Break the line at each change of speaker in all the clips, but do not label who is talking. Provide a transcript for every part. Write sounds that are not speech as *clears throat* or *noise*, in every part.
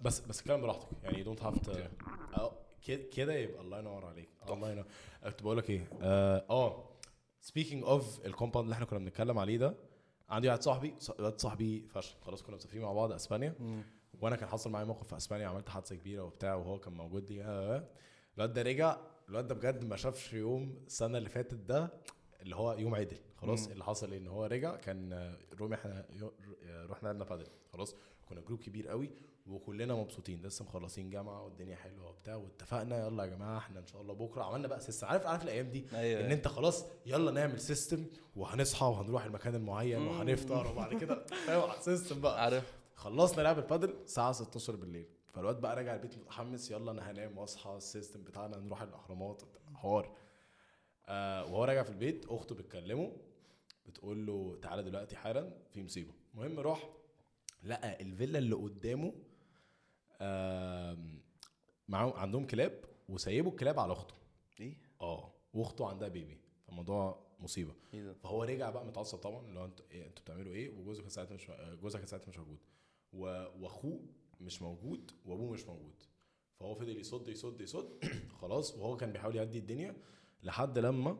بس بس كلام براحتك يعني دونت هاف تو كده يبقى الله ينور عليك الله ينور كنت بقول لك ايه اه, آه. سبيكينج اوف الكومباوند اللي احنا كنا بنتكلم عليه ده عندي واحد صاحبي ص- واحد صاحبي فشل خلاص كنا مسافرين مع بعض اسبانيا وانا كان حصل معايا موقف في اسبانيا عملت حادثه كبيره وبتاع وهو كان موجود لي آه، آه. الواد ده رجع الواد ده بجد ما شافش يوم السنه اللي فاتت ده اللي هو يوم عدل خلاص اللي حصل ان هو رجع كان آه، رومي احنا يو- آه، رحنا لعبنا بادل خلاص كنا جروب كبير قوي وكلنا مبسوطين لسه مخلصين جامعه والدنيا حلوه وبتاع واتفقنا يلا يا جماعه احنا ان شاء الله بكره عملنا بقى سيستم عارف عارف الايام دي
أيوة.
ان انت خلاص يلا نعمل سيستم وهنصحى وهنروح المكان المعين وهنفطر وبعد كده فاهم على السيستم بقى
ايوه. عارف
خلصنا لعب البادل الساعه 16 بالليل فالواد بقى راجع البيت متحمس يلا انا هنام واصحى السيستم بتاعنا نروح الاهرامات حوار آه وهو راجع في البيت اخته بتكلمه بتقول له تعالى دلوقتي حالا في مصيبه المهم راح لقى الفيلا اللي قدامه آم، معاهم عندهم كلاب وسايبوا الكلاب على اخته
ايه
اه واخته عندها بيبي فالموضوع مصيبه
ايه ده
فهو رجع بقى متعصب طبعا اللي هو انت- إيه انتوا بتعملوا ايه وجوزه كان ساعتها مش جوزها كان ساعتها مش موجود و... واخوه مش موجود وابوه مش موجود فهو فضل يصد يصد يصد *clears throat* خلاص وهو كان بيحاول يهدي الدنيا لحد لما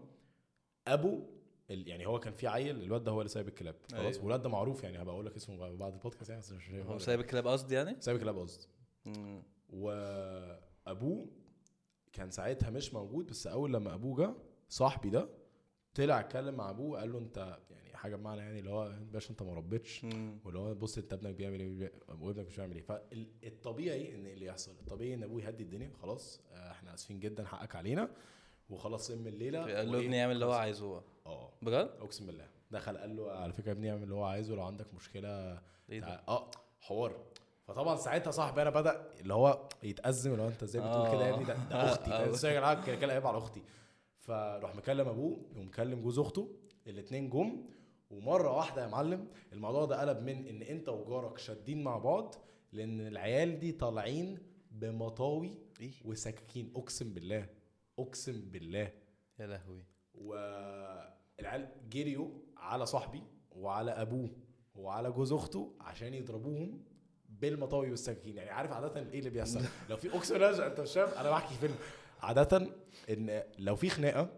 ابو ال... يعني هو كان في عيل الواد ده هو اللي سايب الكلاب خلاص
أيوه.
والواد ده معروف يعني هبقى اقول لك اسمه بعد البودكاست يعني بس مش
هو سايب الكلاب قصدي يعني
سايب الكلاب قصدي
مم.
وابوه كان ساعتها مش موجود بس اول لما ابوه جه صاحبي ده طلع اتكلم مع ابوه قال له انت يعني حاجه بمعنى يعني اللي هو باشا انت ما ربيتش
مم.
واللي هو بص انت ابنك بيعمل ايه وابنك مش بيعمل ايه فالطبيعي ان اللي يحصل الطبيعي ان ابوه يهدي الدنيا خلاص آه، احنا اسفين جدا حقك علينا وخلاص ام الليله
قال له
وإيه؟
ابني يعمل اللي هو
خلاص.
عايزه هو
اه
بجد؟
اقسم بالله دخل قال له على فكره يا ابني اعمل اللي هو عايزه لو عندك مشكله
ايه ده؟
تع- اه حوار فطبعا ساعتها صاحبي انا بدا اللي هو يتازم اللي هو انت ازاي بتقول كده يا ابني ده, ده
آه.
اختي ده ازاي يا جدعان كده كده عيب على اختي فراح مكلم ابوه ومكلم جوز اخته الاثنين جم ومره واحده يا معلم الموضوع ده قلب من ان انت وجارك شادين مع بعض لان العيال دي طالعين بمطاوي
ايه
وسكاكين اقسم بالله اقسم بالله
يا لهوي
والعيال جريوا على صاحبي وعلى ابوه وعلى جوز اخته عشان يضربوهم بالمطاوي والسكاكين يعني عارف عاده ايه اللي
*laughs*
بيحصل لو في اقسم بالله انت مش فاهم انا بحكي فيلم عاده ان لو في خناقه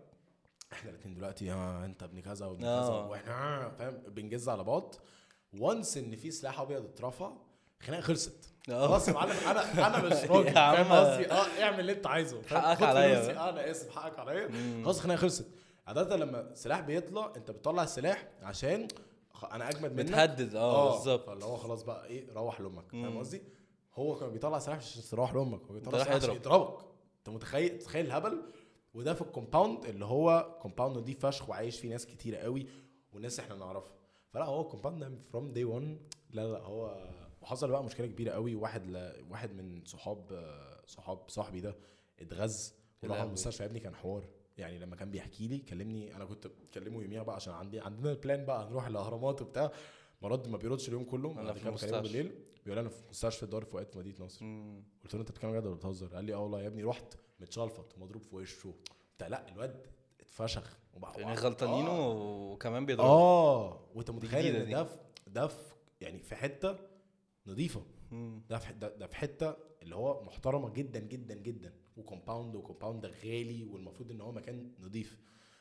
احنا الاثنين دلوقتي آه انت ابن كذا وابن كذا
آه.
واحنا آه، فاهم بنجز على بعض وانس ان في سلاح ابيض اترفع خناقه خلصت
آه.
خلاص يا معلم انا انا مش راجل
*laughs* يا
فاهم
عم.
قصدي اه اعمل اللي انت عايزه فاهم؟
حقك
خد
عليا
فلوسي.
بقى.
آه، انا اسف حقك عليا خلاص الخناقه خلصت عاده لما سلاح بيطلع انت بتطلع السلاح عشان خ- انا اجمد منك
بتهدد اه
آه، فاللي
بالظبط
هو خلاص بقى ايه روح لامك فاهم قصدي هو كان بيطلع سلاح مش عشان تروح لامك هو بيطلع
راح
سلاح عشان
يضرب.
يضربك انت متخيل تخيل الهبل وده في الكومباوند اللي هو كومباوند نضيف فشخ وعايش فيه ناس كتيره قوي وناس احنا نعرفها فلا هو الكومباوند ده فروم داي 1 لا لا هو وحصل بقى مشكله كبيره قوي واحد ل... واحد من صحاب صحاب صاحبي ده اتغز وراح
لهوي.
المستشفى يا ابني كان حوار يعني لما كان بيحكي لي كلمني انا كنت بكلمه يوميها بقى عشان عندي عندنا البلان بقى هنروح الاهرامات وبتاع مرد ما بيردش اليوم كله
أنا
بعد
في
كده بكلمه
المستشفى.
بالليل بيقول انا في مستشفى الدار في وقت مدينه نصر
مم.
قلت له انت بتتكلم جد ولا بتهزر قال لي اه والله يا ابني رحت متشلفط ومضروب في وشه بتاع لا الواد اتفشخ وبقى
يعني غلطانينه
اه,
وكمان بيضربوا
آه. وانت متخيل
جديدة
ان
دي.
ده في ده في يعني في حته نظيفه
مم.
ده في ح- ده ده في حته اللي هو محترمه جدا جدا جدا وكومباوند وكومباوند غالي والمفروض ان هو مكان نظيف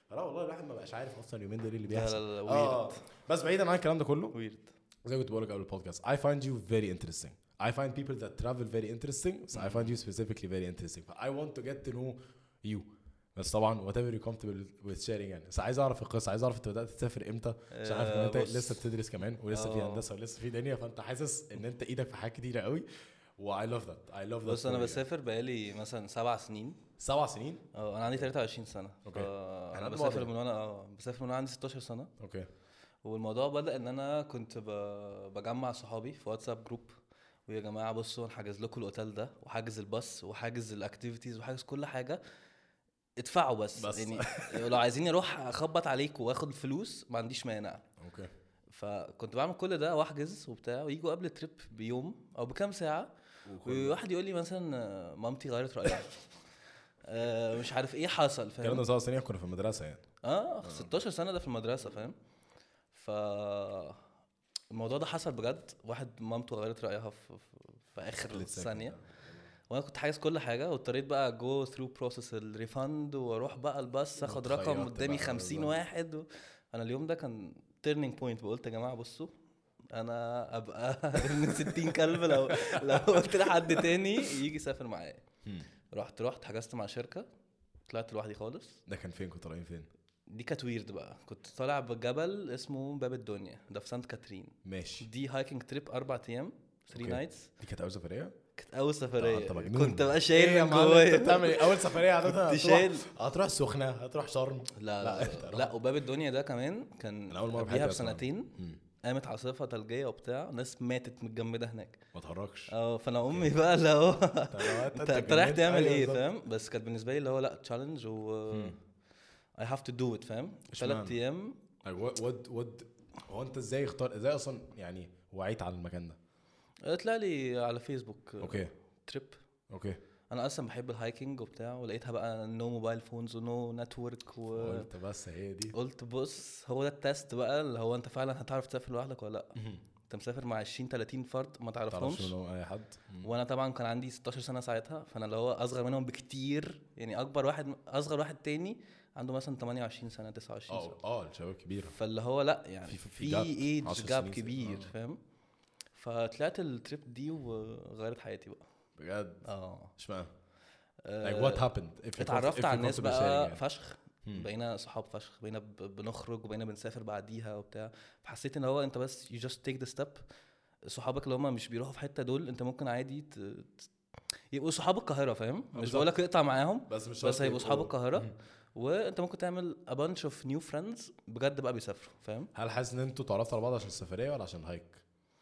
فلا والله الواحد ما بقاش عارف اصلا اليومين دول ايه اللي
لا
بيحصل
لا لا
آه
ويرد
بس بعيدا عن الكلام ده كله
ويرد
زي ما كنت بقول لك قبل البودكاست I find you very interesting I find people that travel very interesting so I find you specifically very interesting but I want to get to know you بس طبعا whatever you comfortable with sharing يعني بس عايز اعرف القصه عايز اعرف انت بدات تسافر امتى عشان عارف ان
آه،
انت
بص.
لسه بتدرس كمان ولسه في
آه.
هندسه ولسه في دنيا فانت حاسس ان انت ايدك في حاجات كتيره قوي و I love that I love that
بص
for
انا
you.
بسافر بقالي مثلا سبع سنين
سبع سنين
اه انا عندي 23 سنه
أوكي.
اوكي
إحنا
انا
قد
بسافر
بعض
من وانا اه بسافر من وانا عندي 16 سنه
اوكي
والموضوع بدأ إن أنا كنت ب- بجمع صحابي في واتساب جروب ويا جماعة بصوا أنا حاجز لكم الأوتيل ده وحاجز الباص وحاجز الأكتيفيتيز وحاجز كل حاجة ادفعوا بس,
بس.
يعني لو عايزين اروح اخبط عليكم واخد فلوس ما عنديش مانع
اوكي
فكنت بعمل كل ده واحجز وبتاع ويجوا قبل التريب بيوم او بكام ساعه وواحد يقول لي مثلا آه، مامتي غيرت رايها *laughs* آه، مش عارف ايه حصل فاهم
الكلام ده من سبع سنين كنا في
آه،
المدرسه يعني
اه 16 سنه ده في المدرسه فاهم ف الموضوع ده حصل بجد واحد مامته غيرت رايها في, في- في اخر ثانيه وانا كنت حاجز كل حاجه واضطريت بقى جو ثرو بروسيس الريفند واروح بقى الباص اخد رقم
واتخيرت
قدامي
بقى
50
بالظبط.
واحد و... انا اليوم ده كان تيرنينج بوينت قلت يا جماعه بصوا انا ابقى من 60 كلب لو لو قلت لحد تاني يجي يسافر معايا
مم.
رحت رحت حجزت مع شركه طلعت لوحدي خالص
ده كان فين كنت طالعين فين؟
دي كانت ويرد بقى كنت طالع بجبل اسمه باب الدنيا ده في سانت كاترين
ماشي
دي هايكنج تريب اربع ايام 3
أوكي.
نايتس
دي كانت اول سفريه؟
كانت اول سفريه
أنت مجنون.
كنت بقى
ايه يا
شايل من
معلم انت
جوايا
بتعمل ايه؟ اول سفريه عادتها
كنت
هتروح
شايل.
هتروح سخنه هتروح شرم لا،
لا لا
أنت
لا,
روح.
لا وباب الدنيا ده كمان كان
أنا أول مرة في
قبليها
حياتي أسمع عنه.
بسنتين
مم.
قامت عاصفه ثلجيه وبتاع ناس ماتت متجمده هناك
ما *laughs* تهرجش
اه فانا امي بقى اللي هو *laughs* انت انت رايح
اتجننت.
تعمل
أيوة
ايه
بالظبط.
فاهم بس كانت بالنسبه لي اللي هو لا تشالنج و اي هاف تو دو ات فاهم ثلاث
اشمعنى؟
ايام
Like what- what- what- هو انت ازاي اختار ازاي اصلا يعني وعيت على المكان ده؟
طلع لي على فيسبوك
اوكي
تريب
اوكي
انا اصلا بحب الهايكنج وبتاع ولقيتها بقى نو موبايل فونز ونو نتورك و
قلت بس هي دي
قلت بص هو ده التست بقى اللي هو انت فعلا هتعرف تسافر لوحدك ولا لا انت مسافر مع 20 30 فرد ما
تعرفش
تعرفهمش
إن هو اي حد مم.
وانا طبعا كان عندي 16 سنه ساعتها فانا اللي هو اصغر منهم بكتير يعني اكبر واحد اصغر واحد تاني عنده مثلا 28 سنه 29 سنه
اه اه الشباب كبيره
فاللي هو لا يعني
في-
في,
في- في gap،
في ايدج
10
جاب
سنين
كبير
آه.
فاهم فطلعت التريب دي وغيرت حياتي بقى
بجد
اه
اشمعنى؟
آه،
Like what happened؟ If you
اتعرفت
if you
على الناس
comfortable sharing
بقى
يعني.
فشخ
مم.
بقينا صحاب فشخ بقينا ب- بنخرج وبقينا بنسافر بعديها وبتاع فحسيت ان هو انت بس يو جاست تيك ذا ستيب صحابك اللي هم مش بيروحوا في حته دول انت ممكن عادي ت... ت- يبقوا صحاب القاهره فاهم مش
بالظبط.
بقول لك اقطع معاهم
يعني. بس مش شرط
بس هيبقوا صحاب
يبقوا-
القاهره وانت ممكن تعمل ابانش اوف نيو فريندز بجد بقى بيسافروا فاهم
هل حاسس ان انتوا اتعرفتوا على بعض عشان السفريه ولا عشان هايك؟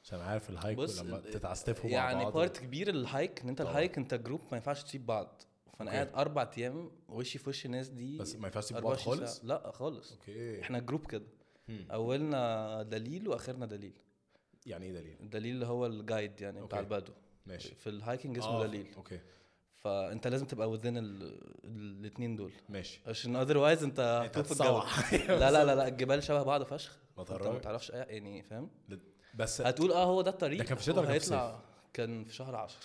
عشان عارف الهايك
بص،
لما تتعستفوا مع بعض
يعني بارت كبير الهايك ان انت
طبعا.
الهايك انت جروب ما ينفعش تسيب بعض فانا
أوكي.
قاعد اربع ايام وشي في وش الناس دي
بس ما ينفعش تسيبوا بعض
24 ساعة.
خالص؟
لا خالص
اوكي
احنا جروب كده
مم.
اولنا دليل واخرنا دليل
يعني ايه دليل؟
الدليل اللي هو الجايد يعني بتاع
أوكي.
البدو
ماشي
في الهايكنج اسمه
آه،
دليل
اوكي
فانت لازم تبقى وذين الاثنين دول
ماشي
عشان اذروايز انت
إيه،
هتوه في الجو
هتتصوح. *laughs*
لا لا لا لا الجبال شبه بعض فشخ
ما
انت ما
تهرجش.
تعرفش أي- يعني فاهم
بس
هتقول اه هو ده الطريق
ده كان في شتا ولا كان في
هيطلع كان في شهر 10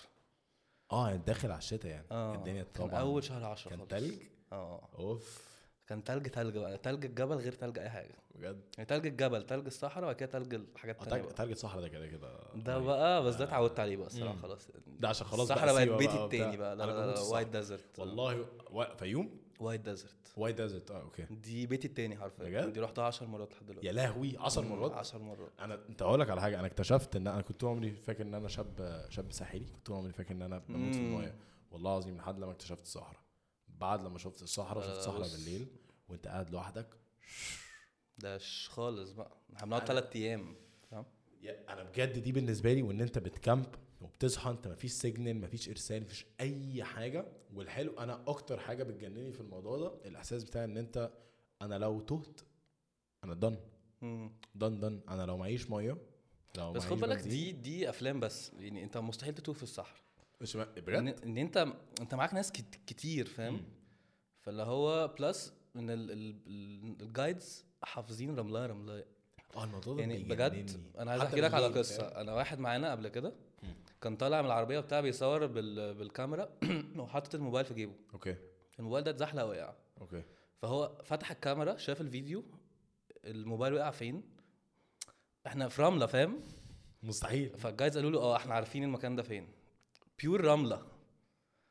اه يعني داخل على الشتاء يعني
اه
الدنيا
كان
طبعا
اول شهر 10
كان
خالص.
تلج
اه
اوف
كان تلج تلج بقى تلج الجبل غير تلج اي حاجه
بجد
يعني تلج الجبل تلج الصحراء وبعد كده تلج الحاجات
آه،
التانية
تلج
بقى.
تلج الصحراء ده كده كده
ده
رهيب.
بقى بس ده اتعودت عليه بقى الصراحه خلاص
ده عشان طيب. خلاص بقى
الصحراء بقت
سيوة
بيتي
بقى وبتاع.
التاني بقى لا
أنا
لا
بموت في
لا وايت
الصحراء.
ديزرت
والله و- فيوم
وايت ديزرت
واي ديزرت اه اوكي
دي بيتي التاني حرفيا
بجد؟
دي رحتها 10 مرات لحد دلوقتي
يا لهوي 10 مرات
10 مرات
انا انت هقول لك على حاجه انا اكتشفت ان انا كنت طول عمري فاكر ان انا شاب شاب ساحلي كنت طول عمري فاكر ان انا بموت في
مم.
المايه والله العظيم لحد لما اكتشفت الصحراء بعد لما شفت الصحراء
لا،
شفت
لا،
الصحراء
بص.
بالليل وانت قاعد لوحدك
ده ش- خالص بقى احنا بنقعد ثلاث ايام فاهم
يا- انا بجد دي بالنسبه لي وان انت بتكامب وبتصحى انت مفيش سيجنال مفيش ارسال مفيش اي حاجه والحلو انا اكتر حاجه بتجنني في الموضوع ده الاحساس بتاع ان انت انا لو تهت انا دن
مم.
دن دن انا لو معيش ميه لو
بس
معيش
خد بالك
بنزين-
دي دي افلام بس يعني انت مستحيل تتوه في الصحراء
مش م- بجد
ان, إن انت انت معاك ناس كت- كتير فاهم فاللي هو بلس ان الجايدز حافظين رملايه رملايه
اه الموضوع ده
يعني بجد
بيجنني.
انا عايز
حتى
احكي لك على
بالليل،
قصه
فاهم؟
انا واحد معانا قبل كده
مم.
كان طالع من العربيه بتاع بيصور بال... بالكاميرا *clears throat* وحاطط الموبايل في جيبه
اوكي
الموبايل ده اتزحلق وقع
اوكي
فهو فتح الكاميرا شاف الفيديو الموبايل وقع فين احنا في رمله فاهم
مستحيل
فالجايز قالوا له اه احنا عارفين المكان ده فين بيور رمله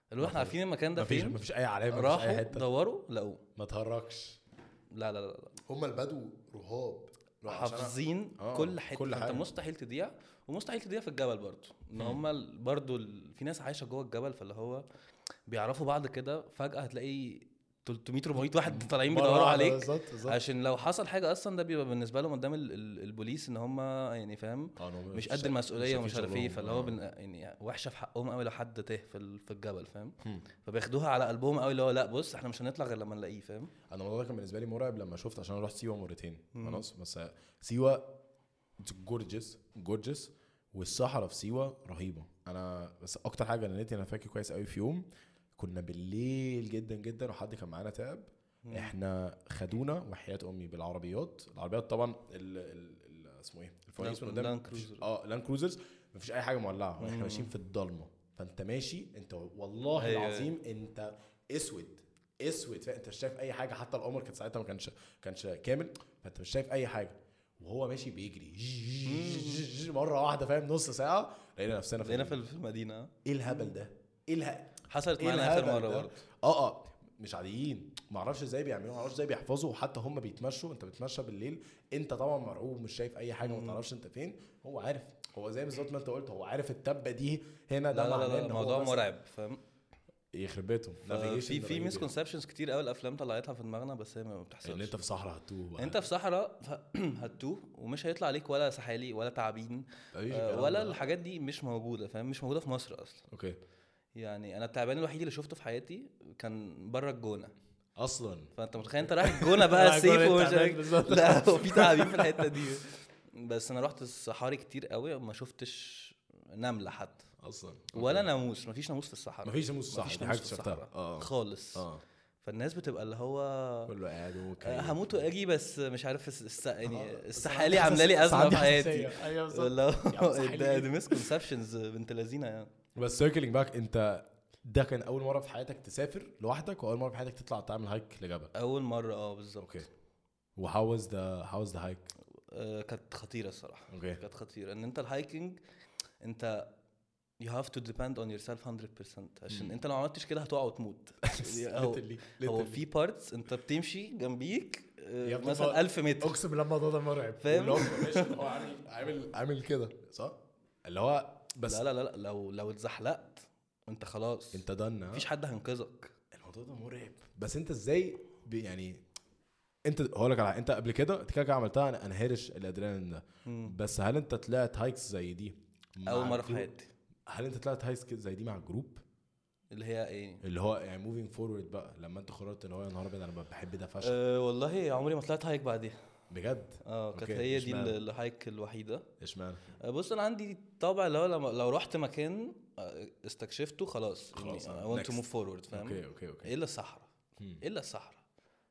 قالوا له احنا عارفين المكان ده
مفيش
فين
مفيش اي علامه مفيش اي
راحوا
حته
دوروا لقوه
ما تهركش
لا لا لا لا
هم البدو رهاب لو عشان-
حافظين
آه،
كل حته
كل
كل
حاجة.
انت مستحيل تضيع ومستحيل تضيع في الجبل برضه ان هم ال- برضه ال- في ناس عايشه جوه الجبل فاللي هو بيعرفوا بعض كده فجاه هتلاقي 300 400 واحد طالعين
مرة
بيدوروا
واحدة
عليك
بالظبط بالظبط
عشان لو حصل حاجه اصلا ده بيبقى بالنسبه لهم قدام ال- ال- البوليس ان هم يعني فاهم
آه، إن هو
مش
شا-
قد المسؤوليه
شايفين
ومش عارف ايه
شغلهم.
فاللي هو
آه.
بن- يعني وحشه في حقهم قوي لو حد تاه في ال- في الجبل فاهم
هم.
فبياخدوها على قلبهم قوي اللي هو لا بص احنا مش هنطلع غير لما نلاقيه فاهم
انا الموضوع ده كان بالنسبه لي مرعب لما شفت عشان انا رحت سيوه مرتين
مم.
خلاص بس سيوه جورجس جورجس والصحراء في سيوه رهيبه انا بس اكتر حاجه جننتني انا فاكر كويس قوي في يوم كنا بالليل جدا جدا وحد كان معانا تعب
مم.
احنا خدونا وحياه امي بالعربيات العربيات طبعا ال- ال- ال- اسمه ايه الفوانيس من
لا-
قدام
لاند
مفيش-
كروزر.
اه لاند كروزرز مفيش اي حاجه مولعه واحنا
مم.
ماشيين في الضلمه فانت ماشي انت والله
أيوة.
العظيم انت اسود اسود فانت مش شايف اي حاجه حتى القمر كانت ساعتها ما كانش كانش كامل فانت مش شايف اي حاجه وهو ماشي بيجري مره واحده فاهم نص ساعه لقينا نفسنا
لقينا
في
في في المدينه
ايه الهبل ده؟ ايه الهبل
حصلت
إيه
معانا اخر
الهبل
مره
ده؟
برضه
اه اه مش عاديين ما اعرفش ازاي بيعملوها ما اعرفش ازاي بيحفظوا وحتى هم بيتمشوا انت بتمشى بالليل انت طبعا مرعوب مش شايف اي حاجه
مم.
ما تعرفش انت فين هو عارف هو زي بالظبط ما انت قلت هو عارف التبه دي هنا
لا
ده
لا
معناه
لا
ان هو
الموضوع
بس-
مرعب فاهم
يخرب بيتهم
في
navigation
في
رهيب يعني.
مسكونسبشنز كتير قوي الافلام طلعتها في دماغنا بس هي ما بتحصلش
ان انت في صحراء هتوه بقى.
انت في صحراء ف- *clears throat* هتتوه ومش هيطلع عليك ولا سحالي ولا تعابين
مفيش
آه،
الكلام
ولا
ده.
الحاجات دي مش موجوده فاهم مش موجوده في مصر اصلا
اوكي
يعني انا التعبان الوحيد اللي شفته في حياتي كان بره الجونه
اصلا
فانت متخيل انت رايح الجونه بقى
*laughs* رايح الجونة انت
سيف ومش
تعبان
عارف-
بالظبط.
لا هو في تعابين في الحته دي بس انا رحت الصحاري كتير قوي ما شفتش نمله حتى
اصلا
ولا ناموس مفيش ناموس في الصحراء
مفيش ناموس في الصحراء
مفيش
دي
ناموس
حاجه
في
اكتشفتها
الصحراء
اه
خالص
اه
فالناس بتبقى اللي هو
كله قاعد
آه،
وكيف.
هموت واجي بس مش عارف الس- الس... يعني
آه، بس
السحالي
عندي
عامله لي
حساسية.
ازمه
عندي
في حياتي
حساسية. ايوه بالظبط.
ولا *laughs*
يا عم سحالي
ده
ليه؟
دي مسكونسبشنز بنت لذينه يعني
بس سيركلينج باك انت ده كان اول مره في حياتك تسافر لوحدك واول مره في حياتك تطلع تعمل هايك لجبل
اول مره اه بالظبط
اوكي وهاو واز ذا هاو واز ذا هايك
آه، كانت خطيره الصراحه
*laughs* اوكي
كانت خطيره ان انت الهايكنج انت you have to depend on yourself 100% عشان
مم.
انت لو ما عملتش كده هتقع وتموت هو- هو في بارتس انت بتمشي جنبيك آه،
يا ابني
مثلا
بقى-
1000 متر
اقسم بالله الموضوع ده مرعب
فاهم؟
واللي هو ماشي، هو عامل عامل عامل كده صح اللي هو بس
لا لا لا لا، لو لو اتزحلقت انت خلاص
انت دنا
مفيش حد هينقذك
الموضوع ده مرعب بس انت ازاي ب- يعني انت هقول لك على حاجة، انت قبل كده انت كده كده عملتها انا انا هرش الادرينالين ده
مم.
بس هل انت طلعت هايكس زي دي مع
اول مره في
الجروب؟
حياتي
هل انت طلعت هايكس كده زي دي مع الجروب
اللي هي ايه
اللي هو يعني موفينج فورورد بقى لما انت قررت اللي هو يا نهار ابيض انا بحب ده فشخ
أه والله عمري ما طلعت هايك بعديها
بجد
اه كانت
أوكي،
هي دي
اشمعنى؟
ال- الهايك الوحيده
اشمعنى
أه، بص انا عندي طبع اللي هو لما لو رحت مكان أه، استكشفته خلاص
خلاص،
يعني I
آه،
want to
next.
move forward فاهم إيه
اوكي اوكي اوكي
الا الصحراء
مم.
الا الصحراء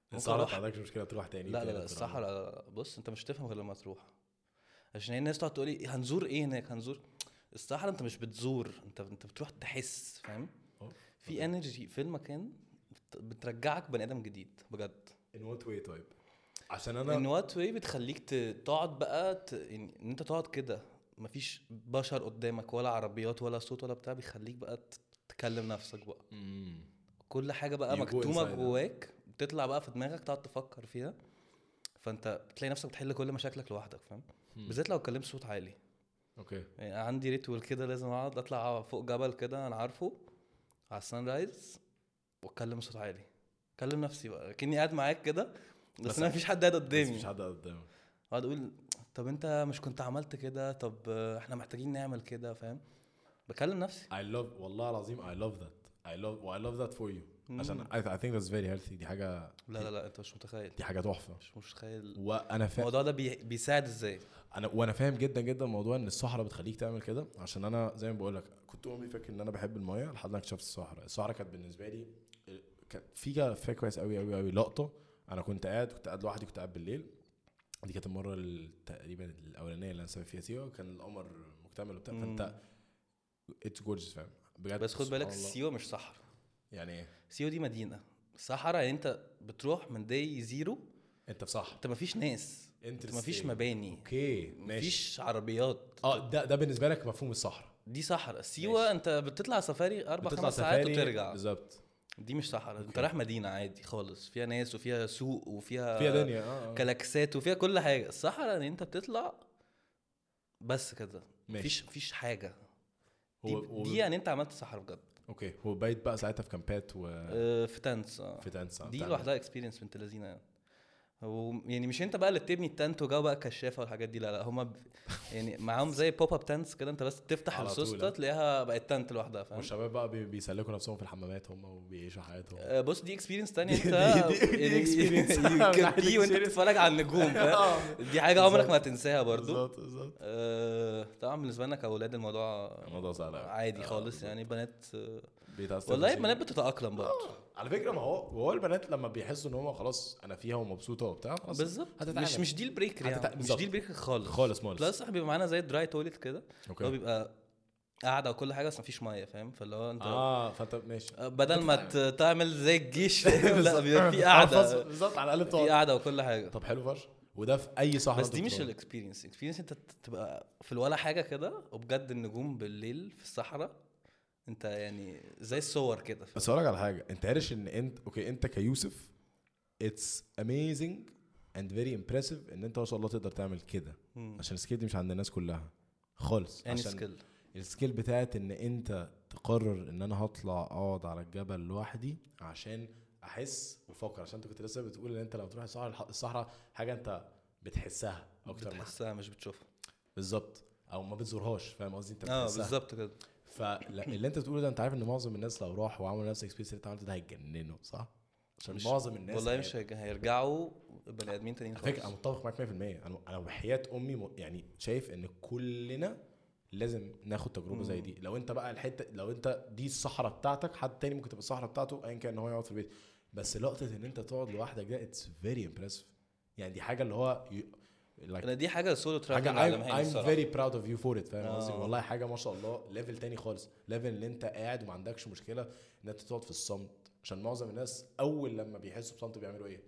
ممكن
الصحراء
أروح-
ما عندكش مشكله تروح تاني
لا لا
تاني
لا
تروح.
الصحراء بص انت مش هتفهم غير لما تروح عشان هي الناس تقعد تقول لي هنزور ايه هناك هنزور الصحراء انت مش بتزور انت انت بتروح تحس فاهم
أوه،
في انرجي في المكان بت- بترجعك بني ادم جديد بجد
ان وات واي طيب عشان
ان
انا
وات واي بتخليك ت- تقعد بقى ت... ان إن انت تقعد كده مفيش بشر قدامك ولا عربيات ولا صوت ولا بتاع بيخليك بقى ت- تكلم نفسك بقى
مم.
كل حاجه بقى
You go
مكتومه
inside.
جواك بتطلع بقى في دماغك تقعد تفكر فيها فانت بتلاقي نفسك بتحل كل مشاكلك لوحدك فاهم
مم.
بالذات لو اتكلمت صوت عالي
اوكي
يعني أنا عندي ريتوال كده لازم اقعد اطلع فوق جبل كده انا عارفه على السان رايز واتكلم صوت عالي اكلم نفسي بقى كاني قاعد معاك كده بس,
بس-
انا مفيش حد قاعد
بس
قدامي
مش حد قدامك
اقعد اقول طب انت مش كنت عملت كده طب آه، احنا محتاجين نعمل كده فاهم بكلم نفسي
I love والله العظيم I love that I love و I love that for you عشان
مم.
I, I think that's very healthy دي حاجة
لا لا لا انت مش متخيل
دي حاجة تحفة
مش متخيل
وأنا فا...
الموضوع ده بي... بيساعد ازاي
أنا وأنا فاهم جدا جدا موضوع إن الصحراء بتخليك تعمل كده عشان أنا زي ما بقول لك كنت عمري فاكر إن أنا بحب المايه لحد ما اكتشفت الصحراء الصحراء كانت بالنسبة لي كانت في فيها كويس قوي قوي قوي لقطة أنا كنت قاعد كنت قاعد لوحدي كنت قاعد بالليل دي كانت المرة ال- تقريبا الأولانية اللي أنا سافرت فيها سيوة كان القمر مكتمل وبتاع
مم.
فأنت اتس جورجز فاهم بجد
بس خد بالك
سبحان الله.
سيوه مش صحراء
يعني إيه؟
سيوه دي مدينه صحراء يعني انت بتروح من داي زيرو
أنت في صحراء
انت مفيش ناس انت مفيش مباني
اوكي ماشي
مفيش عربيات
اه ده ده بالنسبه لك مفهوم الصحراء
دي صحراء سيوه
ماشي.
انت بتطلع سفاري اربع
بتطلع
خمس ساعات
سفاري،
وترجع
بالظبط
دي مش صحراء انت
اوكي.
رايح مدينه عادي خالص فيها ناس وفيها سوق وفيها
فيها دنيا اه آه.
كلاكسات وفيها كل حاجه الصحراء ان انت بتطلع بس كده
ماشي.
مفيش مفيش حاجه دي,
هو هو
دي يعني انت عملت صحراء بجد
اوكي هو بايت بقى ساعتها في كامبات وفي
آه، في تنس آه.
تنسى
دي لوحدها اكسبيرينس بنت لذينه يعني و- يعني مش انت بقى اللي بتبني التنت وجا بقى كشافه والحاجات دي لا لا هما ب... يعني معاهم زي بوب اب تنتس كده انت بس تفتح
على
السوسته
طول. آه.
تلاقيها بقت تنت لوحدها فاهم
والشباب بقى بي- بيسلكوا نفسهم في الحمامات هم وبيعيشوا حياتهم
آه، بص دي اكسبيرينس
*laughs*
تانية
دي-
انت
دي- دي- دي
يعني *laughs*
experience.
you
*laughs*
can be وانت
experience. آه.
بتتفرج على النجوم
*laughs*
فاهم؟ دي حاجه عمرك ما هتنساها برضو
بالظبط بالظبط
آه، طبعا بالنسبه لنا كاولاد الموضوع
الموضوع سهل أوي.
عادي
آه،
خالص يعني بنات آه،
بيتأثر
والله
نفسياً. آه،
البنات بتتاقلم برضه
على فكره ما هو هو البنات لما بيحسوا ان هم خلاص انا فيها ومبسوطه وبتاع خلاص
بالظبط
هتتعلم.
مش مش ديل بريكر
هتتع-
يعني مش
بالظبط.
ديل بريكر خالص
خالص مالص
بلس احنا بيبقى معانا زي دراي تويلت كده هو
اوكي
بيبقى قاعده وكل حاجه بس مفيش ميه فاهم فاللي هو انت
اه فانت ماشي
بدل ما ت- تعمل
*laughs*
زي الجيش *laughs* لا
بالظبط.
بيبقى
*laughs*
في
آه،
قاعده
بالظبط على الاقل
في
بتقعد
قاعده وكل حاجه
طب حلو فشخ وده في اي صحراء
بس
أنت
دي مش
بتروح.
الاكسبيرينس الاكسبيرينس انت تبقى في الولا حاجه كده وبجد النجوم بالليل في الصحراء انت يعني زي الصور كده فاهم؟
بس هقول لك على حاجه انت عارف ان انت اوكي انت كيوسف اتس اميزنج اند فيري امبرسيف ان انت ما شاء الله تقدر تعمل كده
مم.
عشان السكيل دي مش عند الناس كلها خالص
يعني
عشان
سكيل
السكيل بتاعت ان انت تقرر ان انا هطلع اقعد على الجبل لوحدي عشان احس وافكر عشان انت كنت لسه بتقول ان انت لما تروح الصحراء الح- الصحراء حاجه انت بتحسها اكتر ما
بتحسها مش بتشوفها
بالظبط او ما بتزورهاش فاهم قصدي انت
اه
بتحسها
بالظبط كده
فاللي انت بتقوله ده انت عارف ان معظم الناس لو راحوا وعملوا نفس الاكسبيرينس اللي انت عملته ده هيتجننوا صح؟ عشان
مش-
معظم الناس
والله
هي-
مش هيج- هيرجعوا بني ادمين تانيين
على فكره انا
خالص
متفق معاك 100% انا انا بحياه امي م- يعني شايف ان كلنا لازم ناخد تجربه زي دي لو انت بقى الحته لو انت دي الصحراء بتاعتك حد تاني ممكن تبقى الصحراء بتاعته ايا كان ان هو يقعد في البيت بس لقطه ان انت تقعد لوحدك ده اتس فيري امبرسيف يعني دي حاجه اللي هو لايك
انا دي حاجه سولو ترافل
حاجه
على
I'm,
ما
I'm
الصراحه
very proud of you for it فاهم قصدي
آه.
والله حاجه ما شاء الله ليفل تاني خالص ليفل ان انت قاعد وما عندكش مشكله ان انت تقعد في الصمت عشان معظم الناس اول لما بيحسوا بصمت بيعملوا ايه؟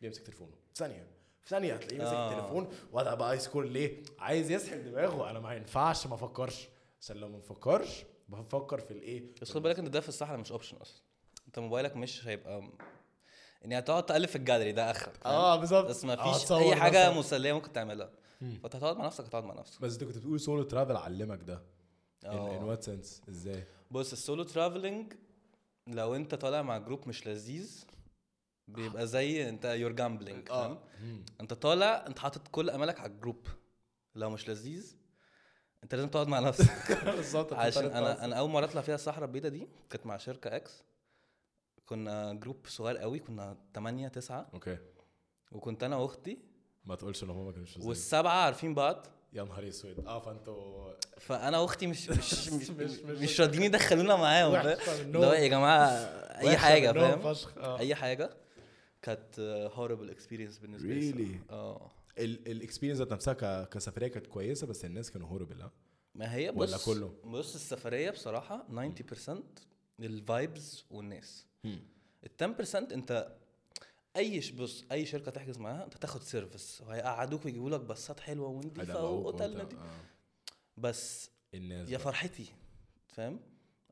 بيمسك تليفونه في ثانيه في ثانيه هتلاقيه ماسك
آه.
التليفون وضع بقى ايس كور ليه؟ عايز يسحب دماغه انا ما ينفعش ما افكرش عشان لو ما بفكرش بفكر في الايه؟
بس خد بالك ان ده في الصحراء مش اوبشن اصلا انت موبايلك مش هيبقى يعني هتقعد تالف في الجاليري ده اخرك فاهم؟
اه بالظبط
بس ما
آه،
فيش
تصور
اي حاجه
مثلاً.
مسليه ممكن تعملها فانت هتقعد مع نفسك هتقعد مع نفسك
بس انت كنت بتقول سولو ترافل علمك ده ان
آه.
وات سنس
*laughs*
ازاي؟
بص السولو ترافلنج لو انت طالع مع جروب مش لذيذ بيبقى زي انت يور جامبلينج
اه
انت طالع انت حاطط كل املك على الجروب لو مش لذيذ انت لازم تقعد مع نفسك *laughs*
بالظبط أنت
عشان
طالع تقعد
انا انا اول مره اطلع فيها الصحراء البيضاء دي كانت مع شركه اكس كنا جروب صغير قوي كنا 8 9
اوكي
وكنت انا واختي
ما تقولش ان هما ما كانوش زيك.
والسبعه عارفين بعض
يا نهار اسود اه فانتوا
فانا واختي *laughs* مش مش مش,
مش-
مش,
مش-
مش راضيين يدخلونا معاهم
وحشة
فاهم؟
من النوم.
اللي هو يا جماعه اي
وحشة
حاجه
منهم
فاهم
فشخ اه
اي حاجه كانت هوربل اكسبيرينس بالنسبه لي
Really؟
الصراحة. اه
الاكسبيرينس ذات نفسها ك- كسفريه كانت كويسه بس الناس كانوا هوربل اه
ما هي بص
ولا كله؟
بص السفريه بصراحه 90% الفايبز والناس ال 10% انت اي ش- بص اي شركه تحجز معاها انت تاخد سيرفيس وهيقعدوك ويجيبوا لك باصات حلوه ونضيفه
هيدلعوك
واوتيل
وانت-
نضيف.
آه.
بس
الناس
يا
بقى.
فرحتي فاهم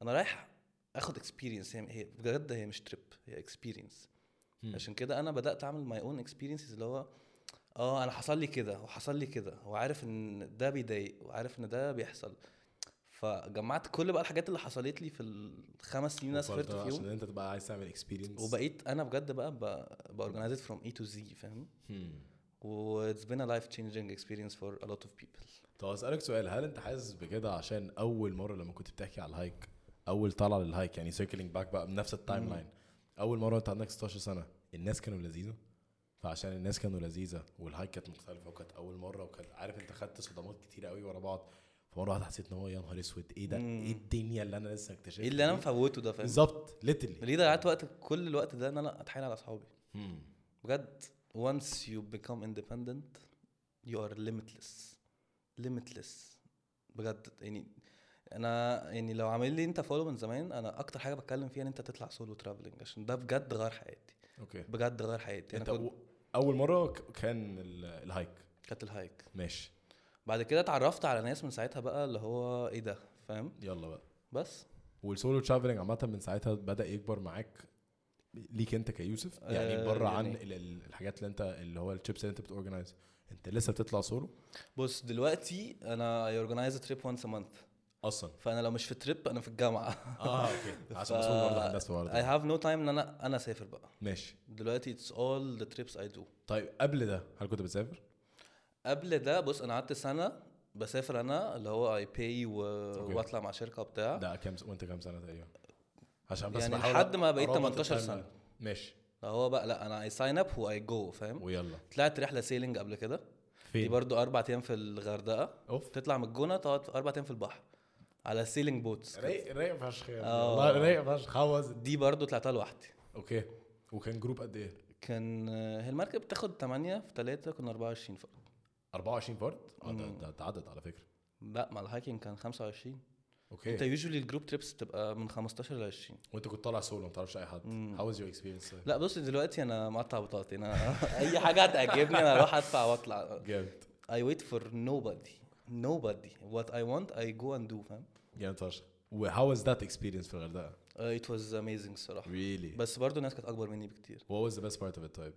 انا رايح اخد اكسبيرينس هي هي بجد هي مش تريب هي اكسبيرينس
مم.
عشان كده انا بدات اعمل ماي اون اكسبيرينسز اللي هو اه انا حصل لي كده وحصل لي كده وعارف ان ده بيضايق وعارف ان ده بيحصل فجمعت كل بقى الحاجات اللي حصلت لي في الخمس سنين اللي انا سافرت
وبرضه عشان
فيهم
انت تبقى عايز تعمل اكسبيرينس
وبقيت انا بجد بقى باورجنايزد فروم اي تو زي فاهم و it's been a life changing experience for a lot of people
طب اسالك سؤال هل انت حاسس بكده عشان اول مره لما كنت بتحكي على الهايك اول طالعه للهايك يعني سيركلينج باك بقى بنفس التايم لاين اول مره انت عندك 16 سنه الناس كانوا لذيذه فعشان الناس كانوا لذيذه والهايك كانت مختلفه وكانت اول مره وكانت عارف انت خدت صدمات كتيره قوي ورا بعض فمره واحده حسيت ان هو يا نهار اسود ايه ده
مم.
ايه الدنيا اللي انا لسه اكتشفتها
ايه اللي انا
دي؟
مفوته ده فاهم
إيه؟ بالظبط ليترلي
ليه ضيعت وقت كل الوقت ده ان انا اتحايل على اصحابي بجد once you become independent you are limitless limitless بجد يعني انا يعني لو عامل لي انت فولو من زمان انا اكتر حاجه بتكلم فيها ان انت تطلع سولو ترافلنج عشان ده بجد غير حياتي
اوكي
بجد غير حياتي انا
انت
كنت
أو- اول مره ك- كان ال- الهايك
كانت الهايك
ماشي
بعد كده اتعرفت على ناس من ساعتها بقى اللي هو ايه ده فاهم
يلا بقى
بس
والسولو ترافلنج عامه من ساعتها بدا يكبر معاك ليك انت كيوسف يعني
آه،
بره
يعني-
عن ال- ال- الحاجات اللي انت اللي هو الشيبس اللي انت بتورجنايز انت لسه بتطلع سولو
بص دلوقتي انا I organize a trip once a month
اصلا
فانا لو مش في تريب انا في الجامعه
اه اوكي *laughs* عشان مسؤول برضه هندسه
I
برضه
have no time ان انا انا اسافر بقى
ماشي
دلوقتي it's all the trips I do
طيب قبل ده هل كنت بتسافر؟
قبل ده بص انا قعدت سنه بسافر انا اللي هو اي باي و... واطلع مع شركه وبتاع
ده كام س- وانت كام سنه تقريبا؟ عشان بس
آه. يعني
بحاول
لحد ما بقيت
أربط
18
الtimeline.
سنة.
ماشي
اللي هو بقى لا انا اي ساين اب واي جو فاهم
ويلا
طلعت رحله سيلينج قبل كده دي
فين؟
برضو اربع ايام في الغردقه
اوف
تطلع من الجونه تقعد اربع ايام في البحر على سيلينج بوتس
رايق رايق فشخ يا ابني.
آه.
والله رايق فشخ هوز
دي برضو طلعتها لوحدي
اوكي وكان جروب قد ايه؟
كان هي المركب بتاخد 8 في 3 كنا 24 فقط
24 فرد اه ده
مم.
ده ده عدد على فكره
لا مع الهايكنج كان 25 انت
اوكي
يوجوالي الجروب تريبس بتبقى من 15 ل 20
وانت كنت طالع سولو ما تعرفش اي حد
مم.
هاو از يور اكسبيرينس
لا بص دلوقتي انا مقطع بطاقتي *laughs* انا اي حاجه هتعجبني انا اروح ادفع واطلع
جامد
I wait for nobody nobody what I want I go and do فاهم
جامد فشخ وهاو از ذات اكسبيرينس في الغردقه
uh, it was amazing الصراحه
ريلي
بس برضو الناس كانت اكبر مني بكتير
وات واز ذا بيست بارت اوف ات طيب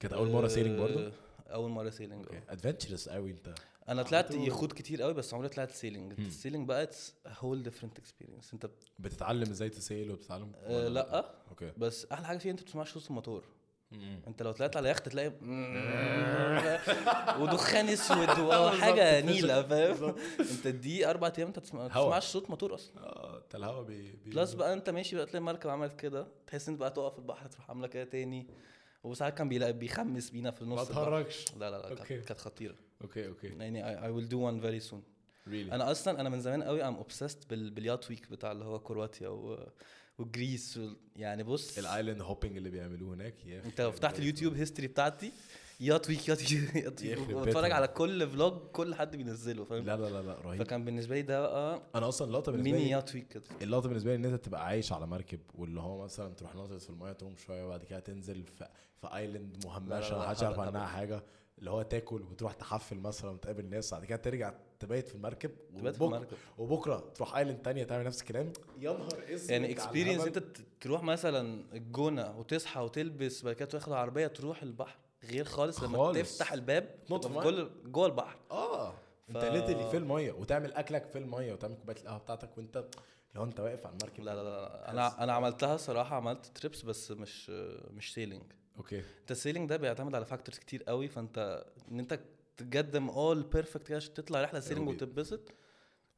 كانت اول مره سيلينج برضه
آه، اول مره سيلينج okay.
ادفنتشرس قوي انت
انا طلعت
عملته-
يخوت كتير قوي بس عمري طلعت سيلينج السيلينج بقى اتس هول ديفرنت اكسبيرينس انت بت...
بتتعلم ازاي تسيل وبتتعلم
آه
ولا
لا
اوكي
بس احلى حاجه فيه انت ما بتسمعش صوت الموتور انت لو طلعت على يخت تلاقي
*laughs*
ودخان اسود
*laughs*
وحاجه
بالظبط.
نيله فاهم
بالظبط.
انت دي اربع ايام انت بتسمع- ما
هوا.
بتسمعش صوت موتور اصلا
اه انت الهوا بي بي-
بلس بقى انت ماشي بقى تلاقي المركب عملت كده تحس انت بقى تقف في البحر تروح عامله كده تاني وساعات كان بيلاقي بيخمس بينا في
ما
النص البحر.
تهرجش
لا لا لا كانت-
اوكي.
كانت خطيره
اوكي اوكي
يعني I, I will do one very soon
ريلي
انا اصلا انا من زمان قوي ام obsessed بال, باليات ويك بتاع اللي هو كرواتيا و, وجريس وال- يعني بص
الايلاند هوبينج اللي بيعملوه هناك يا اخي
انت لو فتحت اليوتيوب هيستوري بتاعتي يات ويك يات ويك يات ويك
يخرب
وبتفرج
بيتها.
على كل فلوج كل حد بينزله فاهم
لا لا لا لا رهيب
فكان بالنسبه لي ده بقى
انا اصلا اللقطه بالنسبه
ميني
لي
يات ويك كده
اللقطه بالنسبه لي ان انت تبقى عايش على مركب واللي هو مثلا تروح ناطط في المايه تقوم شويه وبعد كده تنزل في, في ايلاند
لا،
مهمشه
لا،
محدش يعرف
هبل،
عنها
هبل.
حاجه اللي هو تاكل وتروح تحفل مثلا وتقابل ناس بعد كده ترجع تبيت في المركب
تبات في
وبكرة-
المركب
وبكره تروح ايلاند تانية تعمل نفس الكلام يا نهار اسود
يعني
على
اكسبيرينس
الهبل.
انت ت- تروح مثلا الجونه وتصحى وتلبس بعد كده تاخد عربيه تروح البحر غير خالص لما
خالص.
تفتح الباب
تنط
تبقى
في
في كل جوه البحر
اه
ف-
انت ليتلي في الميه وتعمل اكلك في الميه وتعمل كوبايه القهوه بتاعتك وانت لو انت واقف على المركب
لا لا لا انا انا عملتها صراحه عملت تريبس بس مش مش سيلينج
اوكي
انت السيلينج ده بيعتمد على فاكتورز كتير قوي فانت ان انت تقدم اول بيرفكت كده عشان تطلع رحله سيلينج
أوي.
وتتبسط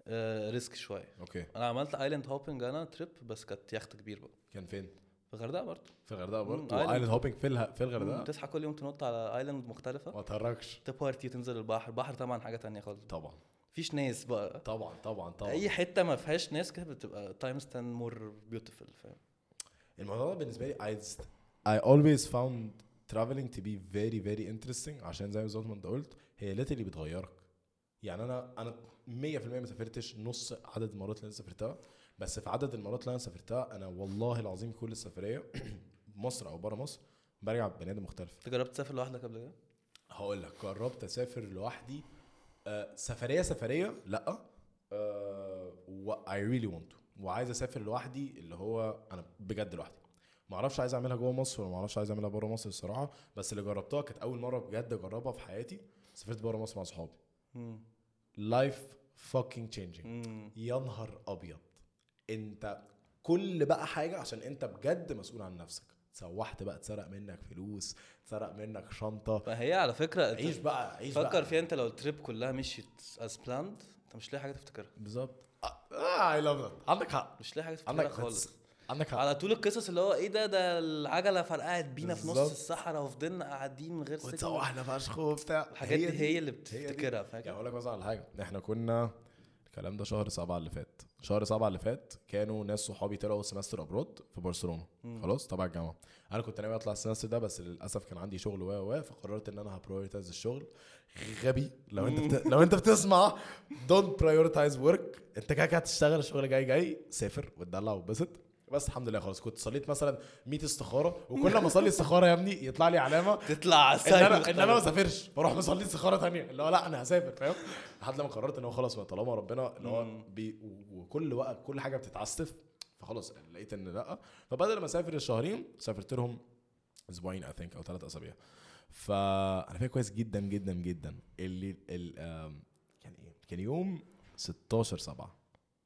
آه ريسك شويه
اوكي
انا عملت ايلاند هوبنج انا تريب بس كانت يخت كبير بقى
كان فين؟
في الغردقه برضه
في الغردقه برضه
آيلاند.
وايلاند هوبينج في الها- في
مم،
الغردقه
تصحى كل يوم تنط على ايلاند مختلفه
ما تهرجش
تبارتي وتنزل البحر البحر طبعا حاجه تانية خالص
طبعا
مفيش ناس بقى
طبعا طبعا طبعا
اي حته ما فيهاش ناس كده بتبقى تايمز 10 مور بيوتيفول فاهم
الموضوع ده بالنسبه لي I, just- I always found traveling to be very very interesting عشان زي بالظبط ما انت قلت هي اللي بتغيرك يعني انا انا 100% ما سافرتش نص عدد المرات اللي انا سافرتها بس في عدد المرات اللي انا سافرتها انا والله العظيم كل السفريه *clears throat* مصر او بره مصر برجع بني ادم مختلف
انت جربت تسافر لوحدك قبل كده؟
هقول لك جربت اسافر لوحدي آه، سفريه سفريه لا آه، اي ريلي ونت وعايز اسافر لوحدي اللي هو انا بجد لوحدي ما اعرفش عايز اعملها جوه مصر ولا ما اعرفش عايز اعملها بره مصر الصراحه بس اللي جربتها كانت اول مره بجد اجربها في حياتي سافرت بره مصر مع صحابي
مم.
لايف فاكينج تشينجينج
مم.
يا نهار ابيض انت كل بقى حاجه عشان انت بجد مسؤول عن نفسك اتسوحت بقى اتسرق منك فلوس اتسرق منك شنطه
فهي على فكره انت
عيش بقى عيش بقى
فكر فيها انت لو التريب كلها مشيت از بلاند انت مش لاقي حاجه تفتكرها
بالظبط اه اي لاف ذات عندك حق
مش لاقي حاجه
عندك
تفتكرها خالص
عندك حق
على طول القصص اللي هو ايه ده ده العجله فرقعت بينا في
بالظبط.
نص الصحراء وفضلنا قاعدين من غير سكه
وتسوحنا فشخ وبتاع
الحاجات دي هي اللي
هي دي.
بتفتكرها
يعني
فاهم
اقول لك مثلا على حاجه احنا كنا الكلام ده شهر سبعة اللي فات شهر سبعة اللي فات كانوا ناس صحابي طلعوا سمستر ابرود في برشلونه خلاص تبع الجامعه انا كنت ناوي اطلع السمستر ده بس للاسف كان عندي شغل و و فقررت ان انا هبرايورتايز الشغل غبي لو انت بت... لو انت بتسمع دونت برايورتايز ورك انت كده كده هتشتغل الشغل جاي جاي سافر واتدلع واتبسط بس الحمد لله خلاص كنت صليت مثلا 100 استخاره وكل ما اصلي استخاره يا ابني يطلع لي علامه
تطلع
ان انا ان انا ما اسافرش بروح مصلي استخاره تانية اللي هو لا انا هسافر فاهم لحد لما قررت ان هو خلاص ما طالما ربنا اللي هو بي و- وكل وقت كل حاجه بتتعستف فخلاص لقيت ان لا فبدل ما اسافر الشهرين سافرت لهم اسبوعين اي ثينك او ثلاث اسابيع فانا فاكر كويس جدا جدا جدا اللي ال آم، كان ايه كان يوم 16 7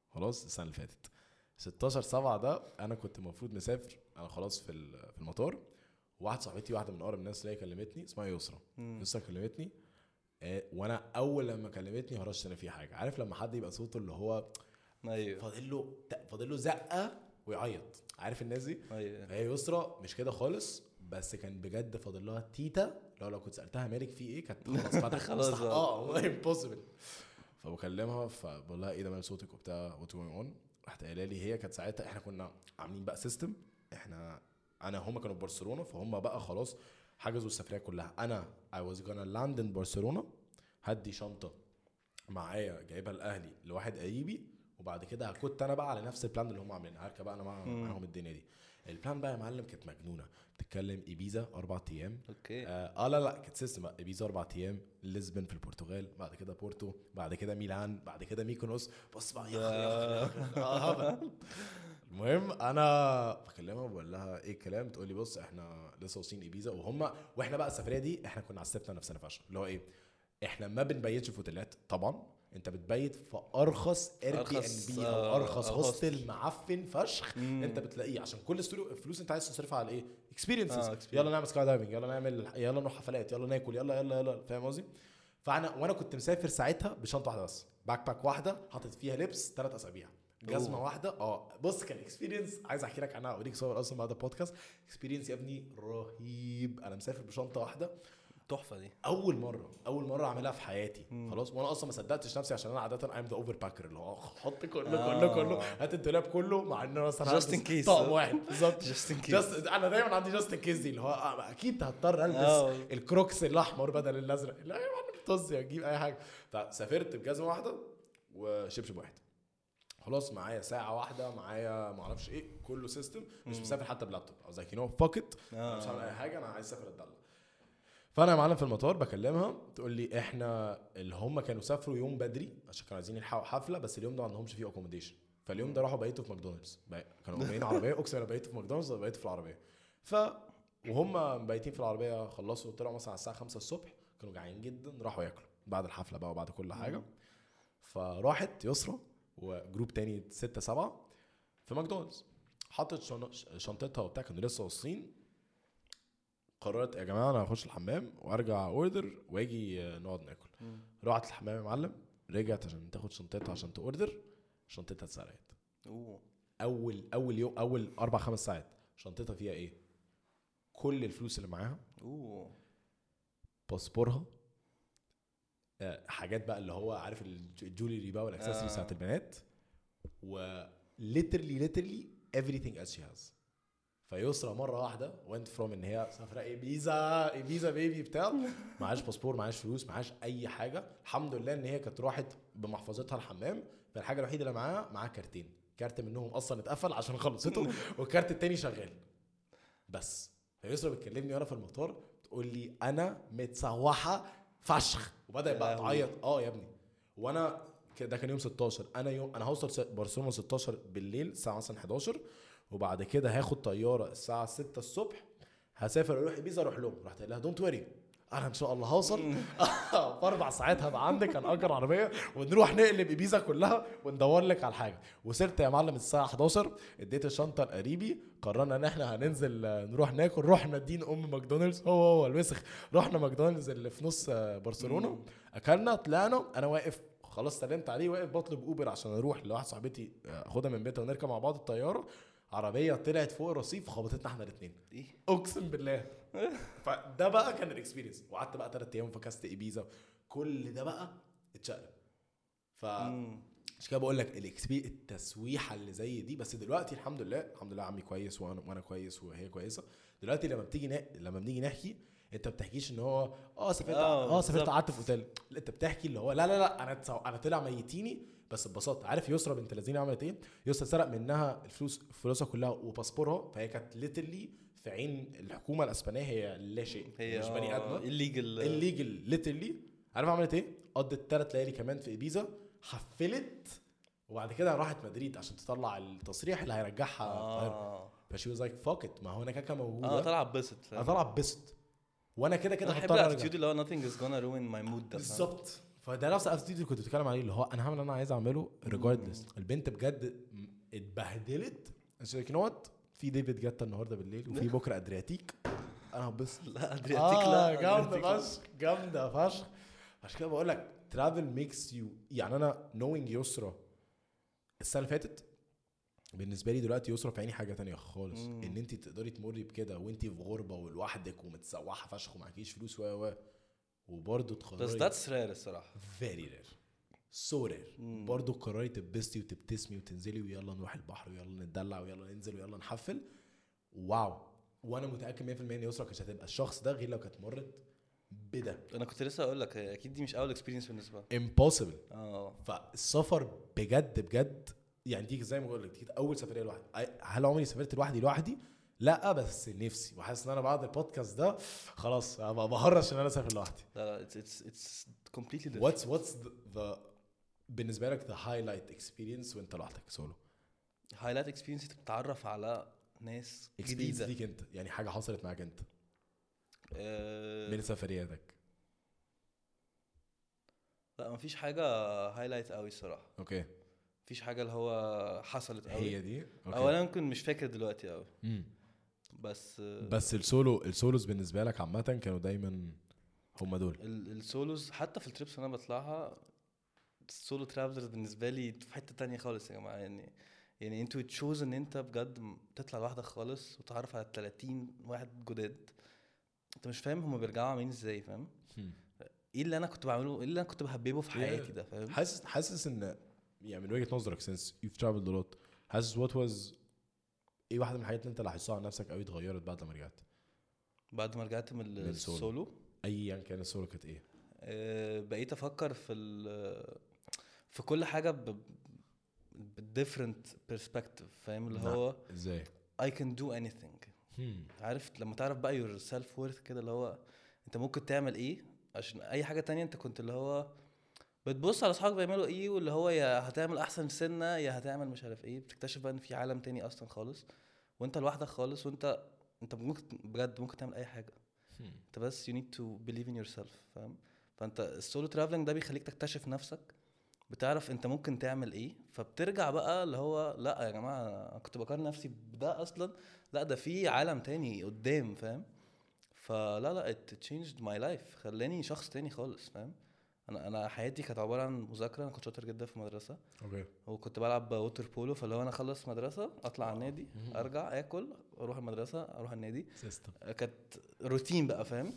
خلاص السنه اللي فاتت 16 7 ده انا كنت المفروض مسافر انا خلاص في ال- في المطار واحد صاحبتي واحده من اقرب الناس اللي هي كلمتني اسمها يسرا يسرا كلمتني آه، وانا اول لما كلمتني هرشت انا في حاجه عارف لما حد يبقى صوته اللي هو
ايوه
فاضل له فاضل له زقه ويعيط عارف الناس دي
ايوه
هي يسرا مش كده خالص بس كان بجد فاضل لها تيتا لو لو كنت سالتها مالك في ايه كانت خلاص *laughs* فتحت
خلاص
مستح-
بقى.
اه والله امبوسيبل فبكلمها فبقول لها ايه ده مال صوتك وبتاع وات جوينج اون راحت قايله لي هي كانت ساعتها احنا كنا عاملين بقى سيستم احنا انا هما كانوا في برشلونه فهم بقى خلاص حجزوا السفريه كلها انا I was gonna land in برشلونه هدي شنطه معايا جايبها الاهلي لواحد قريبي وبعد كده كنت انا بقى على نفس البلان اللي هم عاملينها هركب بقى انا مع-
مم.
معاهم الدنيا دي البلان بقى يا معلم كانت مجنونه بتتكلم ايبيزا اربع ايام
اوكي
آه, اه لا لا كانت سيستم بقى بيزا اربع ايام لشبن في البرتغال بعد كده بورتو بعد كده ميلان بعد كده ميكونوس بص بقى يا أخي، يا أخي، يا أخي. آه، هبل. المهم انا بكلمها بقول لها ايه الكلام تقول لي بص احنا لسه واصلين ايبيزا وهم واحنا بقى السفريه دي احنا كنا عسفنا نفسنا فشخ اللي هو ايه احنا ما بنبيتش في اوتيلات طبعا انت بتبيت في ارخص اير بي ان
أرخص،
بي
آه،
او ارخص
آه،
هوستل معفن فشخ
مم.
انت بتلاقيه عشان كل السلو- الفلوس انت عايز تصرفها على ايه اكسبيرينسز
آه،
يلا نعمل سكاي دايفنج يلا نعمل يلا نروح حفلات يلا ناكل يلا يلا يلا فاهم قصدي فانا وانا كنت مسافر ساعتها بشنطه واحده بس باك باك واحده حاطط فيها لبس ثلاث اسابيع جزمه
أوه.
واحده اه بص كان اكسبيرينس عايز احكي لك عنها اوريك صور اصلا بعد البودكاست اكسبيرينس يا ابني رهيب انا مسافر بشنطه واحده
تحفه دي
اول مره اول مره اعملها في حياتي
مم.
خلاص وانا اصلا ما صدقتش نفسي عشان انا عاده ايم ذا اوفر باكر اللي هو حط كله
آه.
كله كله هات الدولاب كله مع ان انا اصلا
Just
هلبس
in case.
طقم
*laughs*
واحد بالظبط
جاست ان كيس
جاست انا دايما عندي جاست كيس دي اللي هو آه، اكيد هضطر
آه.
البس الكروكس الاحمر بدل الازرق لا يا معلم طز يا تجيب اي حاجه فسافرت بجزمه واحده وشبشب واحد خلاص معايا ساعه واحده معايا ما اعرفش ايه كله سيستم مش مسافر حتى بلابتوب I was like you know fuck it انا مش هعمل اي حاجه انا عايز اسافر اتدلع فانا يا معلم في المطار بكلمها تقول لي احنا اللي هم كانوا سافروا يوم بدري عشان كانوا عايزين يلحقوا حفله بس اليوم ده ما عندهمش فيه اكوموديشن فاليوم ده راحوا بيتوا في ماكدونالدز بي- كانوا جايين عربيه اقسم بالله بيتوا في ماكدونالدز ولا بيتوا في العربيه ف وهم بايتين في العربيه خلصوا طلعوا مثلا على الساعه 5 الصبح كانوا جعانين جدا راحوا ياكلوا بعد الحفله بقى وبعد كل حاجه فراحت يسرا وجروب تاني ستة سبعة في ماكدونالدز حطت شن- شنطتها وبتاع كانوا لسه واصلين قررت يا جماعه انا هخش الحمام وارجع اوردر واجي آه، نقعد ناكل
مم.
رحت الحمام يا معلم رجعت عشان تاخد شنطتها عشان تاوردر شنطتها اتسرقت
اوه
اول اول يوم اول اربع خمس ساعات شنطتها فيها ايه كل الفلوس اللي معاها
اوه
باسبورها آه، حاجات بقى اللي هو عارف الج- الجولري بقى والاكسسوارز
آه.
بتاعت البنات و literally literally everything as she has فيسرى مره واحده went from ان هي سافره ايبيزا ايبيزا بيبي بتاع معهاش باسبور معهاش فلوس معهاش اي حاجه الحمد لله ان هي كانت راحت بمحفظتها الحمام فالحاجه الوحيده اللي معاها معاها كارتين كارت منهم اصلا اتقفل عشان خلصته
*laughs*
والكارت التاني شغال بس فيسرا بتكلمني وانا في المطار بتقول لي انا متسوحه فشخ وبدات
يا
بقى
لهوي.
تعيط اه يا ابني وانا ك- ده كان يوم 16 انا يوم انا هوصل س- برشلونه 16 بالليل الساعه مثلا 11 وبعد كده هاخد طياره الساعه 6 الصبح هسافر اروح ابيزا اروح لهم رحت قايل لها دونت وري انا ان شاء الله هوصل *laughs* في اربع ساعات هبقى عندك هنأجر عربيه ونروح نقلب ابيزا كلها وندور لك على الحاجه وصرت يا معلم الساعه 11 اديت الشنطه لقريبي قررنا ان احنا هننزل آه، نروح ناكل رحنا دين ام ماكدونالدز هو هو الوسخ رحنا ماكدونالدز اللي في نص آه، برشلونه
مم.
اكلنا طلعنا انا واقف خلاص سلمت عليه واقف بطلب اوبر عشان اروح لواحد صاحبتي آه، اخدها من بيتها ونركب مع بعض الطياره عربيه طلعت فوق الرصيف خبطتنا احنا الاثنين
ايه
اقسم بالله فده بقى كان الاكسبيرينس وقعدت بقى ثلاث ايام فكست ايبيزا كل ده بقى اتشقلب ف
مم.
عشان كده بقول لك الاكسبي التسويحه اللي زي دي بس دلوقتي الحمد لله الحمد لله عمي كويس وانا وانا كويس وهي كويسه دلوقتي لما بتيجي نا... لما بنيجي نحكي انت ما بتحكيش ان هو اه سافرت
آه،
اه سافرت
بالظبط.
قعدت في اوتيل لا انت بتحكي اللي هو لا لا لا انا تسو... انا طلع ميتيني بس ببساطه عارف يسرا بنت لذينه عملت ايه؟ يسرا سرق منها الفلوس فلوسها كلها وباسبورها فهي كانت ليترلي في عين الحكومه الاسبانيه هي لا شيء
هي
مش بني ادمه
الليجل
الليجل ليترلي عارف عملت ايه؟ قضت ثلاث ليالي كمان في ابيزا حفلت وبعد كده راحت مدريد عشان تطلع التصريح اللي هيرجعها القاهره
اه
فشي واز لايك فاك ات ما هو انا كده كده
انا
موجوده
طالع آه، اتبسط
انا
فاهم؟
طالع اتبسط وانا كده كده
انا بحب
هضطر أرجع.
الاتيتيود اللي هو nothing is gonna ruin my mood ده فاهم؟
بالظبط فده نفس الاتيتيود اللي كنت بتتكلم عليه اللي هو انا هعمل اللي انا عايز اعمله ريجاردلس البنت بجد م- اتبهدلت قالت نوت في ديفيد جتا النهارده بالليل وفي بكره ادرياتيك انا هبسط
*laughs* لا ادرياتيك لا أدرياتيك
جامده
لا.
آه، فشخ جامده فشخ عشان كده بقول لك ترافل ميكس يو يعني انا نوينج يسرا السنه اللي فاتت بالنسبه لي دلوقتي يسرا في عيني حاجه تانية خالص
مم.
ان انت تقدري تمري بكده وانت في غربه ولوحدك ومتسوحه فشخ ومعكيش فلوس و و وبرضه
بس
تقرري
ذاتس رير الصراحه
فيري رير سو رير
مم.
برضه قرري تبسطي وتبتسمي وتنزلي ويلا نروح البحر ويلا نتدلع ويلا ننزل ويلا نحفل واو وانا متاكد 100% ان يسرا كانت هتبقى الشخص ده غير لو كانت مرت بده
انا كنت لسه اقول لك هي اكيد دي مش اول اكسبيرينس بالنسبه لها
امبوسيبل
اه
فالسفر بجد بجد يعني دي زي ما بقول لك دي كانت اول سفريه لوحدي أي- هل عمري سافرت لوحدي لوحدي؟ لا بس نفسي وحاسس ان انا بعد البودكاست ده خلاص هبقى بهرش ان انا اسافر لوحدي
لا لا اتس اتس اتس كومبليتلي ديفرنت
واتس واتس ذا بالنسبه لك ذا هايلايت اكسبيرينس وانت لوحدك سولو
هايلايت اكسبيرينس انت بتتعرف على ناس
اكسبيرينس
جديده
ليك انت أه. يعني حاجه حصلت معاك انت
آه،
من سفرياتك
لا مفيش حاجه هايلايت قوي الصراحه
اوكي
مفيش حاجه اللي هو حصلت قوي
هي دي اوكي
اولا يمكن مش فاكر دلوقتي قوي
مم.
بس آه،
بس السولو السولوز بالنسبه لك عامه كانوا دايما هم دول
ال- السولوز حتى في التريبس اللي انا بطلعها السولو ترافلرز بالنسبه لي في حته تانية خالص يا جماعه يعني يعني انتوا تشوز ان انت بجد م- تطلع لوحدك خالص وتعرف على 30 واحد جداد انت مش فاهم هما بيرجعوا عاملين ازاي فاهم ايه اللي انا كنت بعمله ايه اللي انا كنت بهببه في
Yeah.
حياتي ده فاهم
حاسس حاسس ان يعني من وجهه نظرك since you've traveled a lot حاسس what was ايه واحده من الحاجات اللي انت لاحظتها عن نفسك قوي اتغيرت بعد ما رجعت
بعد ما رجعت من ال-
من السولو.
السولو
ايا كان السولو كانت ايه
آه، بقيت افكر في ال- في كل حاجه ب different perspective فاهم اللي
نعم.
هو
ازاي
I can do anything عارف لما تعرف بقى يور سيلف وورث كده اللي هو انت ممكن تعمل ايه عشان اي حاجه تانية انت كنت اللي هو بتبص على اصحابك بيعملوا ايه واللي هو يا هتعمل احسن سنه يا هتعمل مش عارف ايه بتكتشف بقى ان في عالم تاني اصلا خالص وانت لوحدك خالص وانت انت ممكن بجد ممكن تعمل اي حاجه انت بس يو نيد تو بليف ان يور سيلف فاهم فانت السولو ترافلنج ده بيخليك تكتشف نفسك بتعرف انت ممكن تعمل ايه فبترجع بقى اللي هو لا يا جماعه انا كنت بقارن نفسي بده اصلا لا ده في عالم تاني قدام فاهم فلا لا ات changed ماي لايف خلاني شخص تاني خالص فاهم انا انا حياتي كانت عباره عن مذاكره انا كنت شاطر جدا في المدرسه
اوكي
وكنت بلعب ووتر بولو فاللي هو انا اخلص مدرسه اطلع على النادي ارجع اكل اروح المدرسه اروح النادي
سيستم
كانت روتين بقى فاهم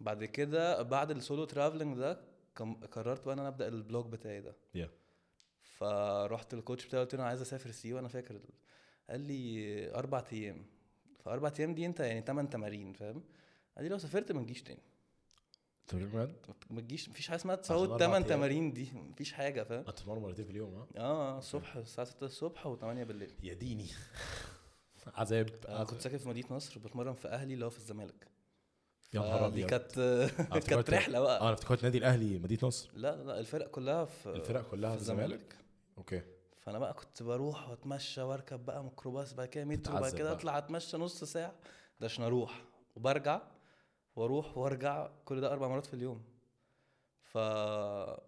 بعد كده بعد السولو ترافلنج ده كم- قررت بقى ان انا ابدا البلوج بتاعي ده
Yeah.
فرحت الكوتش بتاعي قلت له انا عايز اسافر سيوه انا فاكر ال- قال لي اربع ايام فاربع ايام دي انت يعني تمن تمارين فاهم قال لي لو سافرت ما تجيش تاني
انت بتتكلم بجد؟
ما تجيش مفيش حاجه اسمها
أربع
تسوي تمن
أيام.
تمارين دي مفيش حاجه فاهم
انت بتتمرن مرتين في اليوم ها
اه الصبح الساعه 6 الصبح و8 بالليل
يا ديني *laughs* عذاب آه،
انا كنت
عذاب.
ساكن في مدينه نصر بتمرن في اهلي اللي هو في الزمالك
يا نهار أبيض.
فدي آه، *laughs* كانت آه.
أنا افتكرت-
كانت رحله بقى
اه انا افتكرت نادي الاهلي مدينه نصر
لا لا الفرق كلها في
الفرق كلها في الزمالك اوكي
فانا بقى كنت بروح واتمشى واركب بقى ميكروباص بعد كده مترو بعد
تتعذب
كده
بقى.
اطلع اتمشى نص ساعه ده عشان اروح وبرجع واروح وارجع كل ده اربع مرات في اليوم ف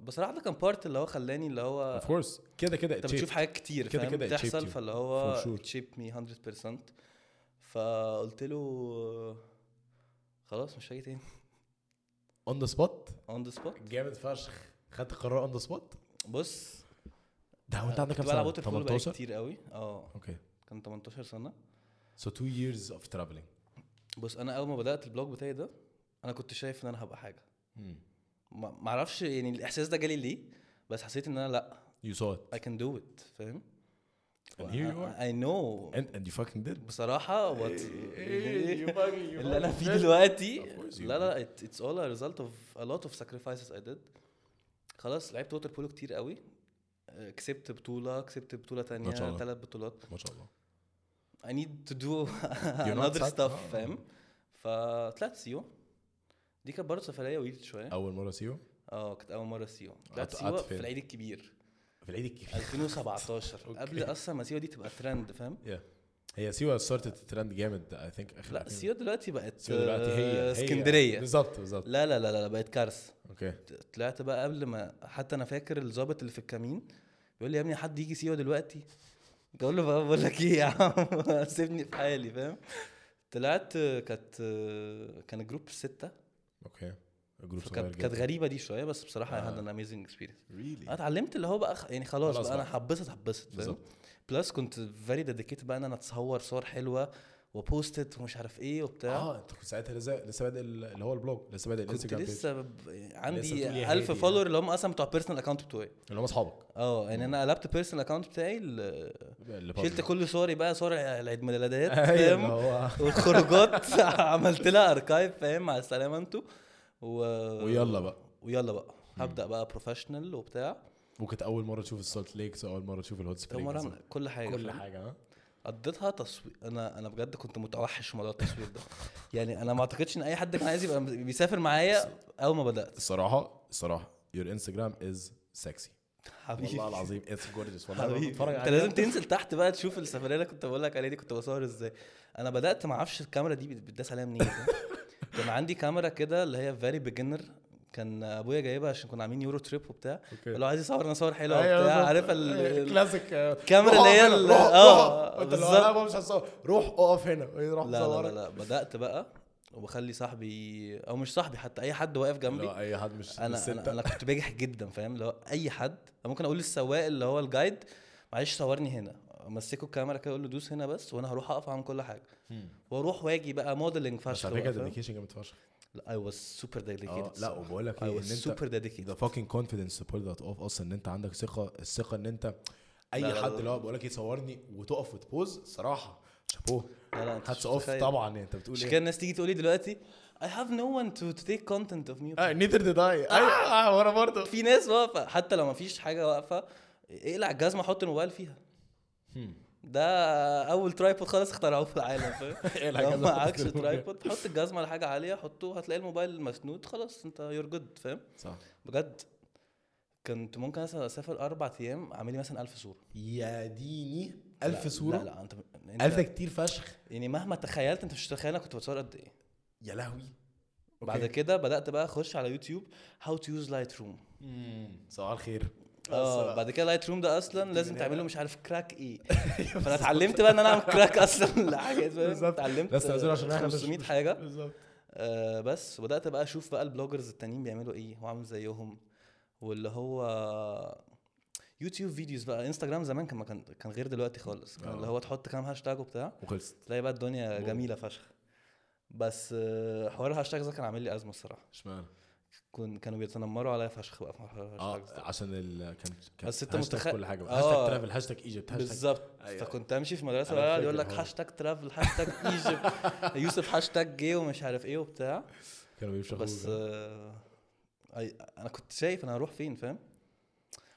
بصراحه ده كان بارت اللي هو خلاني اللي هو
اوف كورس كده كده
انت
it
آه. بتشوف
shaped.
حاجات كتير
كده
كده
كده
كده
it shaped
بتحصل
you.
فاللي هو
For sure.
تشيب مي 100% فقلت له خلاص مش هاجي تاني
اون ذا سبوت
اون ذا سبوت
جامد فشخ خدت قرار اون ذا سبوت
بص
ده هو انت عندك كام
كنت بلعب
سنه؟
ووتر بولو بقالي
18
كتير قوي اه
اوكي
كان 18 سنه
سو 2 years of traveling
بص انا اول ما بدات البلوج بتاعي ده انا كنت شايف ان انا هبقى حاجه
Hmm.
ما ما اعرفش يعني الاحساس ده جالي ليه بس حسيت ان انا لا
you saw it
I can do it فاهم
And here you are.
I I know
and, and you fucking did
بصراحه *laughs* وات
you fucking- you
اللي انا
fucking
فيه
did.
دلوقتي
Of course you
لا لا it- it's all a result of a lot of sacrifices I did خلاص لعبت ووتر بولو كتير قوي آه، كسبت بطوله كسبت بطوله تانية
شاء الله.
ثلاث بطولات
ما شاء الله
I need to do *laughs*
not
another
sad-
stuff
آه.
فاهم فطلعت سيوه دي كانت برضه سفريه ويرد شويه
اول مره سيوه
اه كانت اول مره سيوه طلعت
قعدت-
سيوه
قعدت
في
فين؟
العيد الكبير
في العيد الكبير
2017
*laughs* أوكي.
قبل اصلا ما سيوه دي تبقى ترند فاهم
yeah. هي سيوه ستارتت ترند جامد اي ثينك اخر
لا
عشرين-
سيوه دلوقتي بقت
سيوه E دلوقتي هي
آه،
هي. يعني.
اسكندريه
بالظبط بالظبط
لا لا لا لا بقت كارثه
اوكي
طلعت بقى قبل ما حتى انا فاكر الظابط اللي في الكمين بيقول لي يا ابني حد يجي سيوه دلوقتي بقول له بقى بقول لك ايه يا عم *laughs* سيبني في حالي فاهم طلعت آه، كانت آه، كان جروب سته
اوكي الجروب صغير
فكانت كانت آه،
جدا
غريبه دي شويه بس بصراحه
آه.
هاد ان اميزنج اكسبيرينس انا
really
اتعلمت اللي هو بقى خ- يعني خلاص,
خلاص
بقى,
بقى.
انا هبسط هبسط فاهم
بالظبط
بلس كنت فيري ديديكيتد بقى ان انا اتصور صور حلوه وبوستت ومش عارف ايه وبتاع
اه انت كنت ساعتها لسه لسه بادئ ال- اللي هو البلوج لسه بادئ
كنت
الانستجرام بيج
لسه ب- يعني
لسه بتقول
عندي
يا
1000
هادي
فولور اللي هم اصلا بتوع البيرسونال اكونت بتوعي
اللي هم اصحابك
اه يعني انا قلبت البيرسونال اكونت بتاعي ل-
اللي *laughs*
شلت
public.
كل صوري بقى صور العيد
*laughs*
ميلادات
أيوة، اللي
فاهم
هو
والخروجات *laughs* عملت لها اركايف فاهم مع السلامه انتوا و... *laughs*
ويلا بقى
ويلا بقى هبدا بقى بروفيشنال وبتاع
وكانت اول مره تشوف السولت ليكس اول مره تشوف الهوت
أول
سبرينج
مرة أعمل كل حاجه
كل
فاهم؟
حاجه ها
قضيتها تصوير انا انا بجد كنت متوحش في موضوع التصوير ده يعني انا ما اعتقدش ان اي حد كان عايز يبقى بيسافر معايا اول ما بدات
الصراحه الصراحه يور انستجرام از سكسي
حبيبي
والله العظيم اتس جورجيس والله أنا
حبيبي
بتفرج
انت
عليها.
لازم تنزل تحت بقى تشوف السفريه اللي كنت بقول لك عليها دي كنت بصور ازاي انا بدات ما اعرفش الكاميرا دي بتداس عليها منين
*laughs*
كان عندي كاميرا كده اللي هي فيري بيجنر كان ابويا جايبها عشان كنا عاملين يورو تريب وبتاع
اوكي
لو عايز يصور انا صور حلوه
أيوة
وبتاع
بالظبط.
عارف ال-
أيوة،
ال-
كلاسيك آه،
الكاميرا
روح
اللي هي
أقف هنا،
ال-
روح- روح.
آه،
انت لو
بالظبط.
لا مش هتصور روح اقف هنا إيه، روح
لا لا, لا
صورك
لا بدات بقى وبخلي صاحبي او مش صاحبي حتى اي حد واقف جنبي
لا اي حد مش
انا
الستة.
انا, أنا كنت بجح جدا فاهم لو اي حد أنا ممكن اقول للسواق اللي هو الجايد معلش صورني هنا امسكه الكاميرا كده اقول له دوس هنا بس وانا هروح اقف اعمل كل حاجه
مم.
واروح واجي بقى موديلنج
بس
فشخ
على فكره
بقى، فاهم؟
ديديكيشن جامد فشخ
لا اي واز سوبر
آه،
ديديكيتد
لا وبقول لك
اي
ايه ان
واز
انت
سوبر
ذا
ديديكيتد
فاكينج كونفيدنس سبورت ذات اوف اصلا ان انت عندك ثقه الثقه ان انت اي
لا، لا،
حد
لا.
اللي هو بقول لك يصورني وتقف وتبوز صراحه شابوه
لا، لا، أنت
هاتس
مش
اوف
متخيل.
طبعا انت بتقول
مش
ايه
كده الناس تيجي تقول لي دلوقتي اي هاف نو ون تو تيك كونتنت اوف مي
اه نيذر ديد اي
*laughs*
ايوه وانا برضه *laughs*
في ناس واقفه حتى لو ما فيش حاجه واقفه اقلع الجزمه حط الموبايل فيها ده اول ترايبود خالص اخترعوه في العالم فاهم
اقلع
لو
الجزمة، حط *laughs*
معكش
الموبايل.
ترايبود حط الجزمه على حاجه عاليه حطه هتلاقي الموبايل مسنود خلاص انت يور جود فاهم
صح
بجد كنت ممكن مثلا اسافر اربع ايام اعمل لي مثلا 1000 صوره
يا ديني
لا،
1000 صوره
لا لا انت, انت
1000 ده كتير فشخ
يعني مهما تخيلت انت مش تتخيل انا كنت بتصور قد ايه
يا لهوي
بعد كده بدات بقى اخش على يوتيوب هاو تو يوز لايت روم
صباح الخير
اه بعد كده لايت روم ده اصلا
جبت
لازم
من
تعمل له
هنا.
مش عارف كراك ايه *laughs* فانا اتعلمت بقى ان انا اعمل كراك *laughs* اصلا لحاجه فاهم؟
بالظبط.
اتعلمت
بس تعزول عشان احنا مش-
500
مش-
حاجه
بالظبط
آه بس وبدات بقى اشوف بقى البلوجرز التانيين بيعملوا ايه واعمل زيهم واللي هو يوتيوب فيديوز بقى انستجرام زمان كان ما كان كان غير دلوقتي خالص كان
آه.
اللي هو تحط كام هاشتاج وبتاع
وخلصت
تلاقي بقى الدنيا
مم.
جميله فشخ بس آه، حوار الهاشتاج ده كان عامل لي ازمه الصراحه
اشمعنى؟
كن كانوا بيتنمروا عليا فشخ بقى في حوار الهاشتاج
اه
ده
عشان ال كان كان
بس أنت
هاشتاج
متخيل-
كل حاجه بقى.
آه.
هاشتاج ترافل هاشتاج ايجيبت هاشتاج
بالظبط
أيوة.
فكنت امشي في مدرسه
أنا
بقى
فاكر
يقول لك
الحوار ده.
هاشتاج ترافل هاشتاج ايجيبت
*laughs*
يوسف هاشتاج جي ومش عارف ايه وبتاع
كانوا بيمشوا
بس آه، أي- انا كنت شايف انا هروح فين فاهم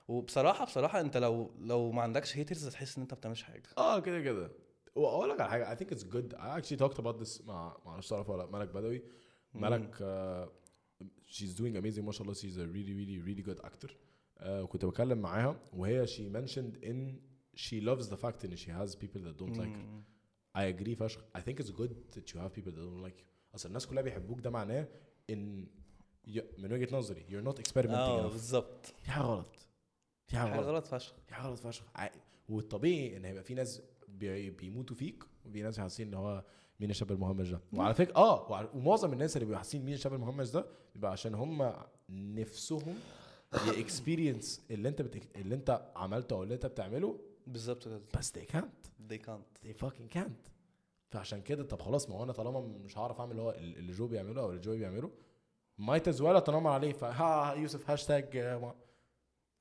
وبصراحه بصراحه انت لو لو ما عندكش هيترز هتحس ان انت ما بتعملش حاجه
اه كده كده واقول لك على حاجه اي ثينك اتس جود اي actually talked about this مع ما اعرفش تعرف ولا لأ، ملك بدوي ملك آه she's doing amazing ما شاء الله she's a really really really good actor آه وكنت بتكلم معاها وهي she mentioned in she loves the fact ان she has people that don't like her
مم.
I agree فشخ I think it's good that you have people that don't like you اصل الناس كلها بيحبوك ده معناه ان ي- من وجهه نظري you're not
اه
experimenting enough
بالظبط
في حاجه غلط في حاجه
حاجه
غلط
غلط فشخ
دي حاجه غلط فشخ ع- والطبيعي ان هيبقى في ناس بي- بيموتوا فيك وفي ناس حاسين ان هو مين الشاب المهمش ده وعلى فكره اه وع- ومعظم الناس اللي بيبقوا حاسين مين الشاب المهمش ده بيبقى عشان هم نفسهم الاكسبيرينس اللي انت بتك... اللي انت عملته او اللي انت بتعمله
بالظبط كده
بس they can't
they can't
they fucking can't فعشان كده طب خلاص ما هو انا طالما مش هعرف اعمل اللي هو اللي جو بيعمله او اللي جوي بيعمله مايت از ويل اتنمر عليه فها يوسف هاشتاج آه، ما-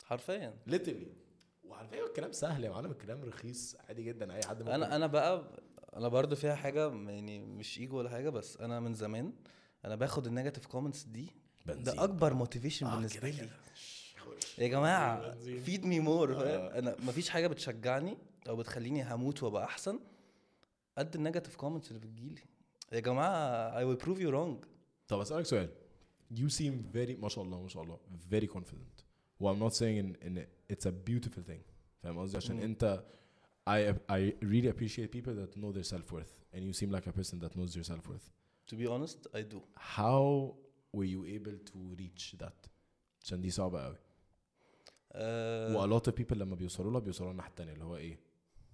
حرفيا
ليترلي وعلى فكره الكلام سهل يا معلم الكلام رخيص عادي جدا اي حد ممكن
انا انا بقى انا برضو فيها حاجه يعني مش ايجو ولا حاجه بس انا من زمان انا باخد النيجاتيف كومنتس دي
بنزين.
ده اكبر موتيفيشن
آه،
بالنسبه
كده
لي
كده.
يا جماعه
بنزين.
فيد مي مور
آه.
انا مفيش حاجه بتشجعني او بتخليني هموت وابقى احسن قد النيجاتيف كومنتس اللي بتجيلي يا جماعه اي ويل بروف يو رونج
طب اسالك سؤال you seem very ما شاء الله ما شاء الله very confident و I'm not saying in, in it's a beautiful thing فاهم قصدي عشان
مم.
انت I I really appreciate people that know their self worth and you seem like a person that knows their self worth
تو بي اونست اي دو
how were you able to reach that عشان دي صعبه قوي
آه.
و a lot of people لما بيوصلوا لها بيوصلوا لها الناحيه التانيه اللي هو ايه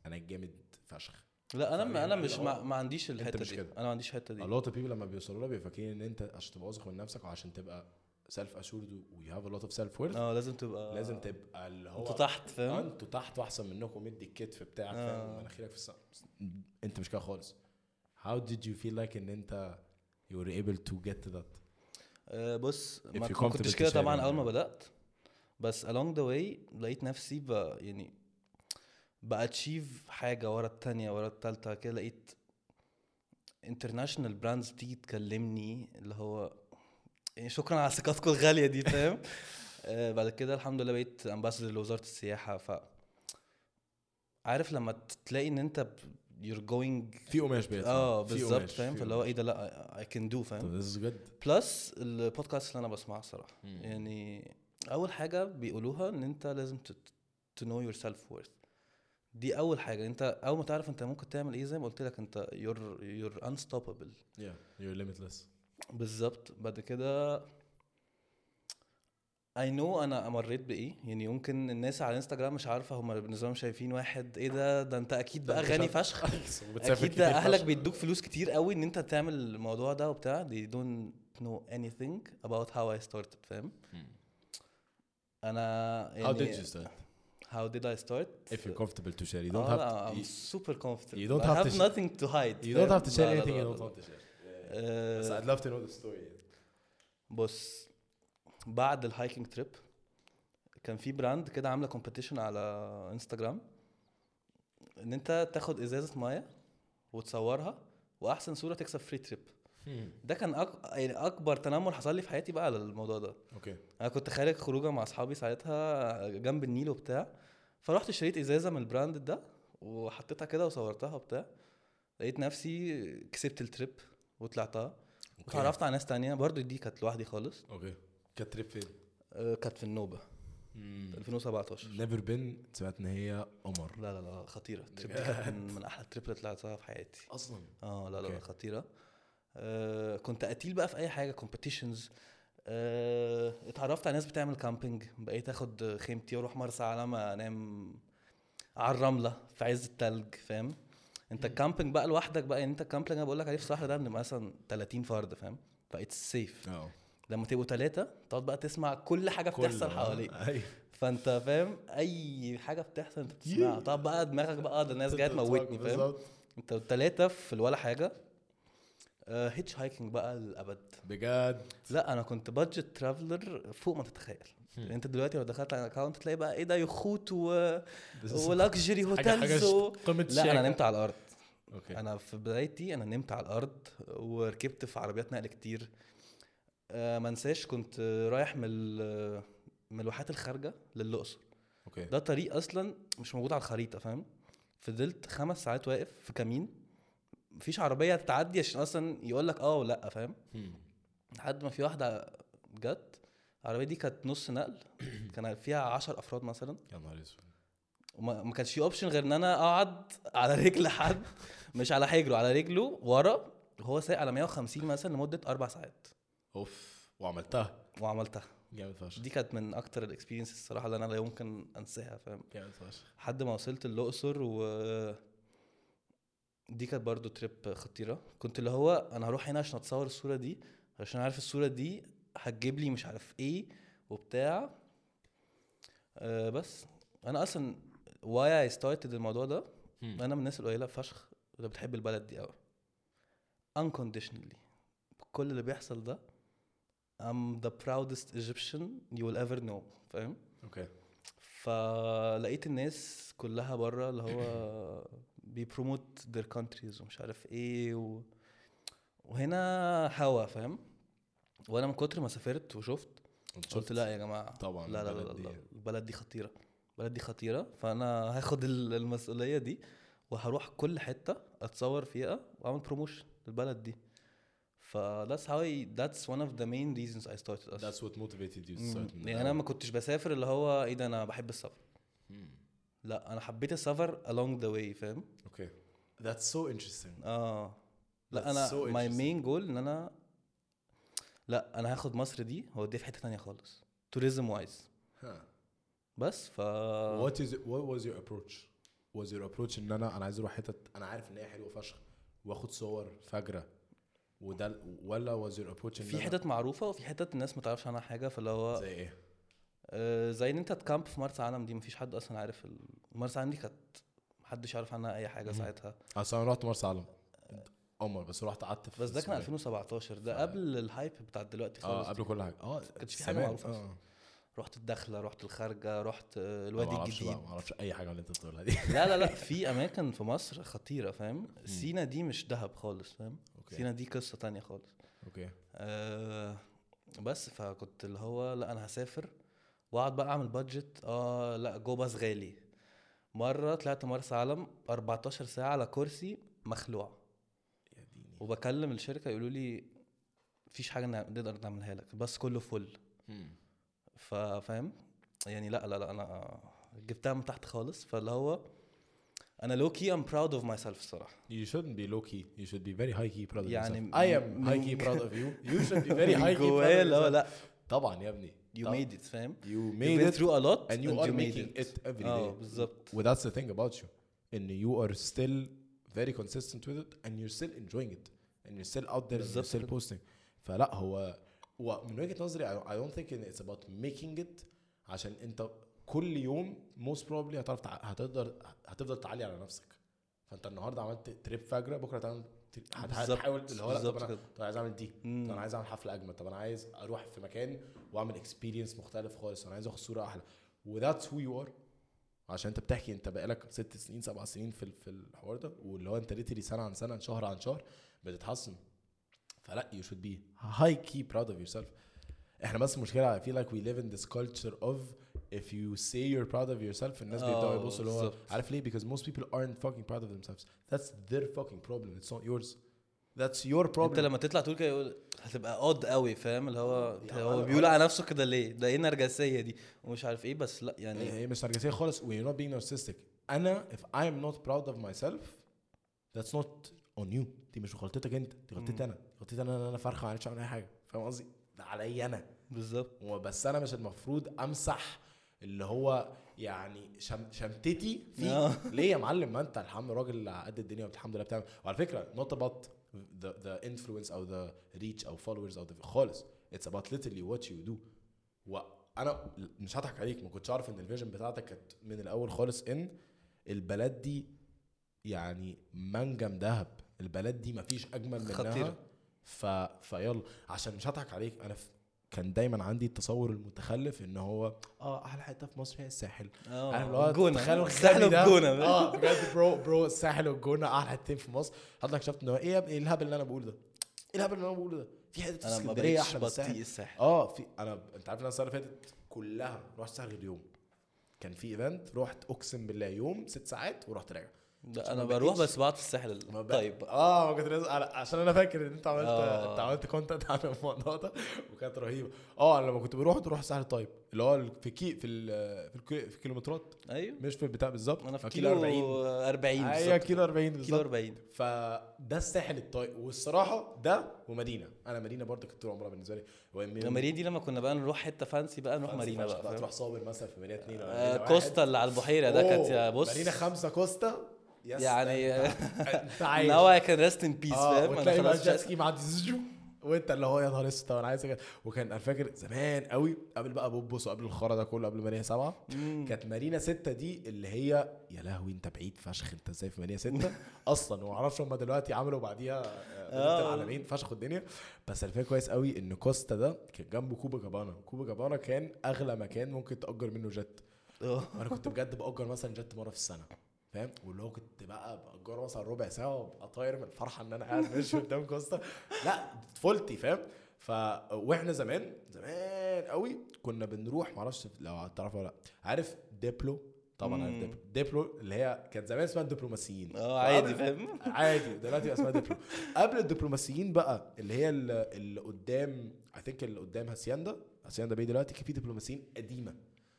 انا جامد فشخ
لا انا
فاهم؟
ما انا
اللي
مش
هو
ما, ما عنديش الحته
مش
دي
كده.
انا ما عنديش الحته
a
دي
lot of people لما بيوصلوا لها بيبقوا فاكرين ان انت عشان تبقى واثق من نفسك وعشان تبقى سيلف اشورد ويو هاف ا لوت اوف سيلف ويرث
اه لازم تبقى
لازم تبقى اللي هو
انت تحت
آه،
فاهم
انتوا تحت واحسن منكم مدي الكتف بتاعك
آه.
فاهم مناخيرك في السقف انت مش كده خالص how did you feel like ان انت you were able to get to that
آه، بص ما
you're
كنتش
comfortable
كده
to share
طبعا
it.
اول ما بدات بس along the way لقيت نفسي ب يعني باتشيف حاجه ورا التانية ورا التالتة كده لقيت international brands بتيجي تكلمني اللي هو يعني شكرا على ثقتكم الغاليه دي فاهم *laughs* آه، بعد كده الحمد لله بقيت امباسدور لوزاره السياحه ف عارف لما تلاقي ان انت ب- you're going
في قماش بقيت
اه
في
بالظبط
قماش،
فاهم
في
فاللي هو ايه ده لا I can do فاهم
قماش. This is good
بلس البودكاست اللي انا بسمعها الصراحه يعني اول حاجه بيقولوها ان انت لازم تو نو يور سيلف وورث دي اول حاجه انت اول ما تعرف انت ممكن تعمل ايه زي ما قلت لك انت يور يور انستوببل
yeah you're limitless *laughs*
بالظبط بعد كده اي نو انا مريت بايه يعني يمكن الناس على انستغرام مش عارفه هم بالنسبه لهم شايفين واحد ايه ده ده انت اكيد بقى غني فشخ
وبتسافر
اكيد
كتير
ده اهلك
فشخ.
بيدوك فلوس كتير قوي ان انت تعمل الموضوع ده وبتاع they don't know anything about how I started فاهم انا
Hmm. how did you start
how did I start
if you're comfortable to share you don't
آه
have to,
لا I'm
you,
super confident
you don't
I
have to
have
sh-
nothing to hide
you don't
فاهم؟
have to share
لا، لا،
anything
لا،
you don't
لا، لا.
want to share Yeah, yeah.
آه،
But I'd love to know the story
بص بعد الهايكنج تريب كان في براند كده عامله كومبيتيشن على انستغرام ان انت تاخد ازازه ميه وتصورها واحسن صوره تكسب فري تريب ده كان أك... يعني اكبر تنمر حصل لي في حياتي بقى على الموضوع ده
اوكي
انا كنت خارج خروجه مع اصحابي ساعتها جنب النيل وبتاع فرحت اشتريت ازازه من البراند ده وحطيتها كده وصورتها وبتاع لقيت نفسي كسبت التريب وطلعتها اتعرفت على ناس تانية برضو دي كانت لوحدي خالص
اوكي كانت تريب فين
آه، كانت في النوبه 2017
نيفر بين سمعت ان هي قمر
لا لا لا خطيره التريب دي كانت من من احلى التريب اللي طلعتها في حياتي
اصلا
اه لا لا لا
أوكي.
خطيره آه كنت قتيل بقى في اي حاجه كومبيتيشنز آه اتعرفت على ناس بتعمل كامبينج بقيت اخد خيمتي واروح مرسى علم انام على الرمله في عز التلج فاهم انت الكامبينج بقى لوحدك بقى يعني انت الكامبينج انا بقول لك عليه في الصحراء ده بنبقى مثلا 30 فرد فاهم فايتس سيف
اه
لما تبقوا ثلاثه تقعد بقى تسمع كل حاجه بتحصل
*laughs*
حواليك
أيوه.
فانت فاهم اي حاجه بتحصل انت بتسمعها طب بقى دماغك بقى آه، ده الناس جايه تموتني فاهم انت التلاتة في ولا حاجة هيتش هايكنج بقى للأبد
بجد
لا أنا كنت بادجت ترافلر فوق ما تتخيل يعني أنت دلوقتي لو دخلت على الاكونت تلاقي بقى إيه ده يخوت و...
This is
*laughs* ولاكجري هوتيلز و...
قمه
لا أنا
الشياكة.
نمت على الأرض
اوكي
أنا في بدايتي أنا نمت على الأرض وركبت في عربيات نقل كتير آه، ما انساش كنت رايح من ال- من الواحات الخارجة للأقصر
اوكي
ده طريق اصلا مش موجود على الخريطه فاهم فضلت خمس ساعات واقف في كمين مفيش عربيه تعدي عشان اصلا يقول لك اه ولا فاهم
مم.
لحد ما في واحده جت العربيه دي كانت نص نقل كان فيها عشر افراد مثلا
يا نهار اسود
وما ما كانش في اوبشن غير ان انا اقعد على رجل حد مش على حجره على رجله ورا وهو سايق على 150 مثلا لمده اربع ساعات
اوف وعملتها
وعملتها
جامد فشخ
دي كانت من اكتر الاكسبيرينس الصراحه اللي انا لا يمكن انساها فاهم
جامد فشخ
لحد ما وصلت الاقصر و دي كانت برضو تريب خطيره كنت اللي هو انا هروح هنا عشان اتصور الصوره دي عشان عارف الصوره دي هتجيب لي مش عارف ايه وبتاع أه بس انا اصلا واي اي ستارتد الموضوع ده
مم.
انا من الناس القليله فشخ اللي بتحب البلد دي قوي unconditionally كل اللي بيحصل ده I'm the proudest Egyptian you will ever know فاهم
اوكي
فلقيت الناس كلها بره اللي هو بيبروموت their countries ومش عارف ايه و... وهنا هوا فاهم وانا من كتر ما سافرت وشفت قلت لا يا جماعه
طبعا
لا لا لا, لا,
البلد
لا
دي.
البلد دي خطيره البلد دي خطيره فانا هاخد ال- المسؤوليه دي وهروح كل حته اتصور فيها واعمل بروموشن للبلد دي ف that's how I, that's one of the main reasons I started اصلا
that's what motivated you to
مم.
start من
يعني انا
الأول.
ما كنتش بسافر اللي هو ايه ده انا بحب السفر
مم.
لا انا حبيت السفر along the way فاهم
اوكي that's so interesting
اه
That's
لا انا
so
ماي
interesting.
مين جول ان انا لا انا هاخد مصر دي واوديها في حته تانية خالص توريزم وايز
ها.
بس ف آه.
what is what was your approach was your approach ان انا انا عايز اروح حتت انا عارف ان هي حلوه فشخ واخد صور فجره وده ال- ولا was your approach ان
في
أنا-
حتت معروفه وفي حتت الناس ما تعرفش عنها حاجه فاللي هو
زي ايه
آه، زي ان انت تكامب في مرسى علم دي مفيش حد اصلا عارف ال- مرسى علم دي كانت محدش يعرف عنها اي حاجه ساعتها
اصل انا رحت مرسى علم قمر بس رحت قعدت في
بس ده
اسمه
كان
إيه؟
2017
ف-
ده قبل الهايب بتاع دلوقتي
اه
خالص
قبل كل حاجه اه
كانش في حاجة
زمان،
معروفة أصلاً.
آه.
رحت الدخله رحت الخارجه رحت آه،
أنا
الوادي
معرفش
الجديد
بقى معرفش اي حاجه من اللي انت بتقولها
*laughs*
دي
لا لا لا في اماكن في مصر خطيره فاهم سينا دي مش دهب خالص فاهم
اوكي
سينا دي قصه تانية خالص
اوكي
آه بس فكنت اللي هو لا انا هسافر واقعد بقى اعمل بادجت اه لا جو باص غالي مره طلعت مرسى علم 14 ساعه على كرسي مخلوع
يا ديني
وبكلم الشركه يقولوا لي مفيش حاجه نع- نقدر نعملها لك الباص كله فل
مم.
فاهم يعني لا لا لا انا جبتها من تحت خالص فاللي هو انا لوكي ام براود اوف ماي سيلف الصراحه
You shouldn't be low key. You should be very high key proud of
يعني
yourself.
من-
I am high key
من-
proud of you. You should be
*laughs*
very high key proud of
جوايا اللي هو
yourself.
لا
طبعا يا ابني.
oh, you
طبعا.
made it فاهم
You
You've
made
been
it
through a lot
and you are making it every
اه
day.
بالظبط
Well, that's the thing about you. And you are still very consistent with it and you're still enjoying it. And you're still out there and you're
بالظبط
still
كده.
posting. فلا هو ومن وجهة نظري I I don't think in it's about making it عشان انت كل يوم most probably هتعرف تع- هتقدر هتفضل تعلي على نفسك. فانت النهارده عملت تريب فجره بكره هتعمل تريب- هت-
بالظبط،
هتحاول اللي هو لا طب
بالظبط
انا
كده.
طب أنا عايز اعمل دي طب
مم.
انا عايز اعمل حفله اجمل طب انا عايز اروح في مكان واعمل اكسبيرينس مختلف خالص انا عايز اخد صوره احلى وذاتس هو يو ار عشان انت بتحكي انت بقالك ست سنين سبع سنين في ال- في الحوار ده واللي هو انت ليتري سنه عن سنه شهر عن شهر بتتحسن فلا يو شود بي هاي كي براود اوف يور سيلف احنا بس المشكله I feel like we live in this culture of if you say you're proud of yourself الناس بيبداوا
آه،
يبصوا اللي هو
بالظبط.
عارف ليه because most people aren't fucking proud of themselves that's their fucking problem it's not yours that's your problem
انت لما تطلع تقول كده يقول هتبقى اود قوي فاهم اللي هو
يعني
هو
أنا-
بيقول على نفسه كده ليه ده ايه النرجسيه دي ومش عارف ايه بس لا يعني
هي مش نرجسيه خالص و you're not being narcissistic انا if I'm not proud of myself that's not on you دي مش غلطتك انت دي غلطتي انا غلطتي انا ان انا فرخه ما عرفتش اعمل اي حاجه فاهم قصدي ده عليا انا
بالظبط
وبس انا مش المفروض امسح اللي هو يعني شم شمتتي فيه
آه.
*laughs* ليه يا معلم ما انت الحمد راجل على قد الدنيا والحمد لله بتعمل وعلى فكره not about the the influence او the reach او followers او the خالص it's about literally what you do وانا مش هضحك عليك ما كنتش اعرف ان الفيجن بتاعتك كانت من الاول خالص ان البلد دي يعني منجم ذهب البلد دي مفيش اجمل منها
خطيرة.
ف... فيلا عشان مش هضحك عليك انا في... كان دايما عندي التصور المتخلف ان هو اه احلى حته في مصر هي الساحل
اه، آه،
عارف اللي هو تخيلوا
الساحل
الغبي ده.
والجونه
اه بجد برو برو الساحل والجونه احلى حتتين في مصر حضرتك اكتشفت ان هو ايه يا ابني الهبل اللي انا بقوله ده؟ ايه الهبل اللي انا بقوله ده؟ في حته في
انا ما
اسكندريه
بقتش
احلى من الساحل
بطيء الساحل
اه في انا ب- انت عارف إن انا السنه اللي فاتت كلها رحت الساحل غير يوم كان في ايفنت رحت اقسم بالله يوم ست ساعات ورحت راجع
ده
عشان
انا
ما
بروح
بقتش-
بس بقعد في الساحل
ما بقى-
طيب
اه ما كنت لازم على- عشان انا فاكر ان انت عملت
آه.
انت عملت كونتنت عن الموضوع ده وكانت رهيبه اه انا لما كنت بروح كنت بروح ساحل طيب اللي هو في كي في ال... في, الكي... في كيلومترات
ايوه
مش في البتاع بالظبط
انا في
كيلو
كيلو 40
ايوه
بالظبط.
كيلو 40
كيلو
بالظبط
40
فده الساحل الطيب والصراحه ده ومدينه انا مدينه برضه كنت طول عمرها بالنسبه لي
مارينا دي لما كنا بقى نروح حته فانسي بقى نروح مارينا بقى فاهم؟
تروح صابر مثلا في مدينه اثنين
آه، كوستا اللي على البحيره ده كانت يا بص
مدينه خمسه كوستا يس
يعني *laughs*
انت عايز
ناو اي كان ريست ان بيس
اه
فاهم انا
وتلاقي بقى
خلاص
الجيت
شا-
سكي معدي زجو وانت اللي هو يا نهار اسود طب انا عايز أجي. وكان انا فاكر زمان قوي قبل بقى بوبوس وقبل الخرا ده كله قبل مارينا سبعه كانت مارينا سته دي اللي هي يا لهوي انت بعيد فشخ انت ازاي في مارينا سته اصلا وما اعرفش هم دلوقتي عملوا بعديها آه،
آه.
مدينه العالمين فشخوا الدنيا بس انا فاكر كويس قوي ان كوستا ده كان جنبه كوبا جابانا كوبا جابانا كان اغلى مكان ممكن تاجر منه جت
آه.
انا كنت بجد باجر مثلا جت مره في السنه فاهم واللي هو كنت بقى باجره مثلا ربع ساعه وابقى طاير من الفرحه ان انا قاعد ماشي قدام كوستا لا دي طفولتي فاهم ف واحنا زمان زمان قوي كنا بنروح معرفش لو تعرفوا ولا لا عارف ديبلو طبعا عارف
مم.
ديبلو ديبلو اللي هي كانت زمان اسمها الدبلوماسيين
اه عادي
وقبل-
فاهم
عادي دلوقتي بقى اسمها دبلو قبل الدبلوماسيين بقى اللي هي ال- اللي قدام اي ثينك اللي قدام هاسياندا هاسياندا باي دلوقتي كان في دبلوماسيين قديمه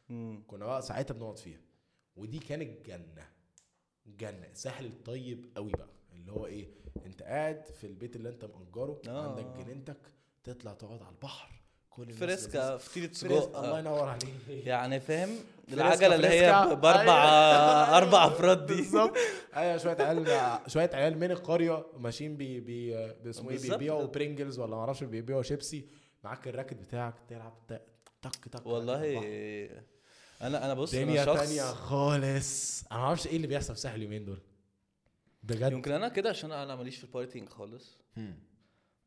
مم.
كنا بقى ساعتها بنقعد فيها ودي كانت جنه جنه الساحل الطيب قوي بقى اللي هو ايه انت قاعد في البيت اللي انت مأجره
آه.
عندك جنينتك تطلع تقعد على البحر كل الناس لذيذة.
فريسكا فطيره سجق
فريسكا الله
آه.
ينور عليك
*laughs* يعني فاهم
فريسكا،
العجله اللي
فريسكا.
هي باربع *laughs*
أيوة.
اربع افراد دي
بالظبط ايوه شويه عيال شويه عيال من القريه ماشيين بي بي باسمه ايه
بالظبط.
بيبيعوا برينجلز ولا ما اعرفش بيبيعوا شيبسي معاك الراكت بتاعك تلعب تك تك تك
والله انا انا بص
دنيا
انا شخص
إيه تانية خالص انا ما اعرفش ايه اللي بيحصل في الساحل اليومين دول بجد
يمكن انا كده عشان انا ماليش في البارتينج خالص
مم.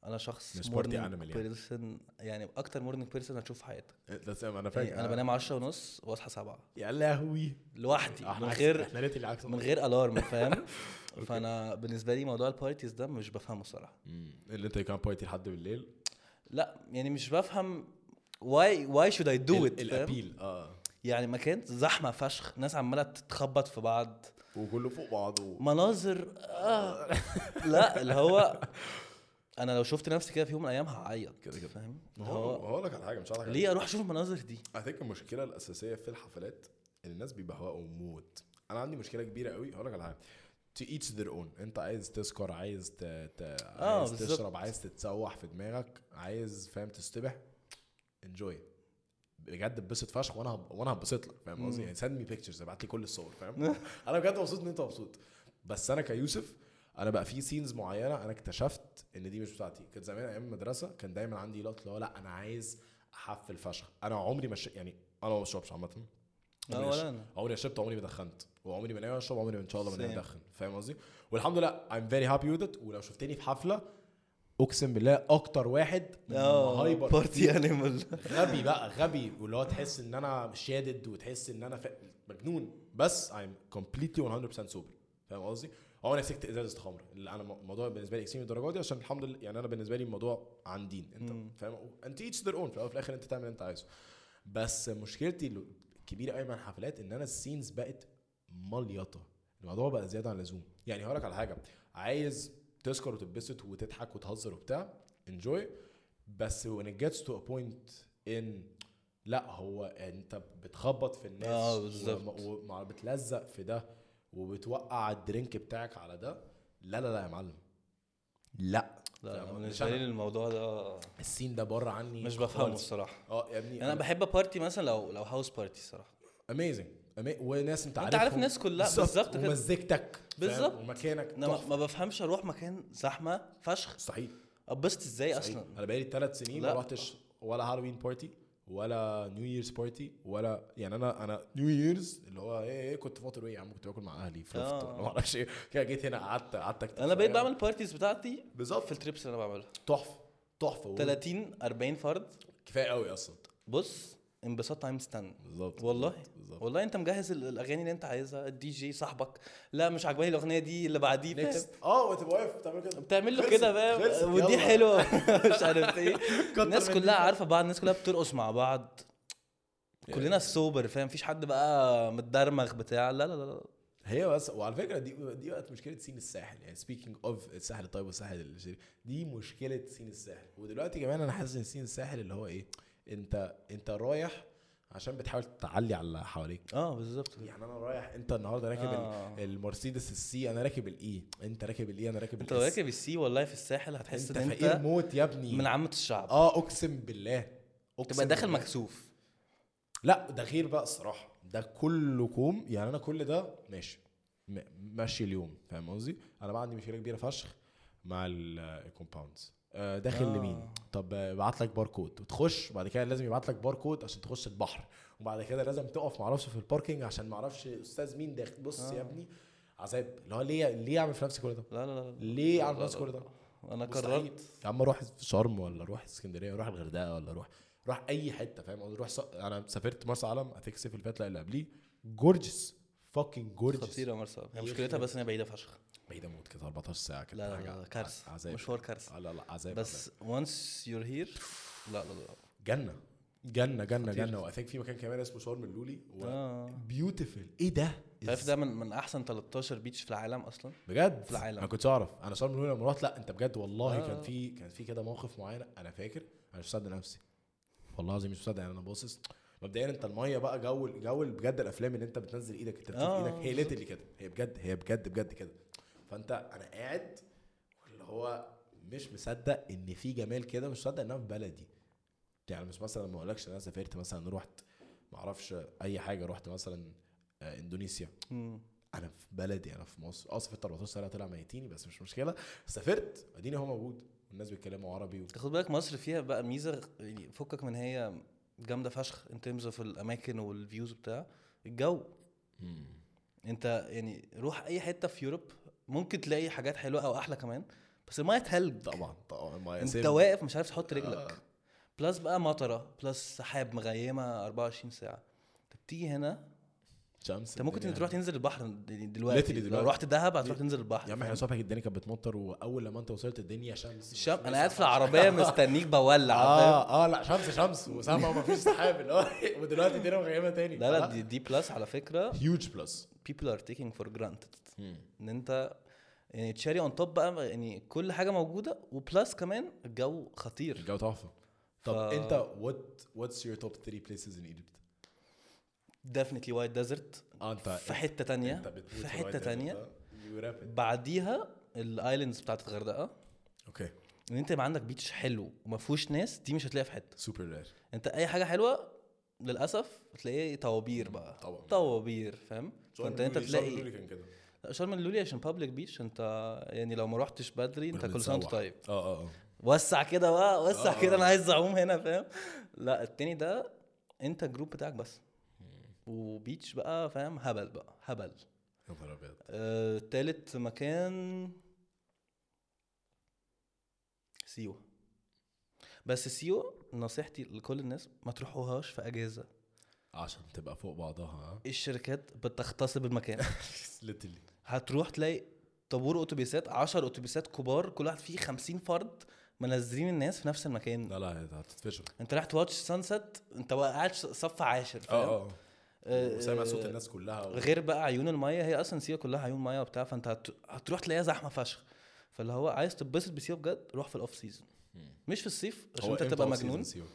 انا شخص
مش party animal يعني.
بيرسون يعني اكتر مورنينج بيرسون هتشوف في حياتك
إيه، ده انا
يعني
فاكر آه.
انا بنام 10 ونص واصحى 7
يا لهوي
لوحدي
احنا
من
عكس-
غير
احنا ريت العكس
من غير الارم
*laughs*
فاهم فانا بالنسبه لي موضوع البارتيز ده مش بفهمه الصراحه
مم. اللي انت كان بارتي لحد بالليل
لا يعني مش بفهم واي واي شود اي دو
ال-
ات
الابيل اه
يعني مكان زحمه فشخ ناس عماله تتخبط في بعض
وكله فوق بعضه
مناظر آه. لا اللي هو انا لو شفت نفسي كده في يوم من الايام هعيط
كده كده.
فاهم
ما
اللي
هو
هو
هقول لك على حاجه مش هقول لك
ليه اروح اشوف المناظر دي
اي ثينك المشكله الاساسيه في الحفلات إن الناس بيبهوأوا موت انا عندي مشكله كبيره قوي هقول لك على حاجه to each their own انت عايز تسكر عايز ت... ت...
آه،
عايز
بالظبط.
تشرب عايز تتسوح في دماغك عايز فاهم تستبح انجوي بجد اتبسط فشخ وانا هب... وانا هبسط لك فاهم قصدي يعني سند مي بيكتشرز ابعت لي كل الصور
*laughs*
فاهم انا بجد مبسوط ان انت مبسوط بس انا كيوسف انا بقى في سينز معينه انا اكتشفت ان دي مش بتاعتي كانت زمان ايام المدرسه كان دايما عندي لقطه اللي هو لا انا عايز احفل فشخ انا عمري ما ش... يعني انا ما بشربش عامه عمري
اه
ما
ولا
ش-
انا
عمري ما شربت عمري ما دخنت وعمري ما ناوي اشرب عمري ما ان شاء الله ما ناوي
Same.
ادخن فاهم قصدي والحمد لله I'm very happy with it ولو شفتني في حفله اقسم بالله اكتر واحد
اه
هايبر
بارتي انيمال
غبي بقى غبي واللي هو تحس ان انا شادد وتحس ان انا ف- مجنون بس I'm completely 100% sober فاهم قصدي؟ هو انا سكت ازازه خمر اللي انا الموضوع بالنسبه لي اكسيم الدرجه دي عشان الحمد لله يعني انا بالنسبه لي الموضوع عن دين انت فاهم انت ايتش ذير اون في الاول وفي الاخر انت تعمل اللي انت عايزه بس مشكلتي الكبيره قوي مع الحفلات ان انا السينز بقت مليطه الموضوع بقى زياده عن اللزوم يعني هقول لك على حاجه عايز تسكر وتتبسط وتضحك وتهزر وبتاع انجوي بس when it gets to a point in لا هو انت بتخبط في الناس
آه، بالظبط.
وما- وما بتلزق في ده وبتوقع الدرينك بتاعك على ده لا لا لا يا معلم لا
لا
فاهم؟
أنا
مش
بالنسبه لي
أنا.
الموضوع ده
السين ده بره عني
مش بفهمه
خالص.
الصراحه
اه يا ابني
يعني انا بحب بارتي مثلا لو لو هاوس بارتي الصراحه
اميزنج وناس انت عارفهم
عارف الناس كلها، بالظبط كده.
ومزجتك فاهم؟
بالظبط.
ومكانك
انا ما-
تحفة.
ما بفهمش اروح مكان زحمه فشخ
مستحيل
اتبسط ازاي
مستحيل.
اصلا
انا بقالي ثلاث سنين ما
لا.
رحتش ولا هالوين بارتي ولا نيو ييرز بارتي ولا يعني انا انا نيو ييرز اللي هو ايه ايه كنت فاطر ايه يا عم كنت باكل مع اهلي فطرت
آه.
ولا ما اعرفش ايه *laughs* كده جيت هنا قعدت قعدت أكتب
انا بقيت
شوية.
بعمل البارتيز بتاعتي
بالظبط
في التريبس اللي انا بعملها
تحفه تحفه
30 40 فرد
كفايه قوي اصلا
بص انبساط تايم ستاند
بالظبط
والله
بالظبط.
والله انت مجهز ال- الاغاني اللي انت عايزها الدي جي صاحبك لا مش عجباني الاغنيه دي اللي بعديه فاهم؟
نيكست اه وتبقى واقف بتعمل كده
بتعمل له
خلصت،
كده
خلصت،
فاهم ودي
يلا.
حلوه *laughs* مش عارف ايه
*laughs* كتر
الناس
من دي.
كلها عارفه بعض الناس كلها بترقص مع بعض كلنا سوبر فاهم مفيش حد بقى متدرمغ بتاع لا لا لا لا
هي بس وعلى فكره دي دي بقت مشكله سين الساحل يعني سبيكينج اوف الساحل الطيب والساحل الشرير دي مشكله سين الساحل ودلوقتي كمان انا حاسس ان سين الساحل اللي هو ايه انت انت رايح عشان بتحاول تعلي على اللي حواليك
اه بالظبط كده.
يعني انا رايح انت النهارده راكب
آه.
آه. المرسيدس السي انا راكب الاي انت راكب الاي انا راكب
انت لو
الإس.
راكب السي والله في الساحل هتحس
انت
ان
فقير
انت
موت إيه يا ابني
من عامه الشعب
اه اقسم بالله اقسم
تبقى داخل
بالله.
مكسوف
لا ده غير بقى الصراحه ده كله كوم يعني انا كل ده ماشي م- ماشي اليوم فاهم قصدي انا بقى عندي مشكله كبيره فشخ مع الكومباوندز داخل
آه.
آه. لمين طب آه، يبعت لك باركود وتخش بعد كده لازم يبعت لك باركود عشان تخش البحر وبعد كده لازم تقف معرفش في الباركينج عشان معرفش استاذ مين داخل بص
آه.
يا ابني عذاب اللي هو ليه ليه اعمل في نفسي كل ده
لا لا لا لا
ليه
لا
اعمل في
لا
نفسي
لا.
كل ده
انا
مستحيل.
قررت
يا عم روح شرم ولا روح اسكندريه روح الغردقه ولا روح روح اي حته فاهم قصدي روح ص... انا سافرت مرسى علم هتك الصيف اللي فات لا اللي قبليه جورجس فاكينج جورجس
خطيره مرسى هي
هي
مشكلة
خطيرة.
بس ان هي بعيده فشخ
بعيد اموت كده 14 ساعه كده
لا لا
حاجة
لا كارثه
عذاب
مشوار كارثه
آه لا لا عذاب عذاب.
بس once you're here لا لا لا
جنه جنه جنه
خطير.
جنه واثينك في مكان كمان اسمه شرم اللولي و...
اه
بيوتيفل ايه ده؟
انت عارف ده من من احسن 13 بيتش في العالم اصلا
بجد
في العالم.
انا كنتش اعرف انا شرم الاولى لما رحت لا انت بجد والله
آه.
آه. كان في كان في كده موقف معين انا فاكر انا مش مصدق نفسي والله العظيم مش مصدق يعني انا باصص مبدئيا انت الميه بقى جو جو بجد الافلام اللي انت بتنزل ايدك انت بتشوف
آه،
ايدك هي
بالظبط.
ليتلي كده هي بجد هي بجد بجد كده فانت انا قاعد اللي هو مش مصدق ان في جمال كده مش مصدق انها في بلدي يعني مش مثلا ما اقولكش إن انا سافرت مثلا رحت معرفش اي حاجه رحت مثلا آه، اندونيسيا
مم.
انا في بلدي انا في مصر اه سافرت 14 سنه طلع ميتيني بس مش مشكله سافرت اديني هو موجود والناس بيتكلموا عربي و...
خد بالك مصر فيها بقى ميزه يعني فكك من هي جامده فشخ ان ترمز في الاماكن والفيوز بتاع الجو انت يعني روح اي حته في يوروب ممكن تلاقي حاجات حلوه او احلى كمان بس الميه تلج
طبعا طبعا ما
انت
سيب-
واقف مش عارف تحط
آه.
رجلك بلس بقى مطره بلس سحاب مغيمه 24 ساعه طب تيجي هنا
شمس
انت ممكن
الدنيا.
تروح تنزل البحر يعني دلوقتي
يعني. Literally
لو
دلوقتي.
رحت دهب هتروح تنزل
يا
البحر
عم احنا الصبح الدنيا كانت بتمطر واول لما انت وصلت الدنيا شمس
الشام انا قاعد في
*laughs*
العربيه مستنيك بولع فاهم؟
اه اه لا شمس شمس وسما ومفيش سحاب اللي هو *laughs* ودلوقتي الدنيا مغيمه تاني
لا لا دي, دي بلس على فكره
هيوج بلس
people are taking for granted ان انت يعني تشاري اون توب بقى يعني كل حاجه موجوده وبلس كمان الجو خطير
الجو تحفه طب
ف-
انت وات واتس يور توب 3 بليسز ان ايجيبت
ديفنتلي وايت ديزرت
اه انت
في حته تانية
انت بتموت
في
الوايت
حته
ديزرت
تانية
ده. You wrap it.
بعديها الايلاندز بتاعت الغردقه
اوكي
ان انت يبقى عندك بيتش حلو وما فيهوش ناس دي مش هتلاقيها في حته
سوبر رير
انت اي حاجه حلوه للاسف بتلاقيه طوابير بقى
طبعا.
طوابير فاهم فانت انت تلاقي
كان كده
لا، شرم اللولي عشان بابليك بيتش انت يعني لو ما رحتش بدري انت كل سنه وانت
بنتسوح.
طيب
اه اه اه
وسع كده بقى وسع
آه.
كده انا عايز اعوم هنا فاهم لا التاني ده انت الجروب بتاعك بس وبيتش بقى فاهم هبل بقى هبل
يا نهار ابيض
آه، تالت مكان سيوة بس سيوة نصيحتي لكل الناس ما تروحوهاش في اجازة
عشان تبقى فوق بعضها ها *laughs*
الشركات بتغتصب المكان
ليتلي
هتروح تلاقي طابور اتوبيسات 10 اتوبيسات كبار كل واحد فيه 50 فرد منزلين الناس في نفس المكان
لا لا هت- هتتفشخ
انت رايح تواتش سانست انت بقى قاعد ش- صف عاشر فاهم
اه اه
آه،
وسامع صوت
آه،
الناس كلها و...
غير بقى عيون الميه هي اصلا سيوه كلها عيون ميه وبتاع فانت هت- هتروح تلاقيها زحمه فشخ فاللي هو عايز تتبسط بسيوه بجد روح في الاوف سيزون مش في الصيف عشان
هو
انت
امتى
تبقى
off season
مجنون
سيوة؟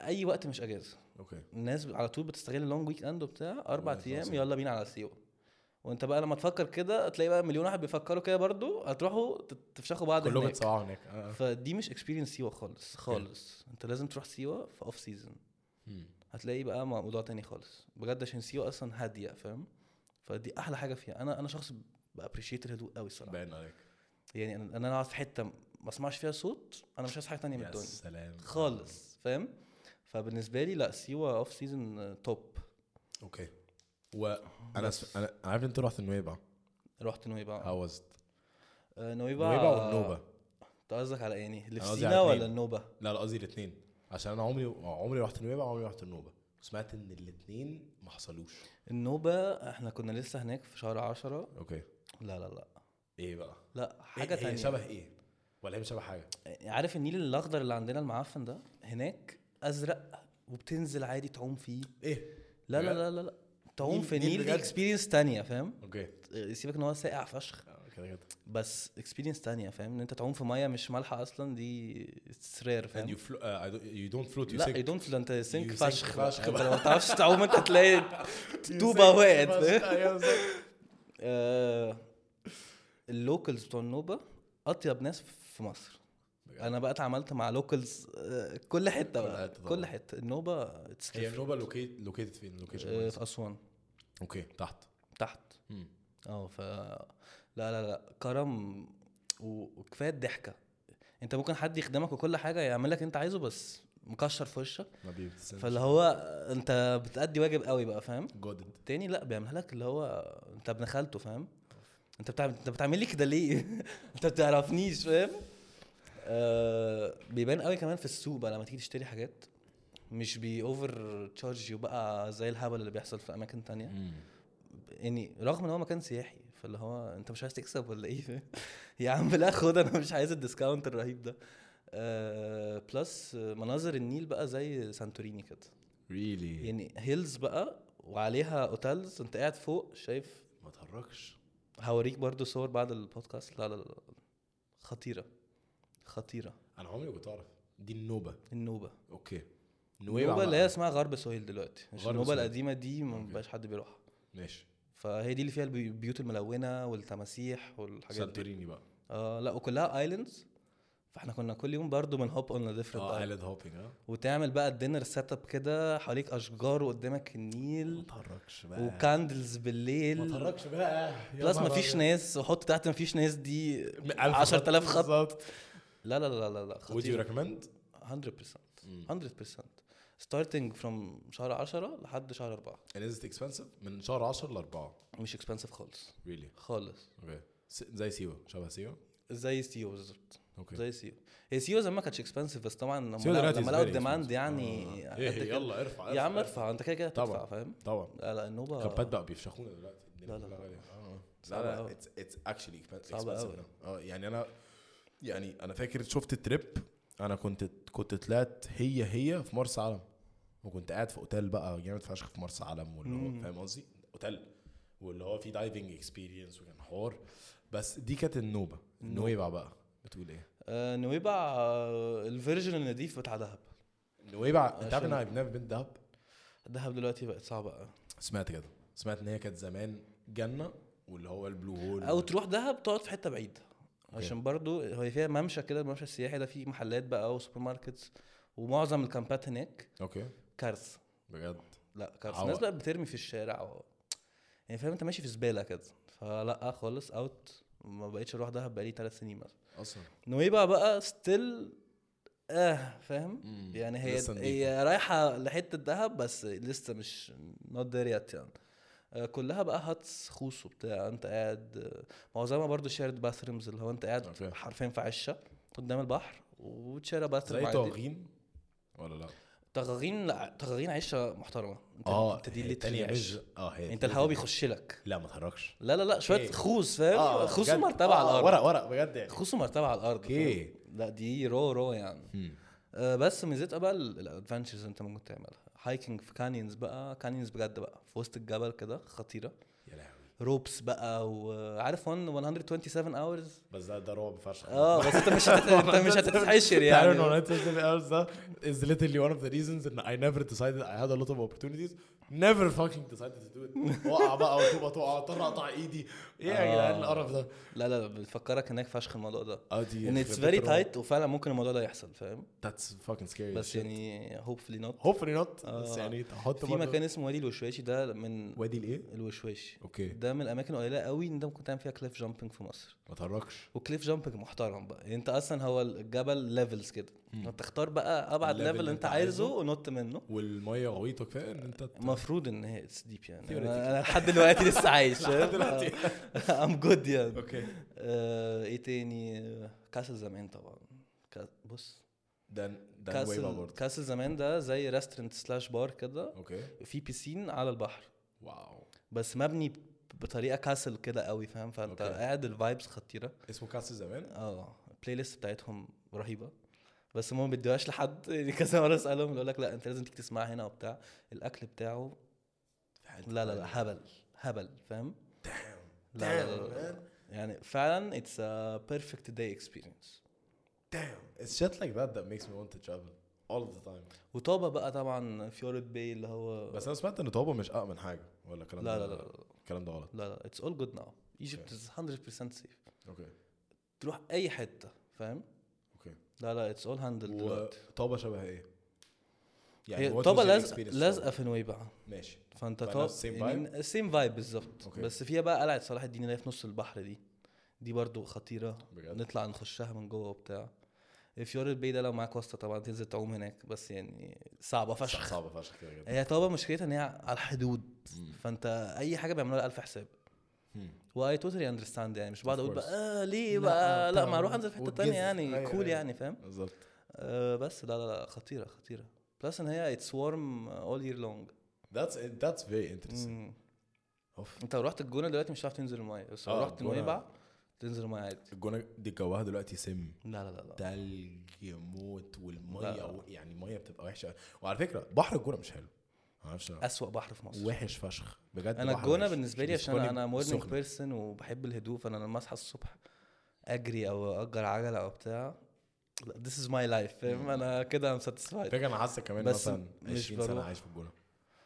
اي وقت مش اجازه
اوكي
الناس على طول بتستغل اللونج ويك اند وبتاع اربع
والله
ايام
العظيم.
يلا بينا على سيوه وانت بقى لما تفكر كده هتلاقي بقى مليون واحد بيفكروا كده برضو هتروحوا تت- تفشخوا بعض
كلهم
هناك
اتسوحوا هناك اه اه.
فدي مش اكسبيرينس سيوه خالص خالص انت لازم تروح سيوه في اوف سيزون
مم.
هتلاقي بقى موضوع تاني خالص بجد عشان سيوة اصلا هاديه فاهم فدي احلى حاجه فيها انا انا شخص بابريشيت الهدوء قوي الصراحه
باين عليك
يعني أنا- ان انا اقعد في حته ما اسمعش فيها صوت انا مش عايز حاجه تانية من
يا
الدنيا
سلام
خالص فاهم فبالنسبه لي لا سيوة اوف سيزون توب
اوكي وانا س... انا أنا عارف انت رحت نويبع
رحت نويبع
هاو واز
آه، نويبع
نويبع والنوبه
انت قصدك على يعني اللي في
أنا قصدي
سينا
على
ولا
اتنين.
النوبه
لا لا قصدي الاثنين عشان انا عمري عمري رحت نويبع وعمري رحت النوبه وسمعت ان الاثنين ما حصلوش
النوبه احنا كنا لسه هناك في شهر عشرة
اوكي
لا لا لا
ايه بقى
لا
إيه-
حاجه
هي
تانية
شبه ايه ولا هي مش شبه حاجه
عارف النيل الاخضر اللي عندنا المعفن ده هناك ازرق وبتنزل عادي تعوم فيه
ايه
لا لا
بجد؟
لا لا, لا. تعوم
نيل-
في
نيل
النيل دي
بجد؟
اكسبيرينس تانية فاهم
اوكي
سيبك ان هو ساقع فشخ
آه، كده كده
بس اكسبيرينس تانية فاهم ان انت تعوم في ميه مش مالحه اصلا دي استسرار
and you
فاهم
flo- uh, I don't- you don't float you
لا
sink *laughs*
اي دونت انت سينك
You sink
فشخ بقى.
فشخ
انت
بقى.
لو ما بتعرفش تعوم انت
*laughs*
تلاقي
You
طوبة
sink
وقعت،
بس.
فاهم؟
أيوة بالظبط.
آه، اللوكلز بتوع النوبه اطيب ناس في مصر
بجد؟
انا بقى اتعاملت مع لوكلز آه، كل حته
كل
بقى
حتة
كل
طبعاً.
حته النوبه it's
هي
different.
النوبه لوكيت لوكيتد فين
آه،
لوكيشن
في اسوان
اوكي تحت
تحت
مم.
اه ف لا لا لا كرم و- وكفايه الضحكه انت ممكن حد يخدمك وكل حاجه يعمل لك انت عايزه بس مكشر في وشك
ما بيبتسمش
فاللي هو انت بتأدي واجب قوي بقى فاهم
جودد
التاني لا بيعملها لك اللي هو انت ابن خالته فاهم انت بتعمل انت بتعمل لي كده ليه *laughs* انت بتعرفنيش فاهم آه بيبان قوي كمان في السوق بقى لما تيجي تشتري حاجات مش بي اوفر تشارج يو بقى زي الهبل اللي بيحصل في اماكن تانية يعني رغم ان هو مكان سياحي فاللي هو انت مش عايز تكسب ولا ايه فاهم؟ *laughs* يا عم لا خد انا مش عايز الديسكاونت الرهيب ده بلس مناظر النيل بقى زي سانتوريني كده
ريلي
يعني هيلز بقى وعليها اوتيلز انت قاعد فوق شايف
ما تهركش
هوريك برضو صور بعد البودكاست لا لا لا خطيره خطيره
انا عمري ما كنت اعرف دي النوبه
النوبه
اوكي
النوبه
بقى.
اللي هي اسمها غرب سهيل دلوقتي مش
غرب
النوبه
سهيل.
القديمه دي ما
أوكي.
بقاش حد بيروحها
ماشي
فهي دي اللي فيها البي- البيوت الملونه والتماسيح والحاجات دي
سانتوريني بقى
اه لا وكلها ايلاندز فاحنا كنا كل يوم برضو بنهوب اون
اه
ديفرنت
ايلاند هوبينج اه
وتعمل بقى الدينر سيت اب كده حواليك اشجار وقدامك
ما
النيل
تهركش بقى
وكاندلز
ما
بالليل
تهركش بقى يا
بلس
نهار
مفيش
أبيض.
ناس وحط تحت مفيش ناس دي
ألف
10000 خط
بالظبط
لا لا لا لا لا
would you
خطير 100%
recommend
100% ستارتنج فروم شهر 10 لحد شهر 4
and is it expensive من شهر 10 ل 4
مش اكسبنسيف خالص
really
خالص
okay س- زي سيوه شبه سيوه
زي سيو بالظبط
اوكي
زي سيو هي سيو زمان ما كانتش اكسبنسيف بس طبعا لما
سيو
لقوا-
E دلوقتي is
لما لقوا
very
الديماند
expensive.
يعني
آه.
قد
إيه،
كده.
يلا ارفع
يا عم ارفع انت كده كده هتدفع
طبعا.
فاهم
طبعا
لا لا النوبه
كابات بقى بيفشخونا دلوقتي
لا،
الدنيا
آه. لا.
كلها غالية. آه.
صعبة
لا
أوي.
لا اتس اتس اكشلي
صعبة أوي.
اه يعني انا يعني انا فاكر شفت التريب انا كنت كنت طلعت هي هي في مرسى علم وكنت قاعد في اوتيل بقى يعني جامد فشخ في مرسى علم واللي
مم.
هو فاهم قصدي اوتيل واللي هو فيه دايفنج اكسبيرينس وكان حوار بس دي كانت النوبه النويبع بقى بتقول ايه
آه، نويبع آه، الفيرجن النضيف بتاع دهب
النويبع انت عارف
عشان-
ان انا بنت دهب
دهب دلوقتي بقت صعبه أوي.
سمعت كده سمعت ان هي كانت زمان جنه واللي هو البلو هول
او تروح دهب تقعد في حته بعيد عشان برضو هي فيها ممشى كده الممشى السياحي ده فيه محلات بقى وسوبر ماركتس ومعظم الكامبات هناك
اوكي
كارثه
بجد
لا كارثه
عوق.
الناس بقى بترمي في الشارع و... يعني فاهم انت ماشي في زباله كده فلا خالص اوت ما بقتش اروح دهب بقالي ثلاث سنين مثلا
اصلا
نويبع بقى ستيل اه فاهم
مم.
يعني هي
لسه نضيفة.
هي رايحه لحته دهب بس لسه مش نوت ذير يت يعني آه، كلها بقى هاتس خوص وبتاع انت قاعد آه، معظمها برضه شيرد باثرومز اللي هو انت قاعد
أوكي.
حرفيا في عشه قدام البحر وتشير باثروم
زي
عادي
طاغين ولا لا؟
تغغين لا تغغين عشه محترمه انت, آه،
آه،
انت دي اللي
التانية
تخلي عش
مش- اه هي
انت الهوا بيخش آه، لك
لا ما تهرجش
لا لا لا شويه
أوكي.
خوص فاهم خوص مرتبه على
آه،
الارض
ورق ورق بجد يعني
خوص مرتبه على الارض فاهم؟
أوكي.
لا دي رو رو يعني آه، بس ميزتها بقى الادفنتشرز انت ممكن تعملها هايكنج في كانيونز بقى كانيونز بجد بقى في وسط الجبل كده خطيره
يا لهوي
روبس بقى آه، وعارف 1 127 اورز
بس ده ده رعب فشخ
اه بس انت مش هت... انت مش هتتحشر يعني
تعرف ان hours ده is literally one of the reasons ان I never decided I had a lot of opportunities never fucking decided to do it وقع بقى وتبقى تقع اضطر اقطع ايدي ايه يا
آه.
جدعان القرف ده
لا لا لا بتفكرك هناك فشخ الموضوع ده
اه دي Oh
ان اتس فيري تايت وفعلا ممكن الموضوع ده يحصل فاهم
that's fucking scary
بس يعني هوبفلي نوت
hopefully not
آه.
بس يعني تحط
في
برضه-
مكان اسمه وادي الوشواشي ده من
وادي الايه؟
الوشواشي
اوكي
ده من الاماكن القليله قوي ان انت ممكن تعمل فيها كليف جامبنج في مصر
ما تهرجش
وكليف جامبنج محترم بقى يعني انت اصلا هو الجبل ليفلز كده انت تختار بقى ابعد
الليفل
ليفل
اللي
انت
انت
عايزه
عايزه.
ونط منه
والميه غويطه كفايه ان انت
المفروض ان هي اتس ديب يعني
Theoretically.
انا أنا لحد دلوقتي لسه عايش
*laughs* لحد
*laughs*
دلوقتي
ام جود يعني
اوكي
آه، ايه تاني كاسل زمان طبعا كا- بص
ده ده نويبع
كاسل
برضه
كاسل زمان ده زي ريستورنت سلاش بار كده
اوكي
في بيسين على البحر
واو
بس مبني بطريقه كاسل كده قوي فاهم فانت
أوكي.
قاعد الفايبس خطيره
اسمه كاس زمان
اه البلاي ليست بتاعتهم رهيبه بس هم ما بيدوهاش لحد *laughs* يعني كذا مره اسالهم يقول لك لا انت لازم تيجي تسمعها هنا وبتاع الاكل بتاعه لا لا لا هبل هبل فاهم لا لا لا, لا. يعني فعلا اتس ا بيرفكت داي اكسبيرينس
دام It's shit like that that makes me want to travel all the time
وطابه بقى طبعا فيورد باي اللي هو
بس انا سمعت ان طابا مش أأمن حاجه ولا الكلام
لا
ده
لا لا لا
الكلام ده غلط
لا لا اتس اول جود ناو ايجيبت از 100% سيف
اوكي
تروح اي حته فاهم
اوكي
لا لا اتس اول هاندل دلوقتي
وطابا شبه ايه؟
هي
يعني what
طابه
was your
لازقه
experience
لازقه في نويبع
طابة؟ ماشي
فانت
بقى
طب
نفس same
سيم فايب يعني بالظبط
أوكي.
بس فيها بقى قلعه صلاح الدين اللي هي في نص البحر دي دي برضو خطيره
بجد
نطلع نخشها من جوه وبتاع فيور البي ده لو معاك واسطه طبعا تنزل تعوم هناك بس يعني صعبه
فشخ
فشخ
صعبه فشخ كده جدا
هي طبعا مشكلتها ان هي على الحدود
مم.
فانت اي حاجه بيعملوها الف حساب
مم.
واي توتالي اندرستاند يعني مش بقعد
Of
اقول
course.
بقى آه ليه
لا،
بقى لا ما
طبعاً.
اروح انزل في حته تانية
والجزء.
يعني
أيوة،
كول
أيوة.
يعني فاهم
بالظبط
أه بس لا لا لا خطيره خطيره بلس ان هي اتس وارم اول يير لونج
that's that's very interesting اوف
انت لو رحت الجونه دلوقتي مش هتعرف تنزل المايه بس لو
آه،
رحت
الجونة-
نويبع تنزل المايه عادي
الجونه دي جواها دلوقتي سم
لا لا لا لا
تلج موت
لا،
والميه
لا.
و- يعني الميه بتبقى وحشه أوي. وعلى فكره بحر الجونه مش حلو معرفش
اسوأ بحر في مصر
وحش فشخ بجد
انا
بحر
الجونه
وحش.
بالنسبه لي
مش
عشان
كل
انا مورنينج
السخنة.
بيرسون وبحب الهدوء فانا لما اصحى الصبح اجري او اجر عجله او بتاع لا this is my life فاهم انا كده ام ساتيسفايد
فكره انا حاسك كمان
بس
مثلا
مش
20 سنه
بروح.
عايش في الجونه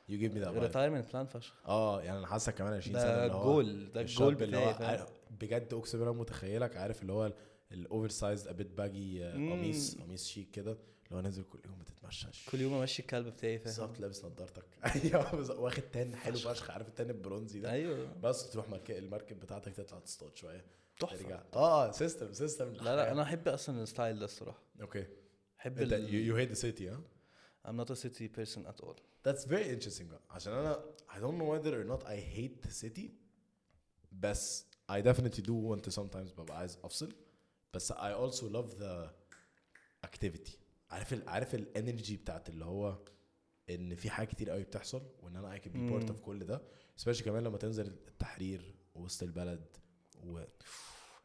يو جيف مي ذات
ريتايرمنت بلان فشخ
اه يعني انا حاسك كمان 20 سنه
ده
اللي هو
الجول ده
الشاب
الجول
اللي هو
بتاعي فاهم؟
عارف- بجد اقسم بالله متخيلك عارف اللي هو الاوفر سايز ابيت باجي
مم.
آه، قميص قميص شيك كده اللي هو نازل كل يوم بتتمشى
كل يوم امشي الكلب بتاعي فاهم
بالظبط لابس نضارتك *laughs* ايوه بالظبط. واخد تان حلو فشخ عارف التان البرونزي ده
ايوص
بس تروح مركب المركب بتاعتك تطلع تصطاد شويه
تحفه
ترجع اه سيستم سيستم
لا لا انا احب اصلا الستايل ده الصراحه
اوكي
احب
انت
ال...
يو هيت ذا سيتي ها
I'm not a city person at all
That's very interesting بقى. عشان انا I don't know whether or not I hate the city بس I definitely do want to sometimes ببقى عايز افصل بس I also love the activity عارف ال عارف الانرجي بتاعت اللي هو ان في حاجات كتير قوي بتحصل وان انا I can be part
مم.
of كل ده especially كمان لما تنزل التحرير وسط البلد و إيه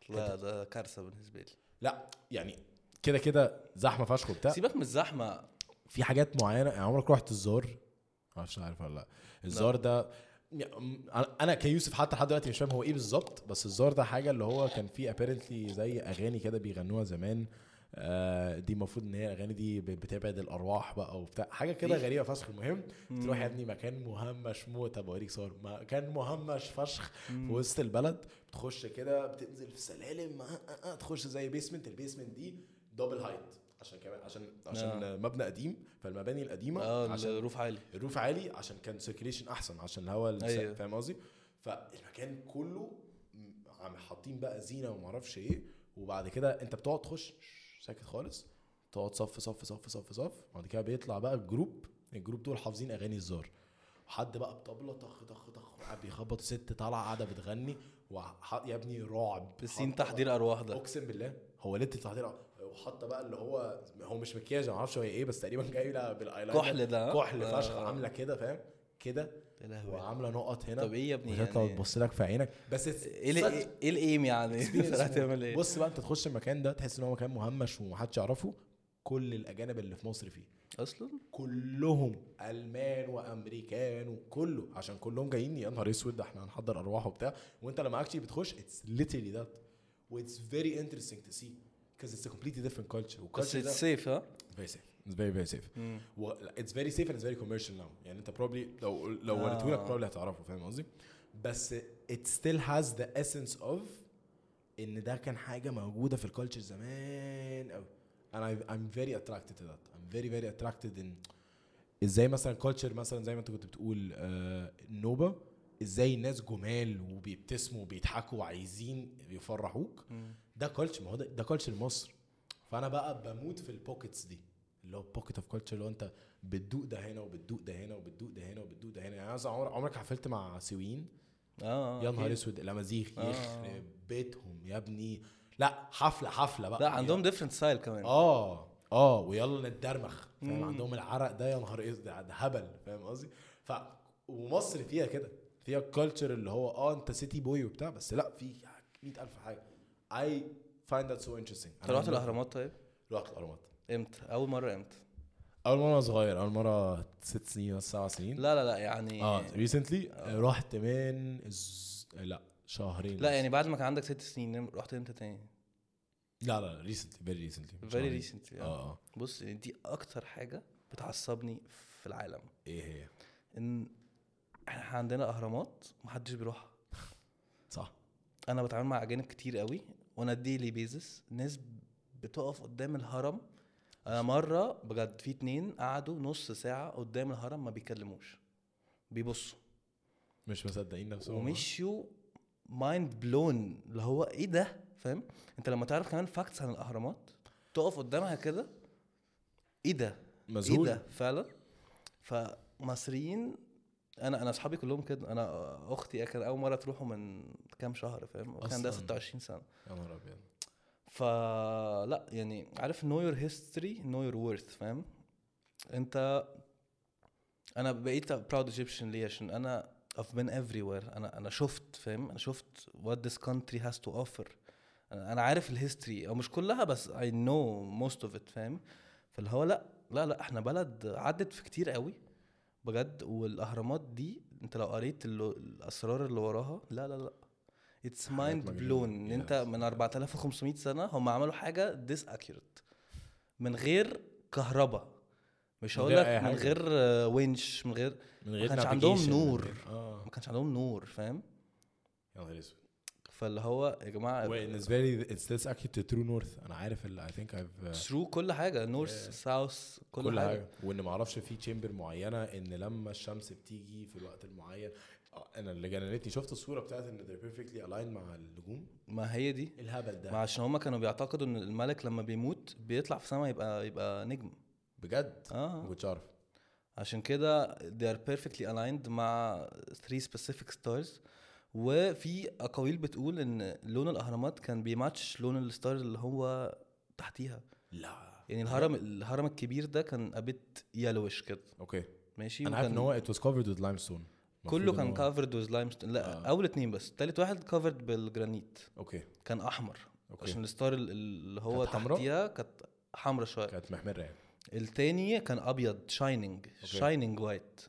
لا ده كارثه بالنسبه لي
لا يعني كده كده زحمه فشخ وبتاع
سيبك من الزحمه
في حاجات معينه يعني عمرك رحت الزار معرفش عارف ولا لا الزار ده يعني انا أنا كيوسف حتى لحد دلوقتي مش فاهم هو ايه بالظبط بس الزار ده حاجه اللي هو كان فيه ابيرنتلي زي اغاني كده بيغنوها زمان آه دي المفروض ان هي الاغاني دي ب- بتبعد الارواح بقى وبتاع حاجه كده
إيه؟
غريبه فشخ المهم
مم.
تروح يا ابني مكان مهمش موت بوريك صور مكان مهمش فشخ في
مم.
وسط البلد بتخش كده بتنزل في سلالم آه، آه، آه، تخش زي بيسمنت البيسمنت دي دبل هايت عشان كمان عشان عشان
آه.
مبنى قديم فالمباني القديمه
اه
عشان
الروف عالي
الروف عالي عشان كان سيركيليشن احسن عشان الهواء الس-
أيوة.
فاهم قصدي فالمكان كله م- عم حاطين بقى زينه ومعرفش ايه وبعد كده انت بتقعد تخش ساكت خالص تقعد صف صف صف صف صف بعد كده بيطلع بقى الجروب الجروب دول حافظين اغاني الزار حد بقى بطبله طخ طخ طخ وقاعد بيخبط ست طالعه قاعده بتغني وح... يا ابني رعب
بسين
حاطة بقى-
تحضير ارواح ده
اقسم بالله هو ليت التحضير وحاطه بقى اللي هو هو مش مكياج ما اعرفش هو ايه بس تقريبا جاي لها بالايلاينر
كحل ده
كحل
آه.
فشخ عامله كده فاهم كده
يا لهوي.
وعامله نقط هنا
طب ايه يا ابني
وتطلع
يعني
تبص لك في عينك بس
ايه ال- ايه *laughs* إيه الايم يعني *laughs* راح تعمل ايه
بص بقى انت تخش المكان ده تحس ان هو مكان مهمش ومحدش يعرفه كل الاجانب اللي في مصر فيه
اصلا
كلهم المان وامريكان وكله عشان كلهم جايين يا نهار اسود ده احنا هنحضر ارواح وبتاع وانت لما اكشلي بتخش اتس literally that واتس فيري انترستنج تو سي because it's a completely different culture
بس
والculture ده
اتس سيف ها
it's very safe it's very very safe
مم.
و it's very safe and it's very commercial now يعني انت probably لو لو
آه.
وريتهولك probably هتعرفه فاهم قصدي بس it still has the essence of ان ده كان حاجه موجوده في الكالتشر زمان قوي انا I'm very attracted to that I'm very very attracted in ازاي مثلا كالتشر مثلا زي ما انت كنت بتقول آه النوبه ازاي الناس جمال وبيبتسموا وبيضحكوا وعايزين يفرحوك
مم.
ده كلتشر ما هو ده, ده كلتشر مصر فانا بقى بموت في البوكيتس دي اللي هو بوكيت اوف كلتشر اللي هو انت بتدوق ده هنا وبتدوق ده هنا وبتدوق ده هنا وبتدوق ده هنا يعني مثلا عمر- عمرك حفلت مع سويين
اه
يا نهار
أكيد.
اسود الامازيغ
آه.
يخرب بيتهم يا ابني لا حفله حفله بقى
لا عندهم ديفرنت ستايل كمان
اه اه ويلا نتدرمخ فاهم
مم.
عندهم العرق ده يا نهار اسود ده ده هبل فاهم قصدي ف ومصر فيها كده فيها الكالتشر اللي هو اه انت سيتي بوي وبتاع بس لا في 100000 حاجه اي فايند ذات سو انترستنج
انت رحت الاهرامات طيب
رحت الاهرامات
امتى اول مره امتى
اول مره صغير اول مره ست سنين ولا سبع سنين
لا لا لا يعني
اه ريسنتلي رحت من الز... لا شهرين
لا
بس.
يعني بعد ما كان عندك ست سنين نم- رحت امتى تاني
لا لا ريسنتلي فيري ريسنتلي
فيري ريسنتلي
اه اه
بص يعني دي اكتر حاجه بتعصبني في العالم
ايه هي
ان احنا عندنا اهرامات محدش بيروحها
صح
انا بتعامل مع اجانب كتير قوي وانا ديلي بيزس ناس بتقف قدام الهرم انا مره بجد في اتنين قعدوا نص ساعه قدام الهرم ما بيكلموش بيبصوا
مش مصدقين نفسهم
ومشيوا مايند بلون اللي هو ايه ده فاهم انت لما تعرف كمان فاكتس عن الاهرامات تقف قدامها كده ايه ده ايه
مذهول
ده فعلا فمصريين انا انا اصحابي كلهم كده انا اختي كان اول مره تروحوا من كام شهر فاهم وكان عندها
أصلاً.
26 سنه
يا نهار ابيض
فلا يعني عارف نو يور هيستوري نو يور وورث فاهم انت انا بقيت براود ايجيبشن ليه عشان انا I've been everywhere انا انا شفت فاهم انا شفت what this country has to offer انا أنا عارف الهيستوري او مش كلها بس I know most of it فاهم فاللي هو لا لا لا احنا بلد عدت في كتير قوي بجد والاهرامات دي انت لو قريت اللو الاسرار اللي وراها لا لا لا اتس
حاجات
مايند
مجنونة.
بلون ان انت
Yes.
من 4500 سنه هم عملوا حاجه ديس اكيوريت من غير كهرباء مش
من
هقول
غير
لك
أي
من
حاجة.
غير آه، وينش من غير
من
ما كانش عندهم
navigation، من
نور. آه.
غير- اه
ما كانش عندهم نور فاهم
يا نهار اسود
فاللي هو يا جماعه
بالنسبه لي it's this actually the true north انا عارف ال I think I've uh,
ثرو كل حاجه نورث ساوث كل,
كل
حاجه
حاجه وان ما اعرفش في تشامبر معينه ان لما الشمس بتيجي في الوقت المعين آه، انا اللي جننتني شفت الصوره بتاعت ان they're perfectly aligned مع النجوم
ما هي دي
الهبل
ما
ده
عشان هما كانوا بيعتقدوا ان الملك لما بيموت بيطلع في سما يبقى يبقى نجم
بجد ما
اه
كنتش اعرف
عشان كده they are perfectly aligned مع three specific stars وفي اقاويل بتقول ان لون الاهرامات كان بيماتش لون الستار اللي هو تحتيها
لا
يعني الهرم الهرم الكبير ده كان ابيت يلوش كده
اوكي
ماشي
انا عارف
وكان
ان هو ات واز كفرد وذ لايم ستون
كله كان كافرد ويز لايم لا
آه.
آه. اول اتنين بس تالت واحد كافرد بالجرانيت
اوكي
كان احمر
أوكي.
أوكي. عشان الستار ال- اللي هو
كانت حمرا؟
تحتيها كانت حمرا شويه
كانت محمره يعني
التاني كان ابيض شايننج
أوكي.
شايننج وايت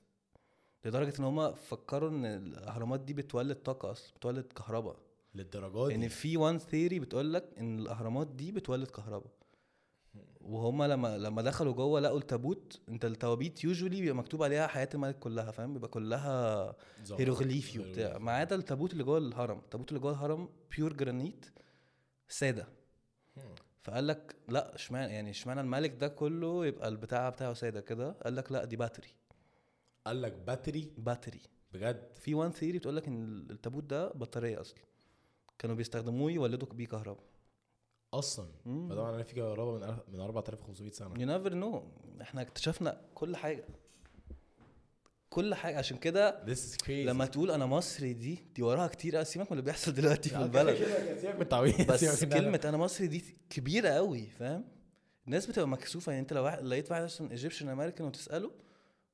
لدرجه ان هما فكروا ان الاهرامات دي بتولد طاقه اصلا بتولد كهرباء
للدرجات دي
ان في وان ثيري بتقول لك ان الاهرامات دي بتولد كهرباء وهما لما لما دخلوا جوه لقوا التابوت انت التوابيت يوجولي بيبقى مكتوب عليها حياه الملك كلها فاهم بيبقى كلها
ظبط.
هيروغليفي وبتاع ما عدا التابوت اللي جوه الهرم التابوت اللي جوه الهرم بيور جرانيت ساده
هم.
فقال لك لا اشمعنى يعني اشمعنى الملك ده كله يبقى البتاع بتاعه ساده كده قال لك لا دي باتري
قال لك باتري
باتري
بجد
في وان ثيري بتقول لك ان التابوت ده بطاريه اصلا كانوا بيستخدموه يولدوا بيه كهرباء
اصلا
مم.
فطبعا انا في قرابه من ألف- من 4500 سنه
يو نيفر نو احنا اكتشفنا كل حاجه كل حاجه عشان كده
This is crazy
لما تقول انا مصري دي دي وراها كتير قوي سيبك من اللي بيحصل
*laughs*
دلوقتي في البلد
سيبك من التعويض
*laughs* بس كلمه انا مصري دي كبيره قوي فاهم الناس بتبقى مكسوفه يعني انت لو واحد- لقيت واحد اصلا ايجيبشن امريكان وتساله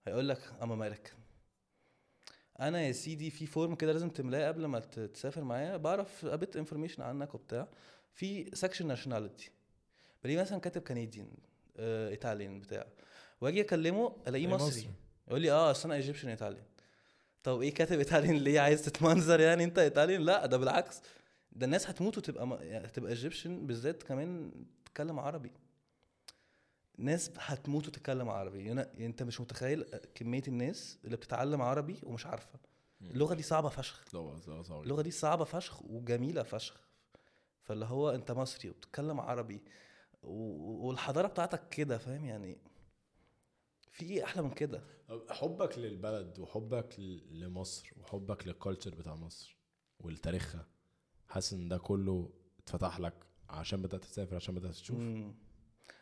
هيقول لك ام امريكان انا يا سيدي في فورم كده لازم تملاه قبل ما ت- تسافر معايا بعرف ابيت انفورميشن عنك وبتاع في سكشن ناشوناليتي بلاقيه مثلا كاتب كنديان آه، ايطاليان بتاع واجي اكلمه الاقيه
ألاقيه
مصري
مصري.
يقول لي اه اصل انا ايجيبشن ايطاليان طب ايه كاتب ايطاليان ليه عايز تتمنظر يعني انت ايطاليان لا ده بالعكس ده الناس هتموت وتبقى م... يعني هتبقى ايجيبشن بالذات كمان تتكلم عربي ناس هتموت وتتكلم عربي يعني يعني انت مش متخيل كميه الناس اللي بتتعلم عربي ومش عارفه
مم.
اللغه دي صعبه فشخ
لغه
اللغه دي صعبه فشخ وجميله فشخ فاللي هو انت مصري وبتتكلم عربي و... والحضاره بتاعتك كده فاهم يعني في ايه احلى من كده
حبك للبلد وحبك ل- لمصر وحبك للكالتشر بتاع مصر ولتاريخها حاسس ان ده كله اتفتح لك عشان بدات تسافر عشان بدات تشوف
مم.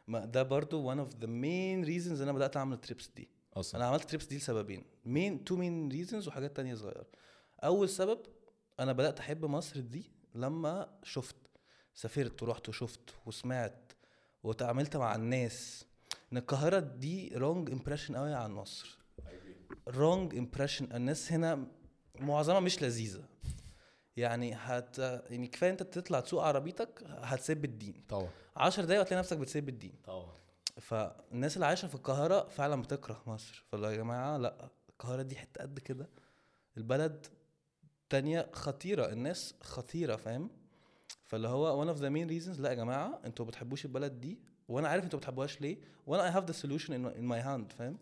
ما ده برضو one of the main reasons انا بدات اعمل التريبس دي انا
اصلا
عملت تريبس دي لسببين مين تو مين ريزنز وحاجات تانية صغيره اول سبب انا بدات احب مصر دي لما شفت سافرت ورحت وشفت وسمعت وتعاملت مع الناس ان القاهره دي رونج امبريشن قوي عن مصر رونج امبريشن الناس هنا معظمها مش لذيذه يعني هت يعني كفايه انت تطلع تسوق عربيتك هتسيب الدين
طبعا
عشر دقايق هتلاقي نفسك بتسيب الدين
طبعا
فالناس اللي عايشه في القاهره فعلا بتكره مصر فاللي يا جماعه لا القاهره دي حته قد كده البلد تانية خطيره الناس خطيره فاهم فاللي هو one of the main reasons لا يا جماعه انتوا ما بتحبوش البلد دي وانا عارف انتوا ما بتحبوهاش ليه وانا I have the solution in, in my hand فاهم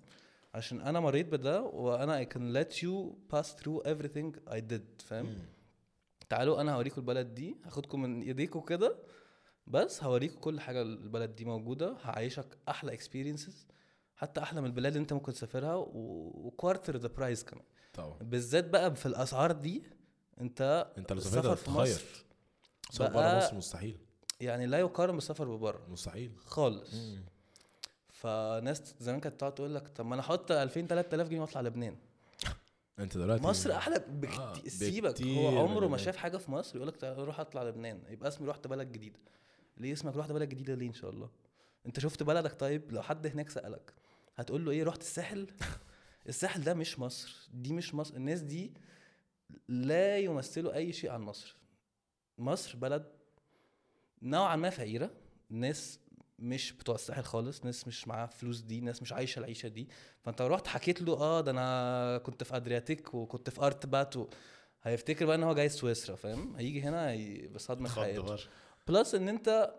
عشان انا مريت بده وانا I can let you pass through everything I did فاهم تعالوا انا هوريكم البلد دي هاخدكم من ايديكم كده بس هوريكم كل حاجه البلد دي موجوده هعيشك احلى اكسبيرينسز حتى احلى من البلاد اللي انت ممكن تسافرها وكوارتر ذا برايس كمان
طبعا
بالذات بقى في الاسعار دي انت
انت لو سافرت
السفر في
هتتخير
مصر
سواء
بقى-
بره مصر مستحيل
يعني لا يقارن بالسفر ببره
مستحيل
خالص فناس زمان كانت تقعد تقول لك طب ما انا احط 2000 3000 جنيه واطلع لبنان
انت دلوقتي
مصر احلى
آه،
بكتير سيبك
بكتير من
هو عمره ما
لبنان.
شاف حاجه في مصر يقول لك روح اطلع لبنان يبقى اسمي رحت بلد جديده ليه اسمك رحت بلد جديده ليه ان شاء الله انت شفت بلدك طيب لو حد هناك سالك هتقول له ايه رحت
*laughs*
الساحل الساحل ده مش مصر دي مش مصر الناس دي لا يمثلوا اي شيء عن مصر مصر بلد نوعا ما فقيره ناس مش بتوع الساحل خالص ناس مش معاها فلوس دي ناس مش عايشه العيشه دي فانت لو رحت حكيت له اه ده انا كنت في ادرياتيك وكنت في ارت بات و... هيفتكر بقى ان هو جاي سويسرا فاهم هيجي هنا هي- بصدمه حياته بلس ان انت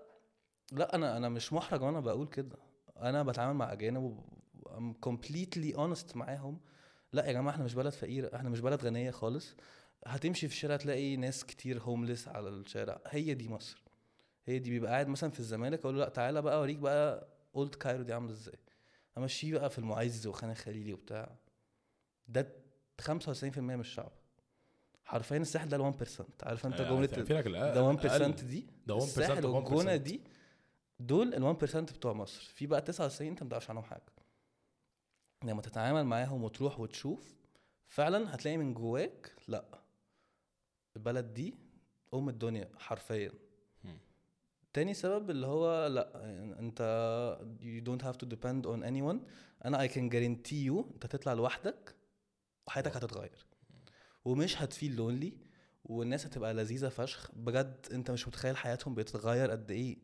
لا انا انا مش محرج وانا بقول كده انا بتعامل مع اجانب ام كومبليتلي اونست معاهم لا يا جماعه احنا مش بلد فقيره احنا مش بلد غنيه خالص هتمشي في الشارع تلاقي ناس كتير هوملس على الشارع هي دي مصر هي دي بيبقى قاعد مثلا في الزمالك اقول له لا تعالى بقى اوريك بقى اولد كايرو دي عامله ازاي امشيه بقى في المعز وخان خليلي وبتاع ده 95% من الشعب حرفيا الساحل ده ال 1% عارف
آه،
انت جمله ده 1% دي
ده 1%
الساحل
1%.
والجونه دي دول ال 1% بتوع مصر في بقى 99 انت ما تعرفش عنهم حاجه لما تتعامل معاهم وتروح وتشوف فعلا هتلاقي من جواك لا البلد دي ام الدنيا حرفيا
مم.
تاني سبب اللي هو لا يعني انت you don't have to depend on anyone انا I can guarantee you انت هتطلع لوحدك وحياتك هتتغير ومش هتفيل لونلي والناس هتبقى لذيذه فشخ بجد انت مش متخيل حياتهم بتتغير قد ايه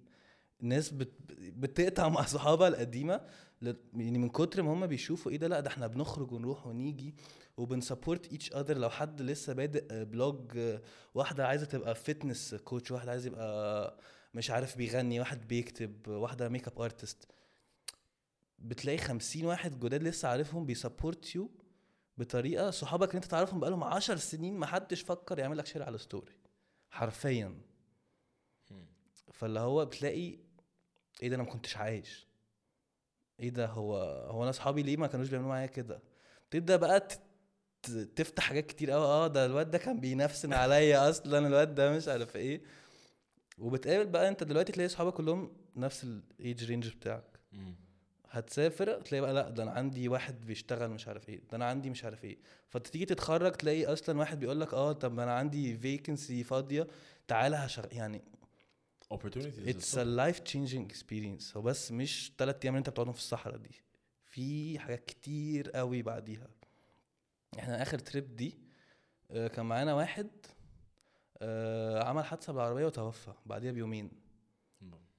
ناس بت... بتقطع مع صحابها القديمه ل... يعني من كتر ما هم بيشوفوا ايه ده لا ده احنا بنخرج ونروح ونيجي وبنسبورت ايتش اذر لو حد لسه بادئ آه، بلوج آه، واحده عايزه تبقى فيتنس كوتش واحد عايز يبقى مش عارف بيغني واحد بيكتب واحده ميك اب ارتست بتلاقي خمسين واحد جداد لسه عارفهم بيسبورت يو بطريقه صحابك اللي انت تعرفهم بقالهم عشر سنين ما حدش فكر يعمل لك شير على ستوري حرفيا فاللي هو بتلاقي ايه ده انا ما كنتش عايش ايه ده هو هو انا اصحابي ليه ما كانوش بيعملوا معايا كده تبدا بقى ت- ت- تفتح حاجات كتير قوي اه ده الواد ده كان بينفسن عليا اصلا الواد ده مش عارف ايه وبتقابل بقى انت دلوقتي تلاقي صحابك كلهم نفس الايدج رينج بتاعك هتسافر تلاقي بقى لا ده انا عندي واحد بيشتغل مش عارف ايه ده انا عندي مش عارف ايه فتيجي تتخرج تلاقي اصلا واحد بيقول لك اه طب انا عندي فيكنسي فاضيه تعالى هشغل يعني اتس
اوبورتونيتيز
ا لايف تشينجينج اكسبيرينس هو بس مش ثلاث ايام اللي انت بتقعدهم في الصحراء دي في حاجات كتير قوي بعديها احنا اخر تريب دي آه، كان معانا واحد آه، عمل حادثه بالعربيه وتوفى بعديها بيومين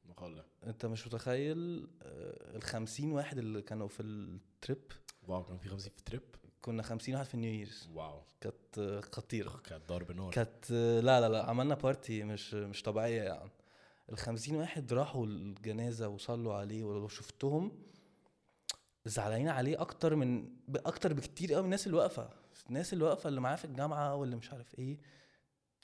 مقالة
انت مش متخيل آه، الخمسين واحد اللي كانوا في التريب
واو كان في 50 في تريب
كنا خمسين واحد في النيو ييرز
واو
كانت آه، خطيرة
كانت ضرب نار
كانت آه، لا لا لا عملنا بارتي مش مش طبيعيه يعني الخمسين واحد راحوا الجنازه وصلوا عليه ولو شفتهم زعلانين عليه اكتر من ب- اكتر بكتير قوي من الناس اللي واقفه الناس اللي واقفه اللي معاه في الجامعه واللي مش عارف ايه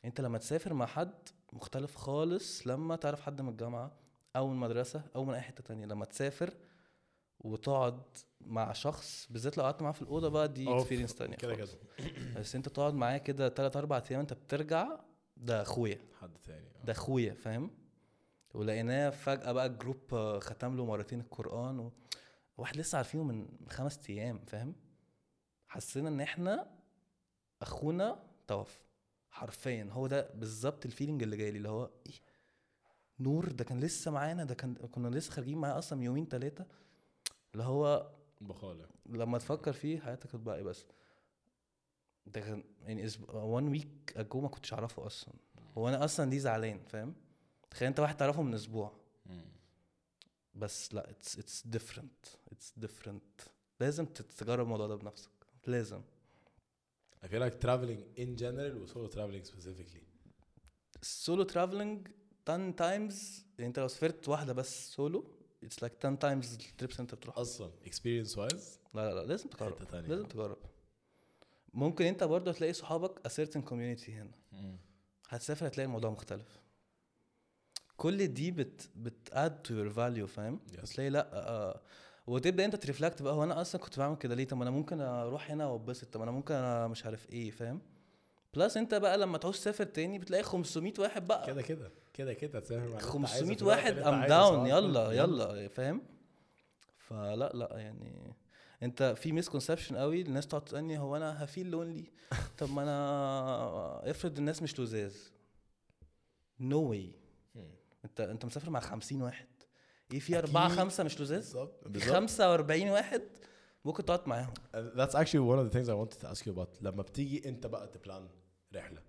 انت لما تسافر مع حد مختلف خالص لما تعرف حد من الجامعه او من المدرسه او من اي حته تانية لما تسافر وتقعد مع شخص بالذات لو قعدت معاه في الاوضه بقى دي
أوف،
اكسبيرينس تانية
كده
خالص.
كده
بس انت تقعد معاه كده تلات اربع ايام انت بترجع ده اخويا
حد تاني آه.
ده اخويا فاهم ولقيناه فجأة بقى الجروب آه، ختم له مرتين القرآن و... واحد لسه عارفينه من خمس ايام فاهم حسينا ان احنا اخونا توفى حرفيا هو ده بالظبط الفيلينج اللي جاي لي اللي هو ايه نور ده كان لسه معانا ده كان كنا لسه خارجين معاه اصلا من يومين ثلاثه اللي هو
بقالة
لما تفكر فيه حياتك هتبقى ايه بس ده كان يعني وان ويك اجو ما كنتش اعرفه اصلا هو انا اصلا دي زعلان فاهم تخيل انت واحد تعرفه من اسبوع بس لا اتس اتس ديفرنت اتس ديفرنت لازم تتجرب الموضوع ده بنفسك لازم
I feel like traveling in general و solo traveling specifically
السولو ترافلنج 10 تايمز يعني انت لو سافرت واحده بس سولو اتس لايك 10 تايمز التريبس انت بتروح
اصلا experience wise
لا لا لا لازم تجرب
حتة تانية.
لازم تجرب ممكن انت برضه هتلاقي صحابك a certain community هنا هتسافر هتلاقي الموضوع مختلف كل دي بت بت add to your value فاهم
Yes.
بتلاقي لا آه وتبدا انت ترفلكت بقى هو انا اصلا كنت بعمل كده ليه طب ما انا ممكن اروح هنا واتبسط طب انا ممكن انا مش عارف ايه فاهم بلس انت بقى لما تعوز تسافر تاني بتلاقي 500 واحد بقى
كده كده كده كده تسافر مع اللي انت عايزه
500
في الوقت
واحد
اللي انت
ام
عايزه، آه،
داون
سواء
يلا
كنت-
يلا فاهم فلا لا يعني انت في مسكونسبشن قوي الناس تقعد تسالني هو انا هفيل لونلي *laughs* طب ما انا افرض الناس مش لزاز نو واي
مم.
انت انت مسافر مع 50 واحد ايه في اربعه
أكيد.
خمسه مش لزاز
بالظبط
في
بالظبط
45 واحد ممكن تقعد معاهم
And that's actually one of the things I wanted to ask you about لما بتيجي انت بقى تبلان رحله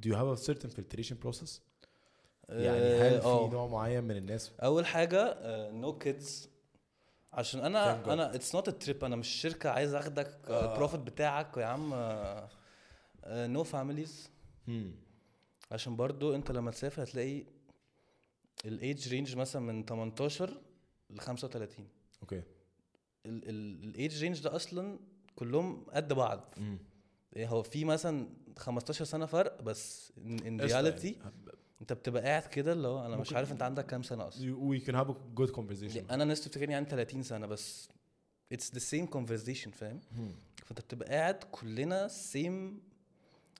do you have a certain filtration process يعني هل
آه، آه.
في نوع معين من الناس
اول حاجه نو آه، no كيدز عشان انا
Thank God. آه.
انا اتس نوت تريب انا مش شركه عايز اخدك البروفيت بتاعك يا عم آه، نو فاميليز عشان برضو انت لما تسافر هتلاقي الايدج رينج مثلا من 18 ل 35
اوكي
الايدج رينج ده اصلا كلهم قد بعض إيه هو في مثلا 15 سنه فرق بس ان
قشطة يعني.
رياليتي انت بتبقى قاعد كده اللي هو انا مش
ممكن-
عارف انت عندك كام سنه اصلا
You- we can have a good conversation
انا الناس تفتكرني عندي 30 سنه بس اتس ذا سيم conversation فاهم فانت بتبقى قاعد كلنا سيم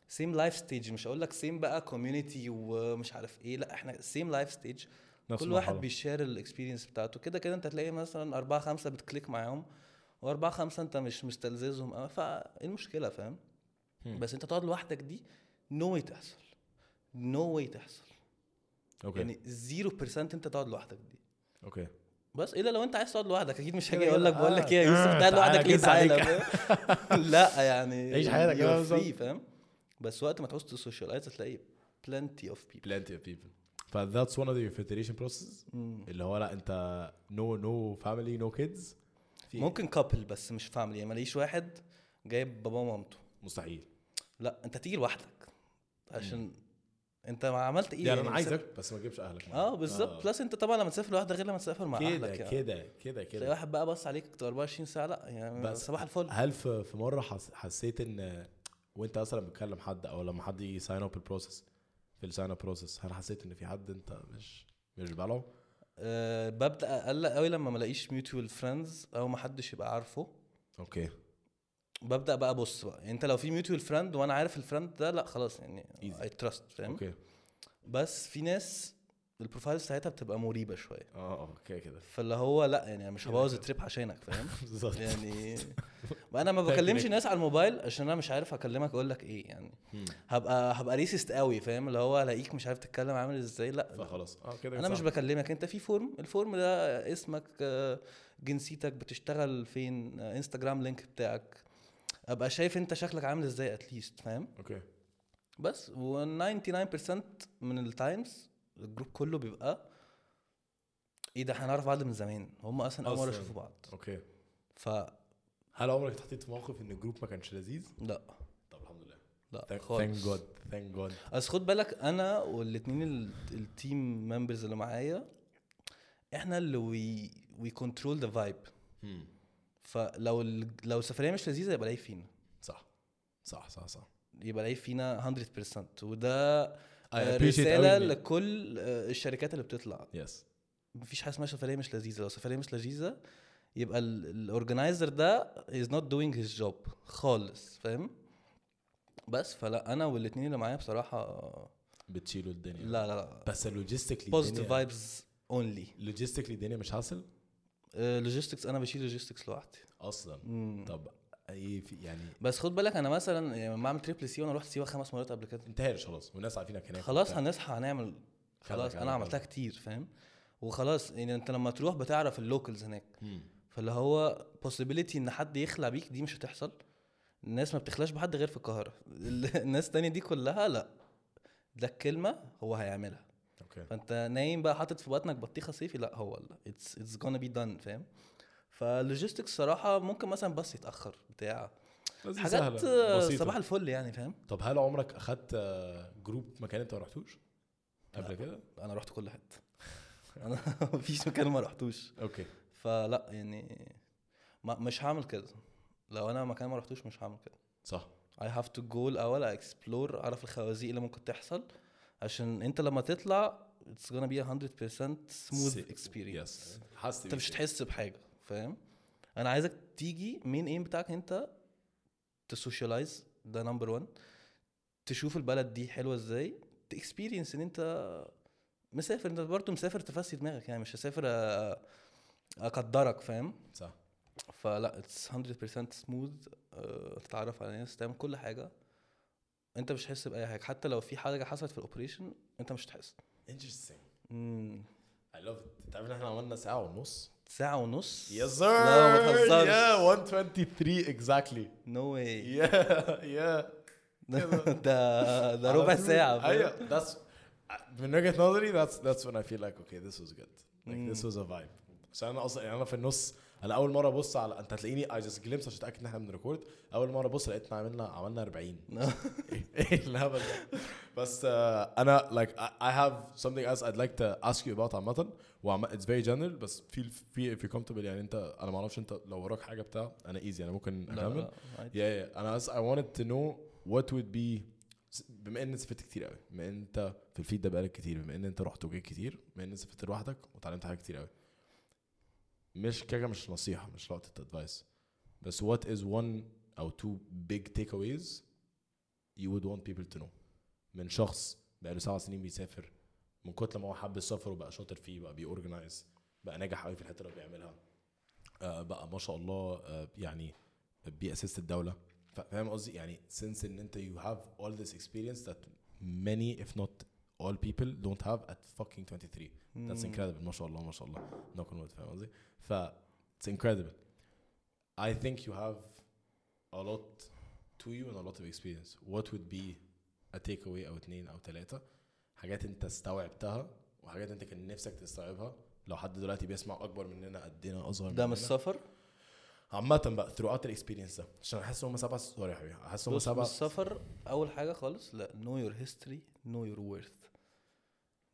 سيم لايف ستيج مش هقول لك سيم بقى كوميونتي ومش عارف ايه لا احنا سيم لايف ستيج
نفس
كل واحد
المرحلة.
بيشير الاكسبيرينس بتاعته كده كده انت هتلاقي مثلا أربعة خمسة بتكليك معاهم وأربعة خمسة انت مش مستلززهم أوي فايه إيه المشكلة فاهم
هم.
بس انت تقعد لوحدك دي نو no واي تحصل نو no واي تحصل
اوكي
يعني 0% انت تقعد لوحدك دي
اوكي
بس الا لو انت عايز تقعد لوحدك اكيد مش
كده
هاجي اقول لك
كده،
بقول
آه.
لك ايه يا يوسف
آه، تعالى
تعالى لوحدك ليه
كده
تعالى
عليك.
فاهم؟ *laughs* لا
*laughs*
يعني
عيش حياتك كده
you're
بالظبط.
free، فاهم بس وقت ما تعوز تسوشيالايز هتلاقي plenty of people
plenty of people فذاتس one of the filtration process اللي هو لا انت نو نو فاميلي نو كيدز
ممكن كابل بس مش فاميلي يعني ماليش واحد جايب باباه ومامته
مستحيل
إيه، لا انت تيجي لوحدك عشان انت ما عملت ايه
يعني انا
بس-
عايزك بس ما تجيبش اهلك معاك.
اه بالظبط بلس انت طبعا لما تسافر لوحدك غير لما تسافر مع
آه. كده
اهلك يعني
كده كده
تلاقي
كده
واحد بقى بص عليك 24 ساعه لا يعني
بس
صباح الفل
هل في في مره حس حسيت ان وانت اصلا بتكلم حد او لما حد يجي ساين اب البروسيس في الساين اب بروسيس هل حسيت ان في حد انت مش مش بالعه؟
أه ببدا اقلق قوي لما ما الاقيش ميوتوال فريندز او ما حدش يبقى عارفه
اوكي
ببدا بقى ابص بقى يعني انت لو في ميوتوال فريند وانا عارف الفريند ده لا خلاص يعني
Easy.
اي تراست فاهم
اوكي
بس في ناس البروفايل بتاعتها بتبقى مريبه شويه
اه اوكي كده
فاللي هو لا يعني مش هبوظ
كده.
التريب عشانك فاهم
*laughs* بالظبط
يعني ما انا ما بكلمش ناس على الموبايل عشان انا مش عارف اكلمك اقول لك ايه يعني
مم.
هبقى هبقى ريسست قوي فاهم اللي هو الاقيك مش عارف تتكلم عامل ازاي لا
*laughs* فخلاص اه كده
انا مش
صح.
بكلمك انت في فورم الفورم ده اسمك آه، جنسيتك بتشتغل فين آه، انستجرام لينك بتاعك ابقى شايف انت شكلك عامل ازاي اتليست فاهم
اوكي
بس و99% من التايمز الجروب كله بيبقى ايه ده احنا نعرف بعض من زمان هم اصلا اول مره
أصلاً.
يشوفوا بعض
اوكي
ف
هل عمرك اتحطيت في موقف ان الجروب ما كانش لذيذ؟
لا
طب الحمد لله
لا
Thank-
خالص
thank God thank God
اصل خد بالك انا والاتنين ال- التيم ممبرز اللي معايا احنا اللي وي وي كنترول ذا فايب
مم.
فلو ال- لو السفريه مش لذيذه يبقى العيب فينا
صح صح صح صح
يبقى العيب فينا 100% وده آه،
appreciate
رساله
أوي إن-
لكل آه، الشركات اللي بتطلع
يس
مفيش حاجه اسمها سفريه مش لذيذه لو سفريه مش لذيذه يبقى الاورجنايزر ده از نوت دوينج هيز جوب خالص فاهم بس فلا انا والاتنين اللي معايا بصراحه آه،
بتشيلوا الدنيا
لا لا لا
بس لوجيستيكلي
بوزيتيف فايبز اونلي
لوجيستيكلي الدنيا مش حاصل
لوجيستكس انا آه، بشيل لوجيستكس لوحدي
اصلا
مم.
طب اي في يعني
بس خد بالك انا مثلا يعني لما اعمل تريبل سي وانا رحت سيوه خمس مرات قبل كده
انتهى خلاص والناس عارفينك هناك
خلاص
وبتاع.
هنصحى هنعمل خلاص
كلام،
انا عملتها كتير فاهم وخلاص يعني انت لما تروح بتعرف اللوكلز هناك
مم.
فاللي هو possibility ان حد يخلع بيك دي مش هتحصل الناس ما بتخلاش بحد غير في القاهره ال- *laughs* الناس التانية دي كلها لا ده الكلمه هو هيعملها
اوكي
فانت نايم بقى حاطط في بطنك بطيخه صيفي لا هو لا اتس اتس gonna بي دان فاهم فاللوجيستكس صراحه ممكن مثلا بس يتاخر بتاع
لذيذ،
حاجات
سهلة،
آه،
بسيطة.
صباح الفل يعني فاهم
طب هل عمرك اخدت آه، جروب مكان انت ما رحتوش قبل
لا.
كده
انا رحت كل *laughs* حته انا مفيش مكان ما رحتوش
اوكي
فلا يعني ما مش هعمل كده لو انا مكان ما رحتوش مش هعمل كده
صح
اي هاف تو جو الاول اكسبلور اعرف الخوازيق اللي ممكن تحصل عشان انت لما تطلع اتس gonna be 100% smooth experience
يس حاسس
انت مش هتحس بحاجه فاهم انا عايزك تيجي مين ايم بتاعك انت تسوشيالايز ده نمبر 1 تشوف البلد دي حلوه ازاي تكسبيرينس ان انت مسافر انت برضه مسافر تفسي دماغك يعني مش هسافر أ- اقدرك فاهم
صح
فلا اتس 100% سموث آه، تتعرف على ناس تعمل كل حاجه انت مش هتحس باي حاجه حتى لو في حاجه حصلت في الاوبريشن انت مش هتحس
انترستنج
مم،
اي لاف ات تعرف ان احنا عملنا ساعه ونص
ساعه ونص
يس سير
لا ما تهزرش
يا 123 اكزاكتلي
نو واي
*laughs* يا يا
ده ده ربع ساعة فاهم؟ *laughs*
ايوه that's من وجهة نظري that's that's when I feel like okay this was good like this was a vibe عشان انا اصلا يعني انا في النص انا اول مره ابص على انت هتلاقيني I just glimpse عشان اتاكد ان احنا بنريكورد اول مره ابص لقيتنا عملنا عملنا 40 *laughs* ايه الهبل ده بس آه، انا like I- I have something else I'd like to ask you about عامة وعم it's very general بس feel feel if you're comfortable يعني انت انا ما اعرفش انت لو وراك حاجه بتاع انا easy انا ممكن
لا، لا،
اكمل
عادي.
yeah, yeah. انا بس I wanted to know what would be بما ان سافرت كتير قوي بما ان انت في الفيد ده بقالك كتير بما ان انت رحت وجيت كتير بما ان سافرت لوحدك وتعلمت حاجات كتير قوي مش كده مش نصيحه مش لقطه ادفايس بس what is one او two big takeaways you would want people to know من شخص بقاله سبع سنين بيسافر من كتر ما هو حب السفر وبقى شاطر فيه بقى بيورجنايز بقى ناجح قوي في الحته اللي بيعملها آه بقى ما شاء الله آه يعني بيأسست الدوله فا- فاهم قصدي يعني since ان انت you have all this experience that many if not all people don't have at fucking 23 that's
مم.
incredible ما شاء الله ما شاء الله knock on wood فاهم قصدي ف it's incredible I think you have a lot to you and a lot of experience what would be a takeaway او اتنين او تلاتة حاجات انت استوعبتها وحاجات انت كان نفسك تستوعبها لو حد دلوقتي بيسمع اكبر مننا قدنا اصغر
ده من
مننا.
السفر
عامة بقى ثرو اوت الاكسبيرينس ده عشان احس هم سبع سوري يا حبيبي احس هم
بص من
سبع
السفر اول حاجه خالص لا نو يور هيستوري نو يور وورث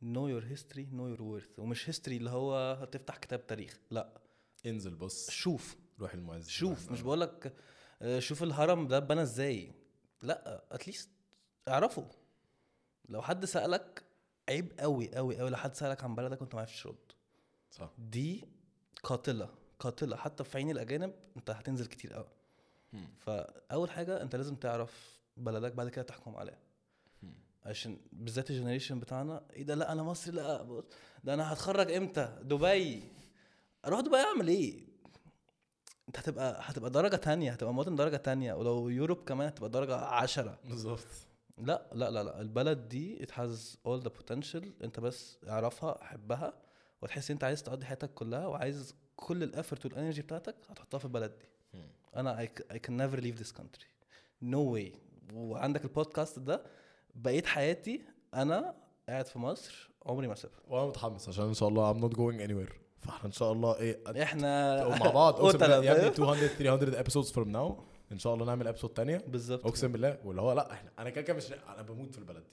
نو يور هيستوري نو يور وورث ومش هيستوري اللي هو هتفتح كتاب تاريخ لا
انزل بص
شوف
روح المعز
شوف
نعم.
مش بقول لك شوف الهرم ده اتبنى ازاي لا اتليست اعرفه لو حد سالك عيب قوي قوي قوي لو حد سالك عن بلدك وانت ما عرفتش ترد
صح
دي قاتله قاتله حتى في عين الاجانب انت هتنزل كتير قوي
مم.
فاول حاجه انت لازم تعرف بلدك بعد كده تحكم عليها
مم.
عشان بالذات الجنريشن بتاعنا ايه ده لا انا مصري لا بص، ده انا هتخرج امتى دبي اروح دبي اعمل ايه انت هتبقى هتبقى درجه تانية هتبقى مواطن درجه تانية ولو يوروب كمان هتبقى درجه عشرة
بالظبط
لا لا لا لا البلد دي it has all the potential انت بس اعرفها حبها وتحس انت عايز تقضي حياتك كلها وعايز كل الافورت والانرجي بتاعتك هتحطها في البلد دي
مم.
انا I, c- I can never leave this country no way وعندك البودكاست ده بقيت حياتي انا قاعد في مصر عمري ما سافر
وانا متحمس عشان ان شاء الله I'm not going anywhere فاحنا ان شاء الله
*laughs*
ايه
يعني احنا
مع
*laughs*
بعض اقسم
قتلة،
بالله يا ابني
فاهم؟
200 300 episodes from now ان شاء الله نعمل episode تانية
بالظبط
اقسم بالله واللي هو لا احنا انا كده كده مش انا بموت في البلد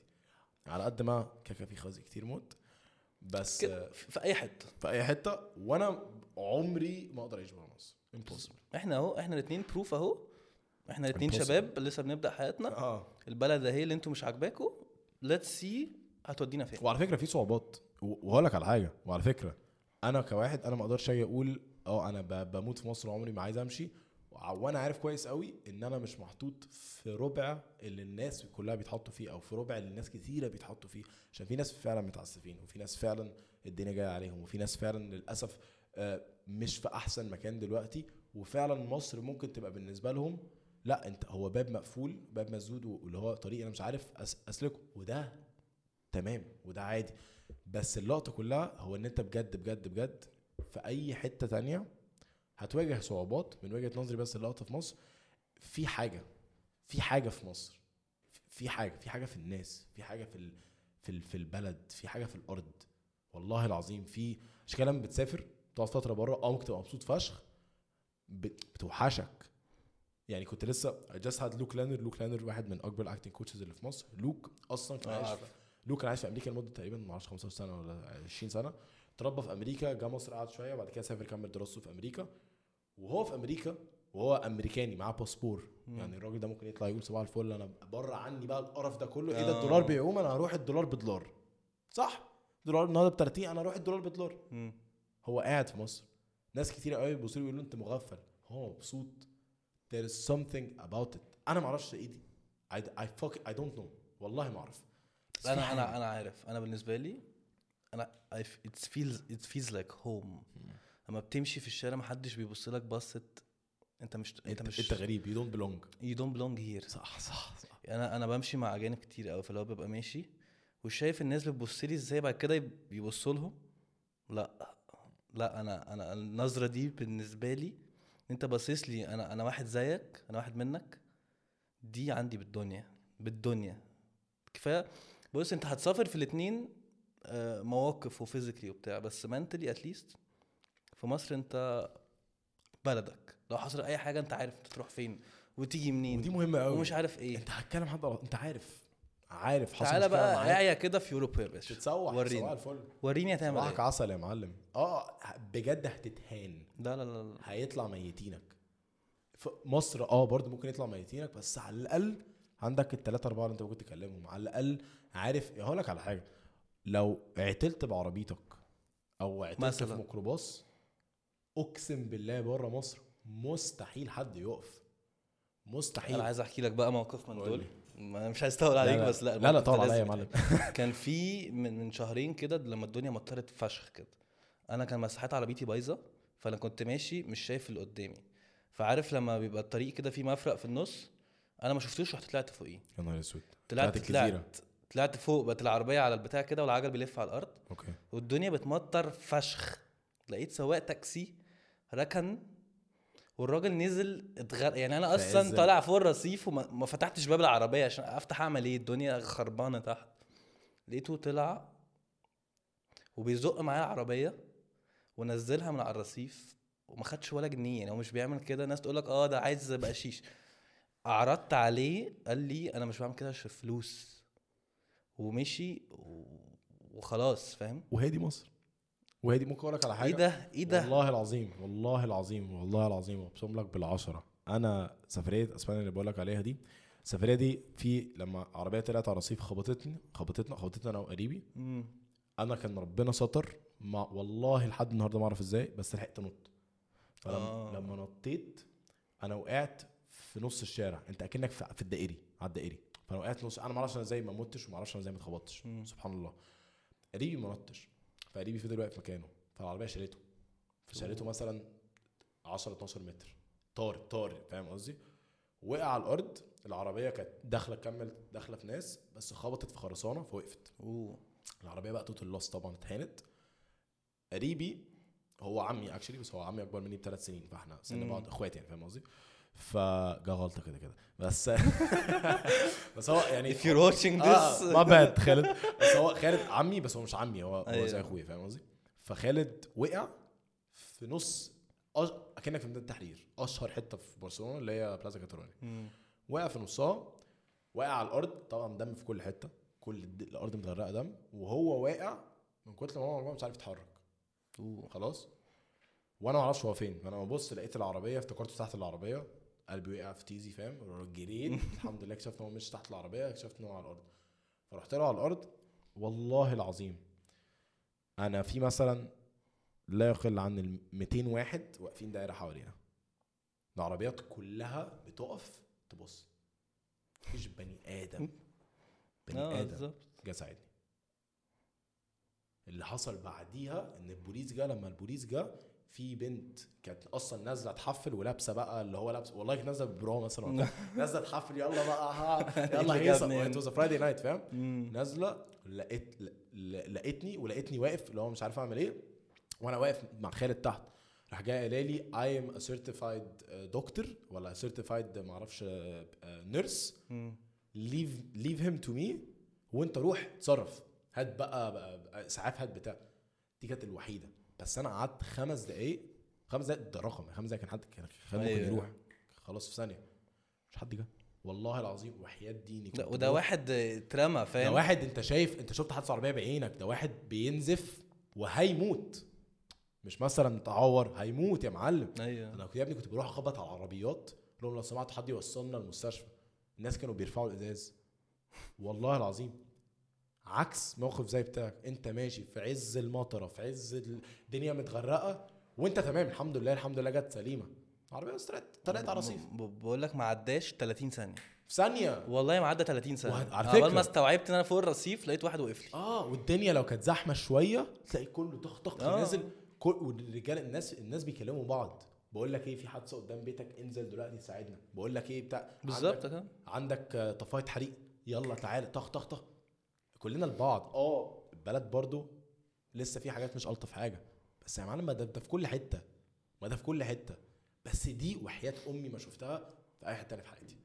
دي على قد ما كده كده في خوازيق كتير موت بس
كده،
آه،
في في اي حته
في اي حتة وانا عمري ما اقدر اعيش بره مصر impossible
احنا اهو احنا الاثنين بروف اهو احنا الاثنين
Impossible.
شباب لسه بنبدا حياتنا
اه
البلد اهي اللي انتوا مش عاجباكوا ليتس سي هتودينا فين
وعلى فكره في صعوبات و- وهقول لك على حاجه وعلى فكره انا كواحد انا ما اقدرش اجي اقول اه انا ب- بموت في مصر عمري ما عايز امشي وع- وانا عارف كويس قوي ان انا مش محطوط في ربع اللي الناس كلها بيتحطوا فيه او في ربع اللي الناس كتيره بيتحطوا فيه عشان في ناس فعلا متعسفين وفي ناس فعلا الدنيا جايه عليهم وفي ناس فعلا للاسف آه، مش في احسن مكان دلوقتي وفعلا مصر ممكن تبقى بالنسبه لهم لا انت هو باب مقفول باب مسدود واللي هو طريق انا مش عارف أس- اسلكه وده تمام وده عادي بس اللقطه كلها هو ان انت بجد بجد بجد في اي حته تانية هتواجه صعوبات من وجهه نظري بس اللقطه في مصر في حاجه في حاجه في مصر في حاجه في حاجه في الناس في حاجه في ال... في ال... في البلد في حاجه في الارض والله العظيم في مش كلام بتسافر تقعد فتره بره اه ممكن تبقى مبسوط فشخ بت- بتوحشك يعني كنت لسه I just had لوك لانر لوك لانر واحد من اكبر الاكتنج كوتشز اللي في مصر لوك اصلا كان
آه،
عايش
عارف.
لو كان عايش في امريكا لمده تقريبا ما اعرفش 15 سنه ولا 20 سنه تربى في امريكا جه مصر قعد شويه وبعد كده سافر كمل دراسته في امريكا وهو في امريكا وهو امريكاني معاه باسبور يعني الراجل ده ممكن يطلع يقول صباح الفل انا بره عني بقى القرف ده كله ايه ده
آه.
الدولار بيعوم انا هروح الدولار بدولار صح دولار النهارده ب 30 انا هروح الدولار بدولار
مم.
هو قاعد في مصر ناس كتير قوي بيبصوا لي بيقولوا انت مغفل هو مبسوط there is something about it انا ما اعرفش ايه دي I, I, fuck, I don't know والله ما اعرف بس في
انا
حاجة.
انا انا عارف انا بالنسبه لي انا I f- it feels it feels like home لما بتمشي في الشارع محدش بيبص لك بصة انت مش انت
انت
مش
انت غريب يو دونت بيلونج
you don't belong here
صح صح صح
انا انا بمشي مع اجانب كتير قوي فلو ببقى ماشي وشايف الناس بتبص لي ازاي بعد كده يب- يبصوا لهم لا لا انا انا النظره دي بالنسبه لي انت باصص لي انا انا واحد زيك انا واحد منك دي عندي بالدنيا بالدنيا كفايه بص انت هتسافر في الاتنين آه، مواقف وفيزيكلي وبتاع بس منتلي اتليست في مصر انت بلدك لو حصل اي حاجه انت عارف انت تروح فين وتيجي منين
ودي مهمه قوي
ومش عارف ايه
انت هتكلم حد على- انت عارف عارف حصل
تعالى
مشكلة
بقى
معاك.
اعيا كده في اوروبا يا باشا
تتسوح صباح
وريني
الفل
وريني هتعمل
صباحك
ايه
عسل يا معلم اه بجد هتتهان
لا لا لا لا
هيطلع ميتينك ف- مصر اه برضه ممكن يطلع ميتينك بس على الاقل عندك الثلاثة أربعة اللي أنت ممكن تكلمهم على الأقل عارف هقول لك على حاجة لو عتلت بعربيتك أو عتلت
مثلاً.
في ميكروباص أقسم بالله بره مصر مستحيل حد يقف مستحيل
انا عايز احكي لك بقى موقف من
قول
دول
لي.
ما أنا مش عايز اطول عليك
لا.
بس لا
لا،
الموقف
لا،
ده
طول عليا يا
لازم
معلم.
يتقال. *laughs* كان في من من شهرين كده لما الدنيا مطرت فشخ كده انا كان مساحات عربيتي بايظه فانا كنت ماشي مش شايف اللي قدامي فعارف لما بيبقى الطريق كده فيه مفرق في النص انا ما شفتوش رحت طلعت فوقيه
يا نهار اسود
طلعت
طلعت
طلعت طلعت فوق بقت العربيه على البتاع كده والعجل بيلف على الارض
اوكي
والدنيا بتمطر فشخ لقيت سواق تاكسي ركن والراجل نزل اتغرق يعني انا
في عز
اصلا
ال-
طالع فوق الرصيف وما ما فتحتش باب العربيه عشان افتح اعمل ايه الدنيا خربانه تحت لقيته طلع وبيزق معايا العربيه ونزلها من على الرصيف وما خدش ولا جنيه يعني هو مش بيعمل كده الناس تقول لك اه ده عايز بقشيش عرضت عليه قال لي انا مش بعمل كده عشان فلوس ومشي و... وخلاص فاهم
وهي دي مصر وهي دي ممكن اقول لك على حاجه
ايه ده ايه ده
والله العظيم والله العظيم والله العظيم اقسم لك بالعشره انا سفريه اسبانيا اللي بقول لك عليها دي السفريه دي في لما عربيه طلعت على الرصيف خبطتني خبطتنا خبطتنا انا وقريبي
مم.
انا كان ربنا ستر ما والله لحد النهارده ما اعرف ازاي بس لحقت انط فلما
آه.
لما نطيت انا وقعت في نص الشارع انت اكنك في في الدائري على الدائري فانا وقعت نص انا ما اعرفش انا ازاي ما متش وما اعرفش انا ازاي ما اتخبطتش
مم.
سبحان الله قريبي ما نطش فقريبي فضل واقف مكانه فالعربيه شالته فشالته مثلا 10 12 متر طار طار فاهم قصدي وقع على الارض العربيه كانت داخله كمل داخله في ناس بس خبطت في خرسانه فوقفت
اوه
العربيه بقى توت اللوس طبعا اتهانت قريبي هو عمي اكشلي بس هو عمي اكبر مني بثلاث سنين فاحنا سن
مم.
بعض اخوات يعني فاهم قصدي فجا غلطه كده كده بس *laughs* بس هو يعني
if you're watching this
ما باد خالد بس هو خالد عمي بس هو مش عمي هو هو زي
أيوة.
اخويا فاهم قصدي فخالد وقع في نص أش... اكنك في ميدان التحرير اشهر حته في برشلونه اللي هي بلازا كاتالونيا
*laughs* مم.
وقع في نصها وقع على الارض طبعا دم في كل حته كل الد- الارض متغرقه دم وهو واقع من كتر ما هو مرمى مش عارف يتحرك
اوه
خلاص وانا ما اعرفش هو فين فانا ببص لقيت العربيه افتكرته تحت العربيه قلبي وقع في تيزي فاهم جريت الحمد لله اكتشفت ان هو مش تحت العربيه اكتشفت ان هو على الارض فرحت له على الارض والله العظيم انا في مثلا لا يقل عن ال 200 واحد واقفين دايره حوالينا العربيات كلها بتقف تبص مفيش بني ادم بني
اه
ادم
بالظبط
جه ساعدني اللي حصل بعديها ان البوليس جه لما البوليس جه في بنت كانت اصلا نازله تحفل ولابسه بقى اللي هو لابس والله كانت نازله ببرو مثلا
*laughs*
ولا بتاع. نازله تحفل يلا بقى ها يلا
اللي
هيصه
جابني يعني.
ات
هنا.
واز فرايدي نايت فاهم
مم.
نازله لقيت ل- ل- لقيتني ولقيتني واقف اللي هو مش عارف اعمل ايه وانا واقف مع خالد تحت راح جاي قايل لي اي ام سيرتيفايد دكتور آه، ولا سيرتيفايد ما آه، اعرفش نيرس
مم.
ليف ليف هيم تو مي وانت روح اتصرف هات بقى, بقى, بقى اسعاف هات بتاع دي كانت الوحيده بس انا قعدت خمس دقايق خمس دقايق ده رقم خمس دقايق كان حد كان كان ممكن
أيوة.
يروح خلاص في ثانيه مش حد جه والله العظيم وحياه ديني
لا،
كنت
وده
بروح-
واحد اترمى
ده
فاهم
واحد انت شايف انت شفت حادثه عربيه بعينك ده واحد بينزف وهيموت مش مثلا تعور هيموت يا معلم
ايوه
انا كنت يا ابني كنت بروح اخبط على العربيات أقول لهم لو سمحت حد يوصلنا المستشفى الناس كانوا بيرفعوا الازاز والله العظيم عكس موقف زي بتاعك انت ماشي في عز المطره في عز الدنيا متغرقه وانت تمام الحمد لله الحمد لله جت سليمه العربيه طلعت طلعت على الرصيف
ب- ب- بقول لك ما عداش 30 ثانيه
في ثانيه
والله ما عدى 30 ثانيه
وعلى
على
فكرة-
ما استوعبت ان انا فوق الرصيف لقيت واحد وقف لي
اه والدنيا لو كانت زحمه شويه تلاقي كله طخ طخ
آه.
نازل كل والرجال الناس الناس بيكلموا بعض بقول لك ايه في حادثه قدام بيتك انزل دلوقتي تساعدنا بقول لك ايه بتاع
بالظبط كده
عندك آه، طفايه حريق يلا تعالى طخ طخ طخ كلنا لبعض اه
آه.
البلد برضو لسه في حاجات مش الطف حاجه بس يا معلم ما ده ده في كل حته ما ده في كل حته بس دي وحياه امي ما شفتها في اي حته تانية في حياتي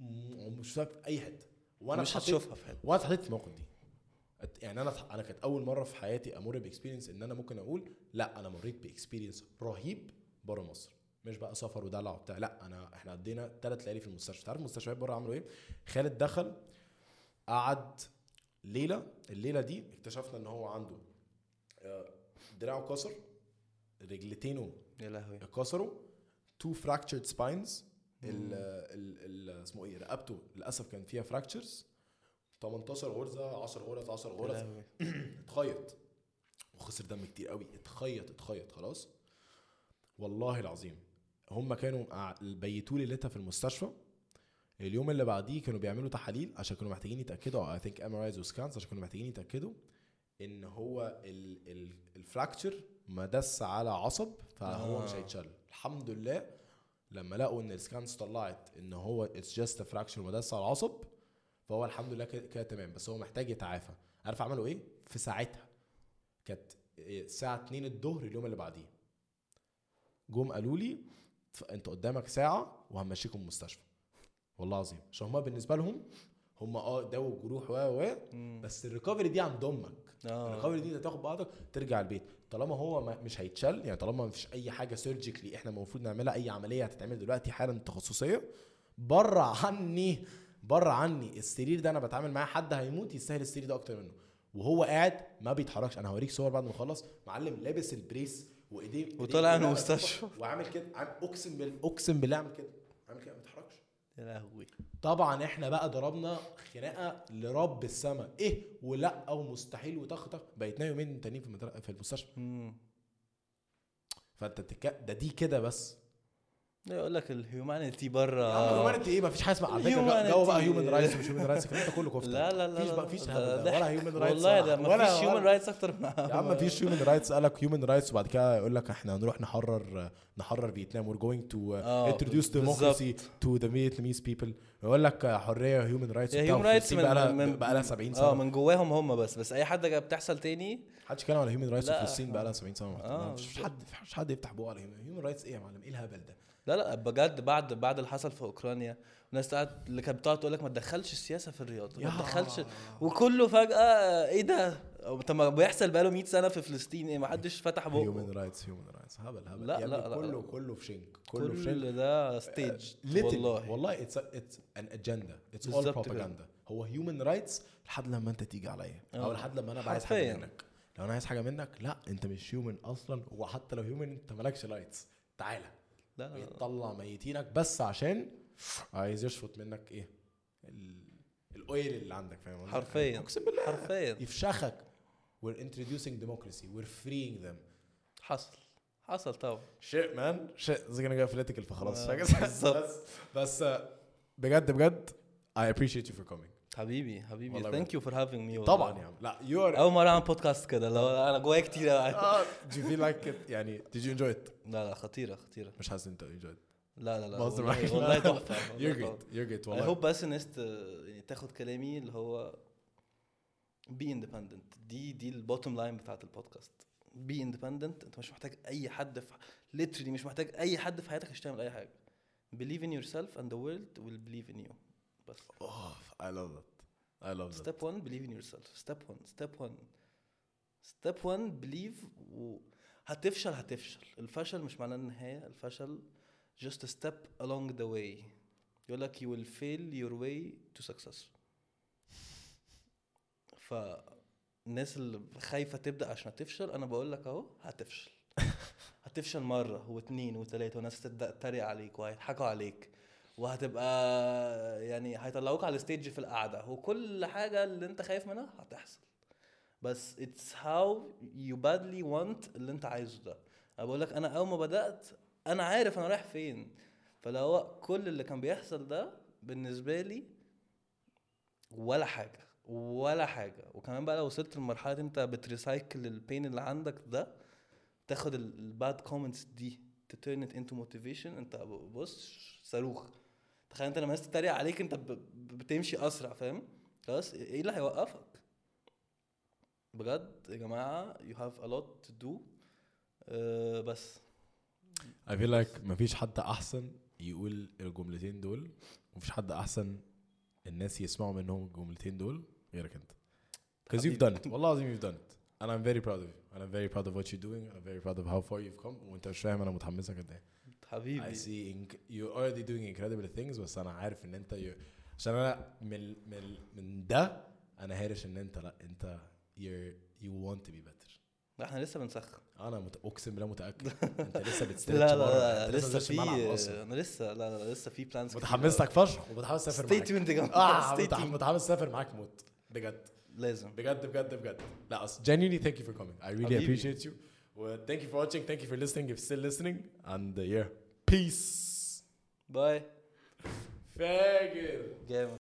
م- مش شفتها في اي حته وانا
مش
اتحطيت-
هتشوفها في حته
وانا اتحطيت في الموقف دي أت- يعني انا اتح- انا كانت اول مره في حياتي امر باكسبيرينس ان انا ممكن اقول لا انا مريت باكسبيرينس رهيب بره مصر مش بقى سفر ودلع وبتاع لا انا احنا قضينا ثلاث ليالي في المستشفى تعرف المستشفيات بره عملوا ايه خالد دخل قعد ليله الليله دي اكتشفنا ان هو عنده آه، دراعه كسر رجلتينه
يا لهوي
اتكسروا تو فراكتشرد سباينز ال ال- ال- اسمه ايه رقبته للاسف كان فيها فراكتشرز 18 غرزه 10 غرز 10
يا
غرز
لهوي
اتخيط وخسر دم كتير قوي اتخيط اتخيط خلاص والله العظيم هم كانوا قاع- بيتوا ليلتها في المستشفى اليوم اللي بعديه كانوا بيعملوا تحاليل عشان كانوا محتاجين يتاكدوا اي ثينك ام ار وسكانز عشان كانوا محتاجين يتاكدوا ان هو ال- ال- الفراكتشر ما دس على عصب فهو
آه.
مش هيتشل الحمد لله لما لقوا ان السكانز طلعت ان هو اتس جاست فراكشر مدس على العصب فهو الحمد لله كده كده تمام بس هو محتاج يتعافى عارف عملوا ايه في ساعتها كانت الساعه 2 الظهر اليوم اللي بعديه جم قالوا لي "ف- انت قدامك ساعه وهنمشيكم المستشفى والله العظيم عشان هما بالنسبه لهم هم اه داوا الجروح و و
مم.
بس الريكفري دي عند امك
آه.
الريكفري دي انت تاخد بعضك ترجع البيت طالما هو ما مش هيتشال يعني طالما مفيش اي حاجه سيرجيكلي احنا المفروض نعملها اي عمليه هتتعمل دلوقتي حالا تخصصيه بره عني بره عني السرير ده انا بتعامل معاه حد هيموت يستاهل السرير ده اكتر منه وهو قاعد ما بيتحركش انا هوريك صور بعد ما اخلص معلم لابس البريس وايديه إيديه
وطالع من
كلها
المستشفى.
مفتوحة وعامل كده عامل اقسم بال اقسم بالله عامل كده عامل كده ما بيتحركش
يا لهوي
طبعا احنا بقى ضربنا خناقه لرب السما ايه ولا او مستحيل وتخطخ بقيتنا يومين تانيين في المدر... في المستشفى
مم.
فانت بتك... ده دي كده بس
لا، يقول لك الهيومانيتي
آه.
بره
هيومانيتي ايه مفيش حاجه اسمها على فكره جو بقى
Humanity.
هيومن رايتس مش هيومن رايتس الكلام ده كله كفته
لا لا لا
مفيش
لا،
بقى مفيش
ده
الهبل ده.
ضحك.
ولا هيومن رايتس
والله ده مفيش هيومن
رايتس
رايتس اكتر من
يا
*laughs*
عم مفيش هيومن رايتس قال لك هيومن رايتس وبعد كده يقول لك احنا هنروح نحرر نحرر فيتنام وير جوينج تو
آه،
انتروديوس
بالظبط.
ديموكراسي تو ذا فيتناميز بيبل يقول لك حريه هيومن رايتس
يا هيومن رايتس من
بقى لها
من-
بقى لها 70 سنه
اه من جواهم هم بس بس اي حاجه بتحصل تاني
محدش يتكلم على هيومن رايتس في
لا،
الصين بقى لها 70 سنه
آه،
محترمة. مش
بالظبط.
حد مش حد يفتح بقه على هيومن رايتس ايه يا معلم ايه الهبل ده
لا لا بجد بعد بعد اللي حصل في اوكرانيا الناس قعدت اللي كانت بتقعد تقول لك ما تدخلش السياسه في الرياضه ما
يا.
تدخلش وكله فجاه آه، ايه ده أو طب ما بيحصل بقاله 100 سنه في فلسطين ايه ما حدش فتح
هيومن
بقه
رايتس هيومن رايتس هبل هبل
لا،
يا ابني
لا، لا،
كله
لا.
كله في شنك كله في شنك
كل ده ستيج
Little.
والله
والله اتس اتس ان اجندا اتس اول
بالظبط كده.
بروباجندا هو هيومن رايتس لحد لما انت تيجي عليا او
آه.
لحد لما انا أبقى عايز حاجه
حرفياً.
منك لو انا عايز حاجه منك لا انت مش هيومن اصلا وحتى لو هيومن انت مالكش رايتس تعالى
لا لا، لا
يطلع ميتينك بس عشان عايز يشفط منك ايه ال- الاويل اللي عندك فاهم قصدي؟
حرفياً.
اقسم بالله
حرفيا
يفشخك we're introducing democracy we're freeing them
حصل حصل طبعا
shit man shit this is gonna get political فخلاص
آه،
*laughs*
بالظبط.
بس بس آه، بجد بجد I appreciate you for coming
حبيبي حبيبي
والله يعني.
ثانك يو فور هافينج مي
طبعا يا عم لا you are
اول مره اعمل بودكاست كده لو انا جوايا كتير أوي.
آه، do you feel like it يعني did you enjoy it
لا لا خطيره خطيره
مش حاسس إن انت enjoyed it
لا لا لا
بهزر معاك.
والله والله تحفه
you're
والله
good you're good
اي
والله
هوب بس الناس ت- يعني تاخد كلامي اللي هو بي اندبندنت دي دي البوتوم لاين بتاعت البودكاست بي اندبندنت انت مش محتاج اي حد في ليترلي مش محتاج اي حد في حياتك عشان تعمل اي حاجه believe in yourself and the world will believe in you بس
اوه Oh, I love that I love that
step 1 believe in yourself step 1 step 1 step 1 believe و... هتفشل هتفشل الفشل مش معناه النهاية الفشل just a step along the way يقول لك you will fail your way to success فالناس اللي خايفة تبدأ عشان تفشل أنا بقول لك أهو
*laughs*
هتفشل هتفشل مرة واتنين وتلاتة والناس تبدأ تتريق عليك وهيضحكوا عليك وهتبقى يعني هيطلعوك على الستيج في القعدة وكل حاجة اللي انت خايف منها هتحصل بس it's how you badly want اللي انت عايزه ده انا بقول لك انا اول ما بدأت انا عارف انا رايح فين فلو كل اللي كان بيحصل ده بالنسبة لي ولا حاجة ولا حاجة وكمان بقى لو وصلت لمرحلة انت بتريسايكل البين اللي عندك ده تاخد الباد كومنتس دي تترن ات انتو موتيفيشن انت بص صاروخ تخيل انت لما الناس تتريق عليك انت ب- ب- بتمشي اسرع فاهم خلاص ايه اللي هيوقفك بجد يا جماعه يو هاف ا لوت تو دو آه، بس
I feel like مفيش حد أحسن يقول الجملتين دول ومفيش حد أحسن الناس يسمعوا منهم الجملتين دول غيرك أنت. Because you've done it والله العظيم you've done it and I'm very proud of you and I'm very proud of what you're doing and I'm very proud of how far you've come وأنت مش فاهم أنا متحمسك قد إيه. I
حبيبي
see inc- you're already doing incredible things بس أنا عارف إن أنت you're- عشان أنا من من من ده أنا هارش إن أنت لأ أنت you're you want to be better.
لا، احنا لسه بنسخن
انا مت... اقسم بالله متاكد انت لسه
لا
بتستريتش
لا
بره،
لا,
أنت
لا لسه
ما نزلتش الملعب أصلاً.
في انا لسه لا لا لسه في بلانز
متحمس لك فشخ ومتحمس اسافر
ستي
معاك
تيوند يا
اه
جماعه Ah، Stay
متح-
tuned.
متحمس اسافر معاك موت بجد
لازم
بجد بجد بجد لا اصل genuinely thank you for coming I really
حبيبي.
appreciate you و thank you for watching thank you for listening if still listening and uh, yeah peace
باي
فاجر
جامد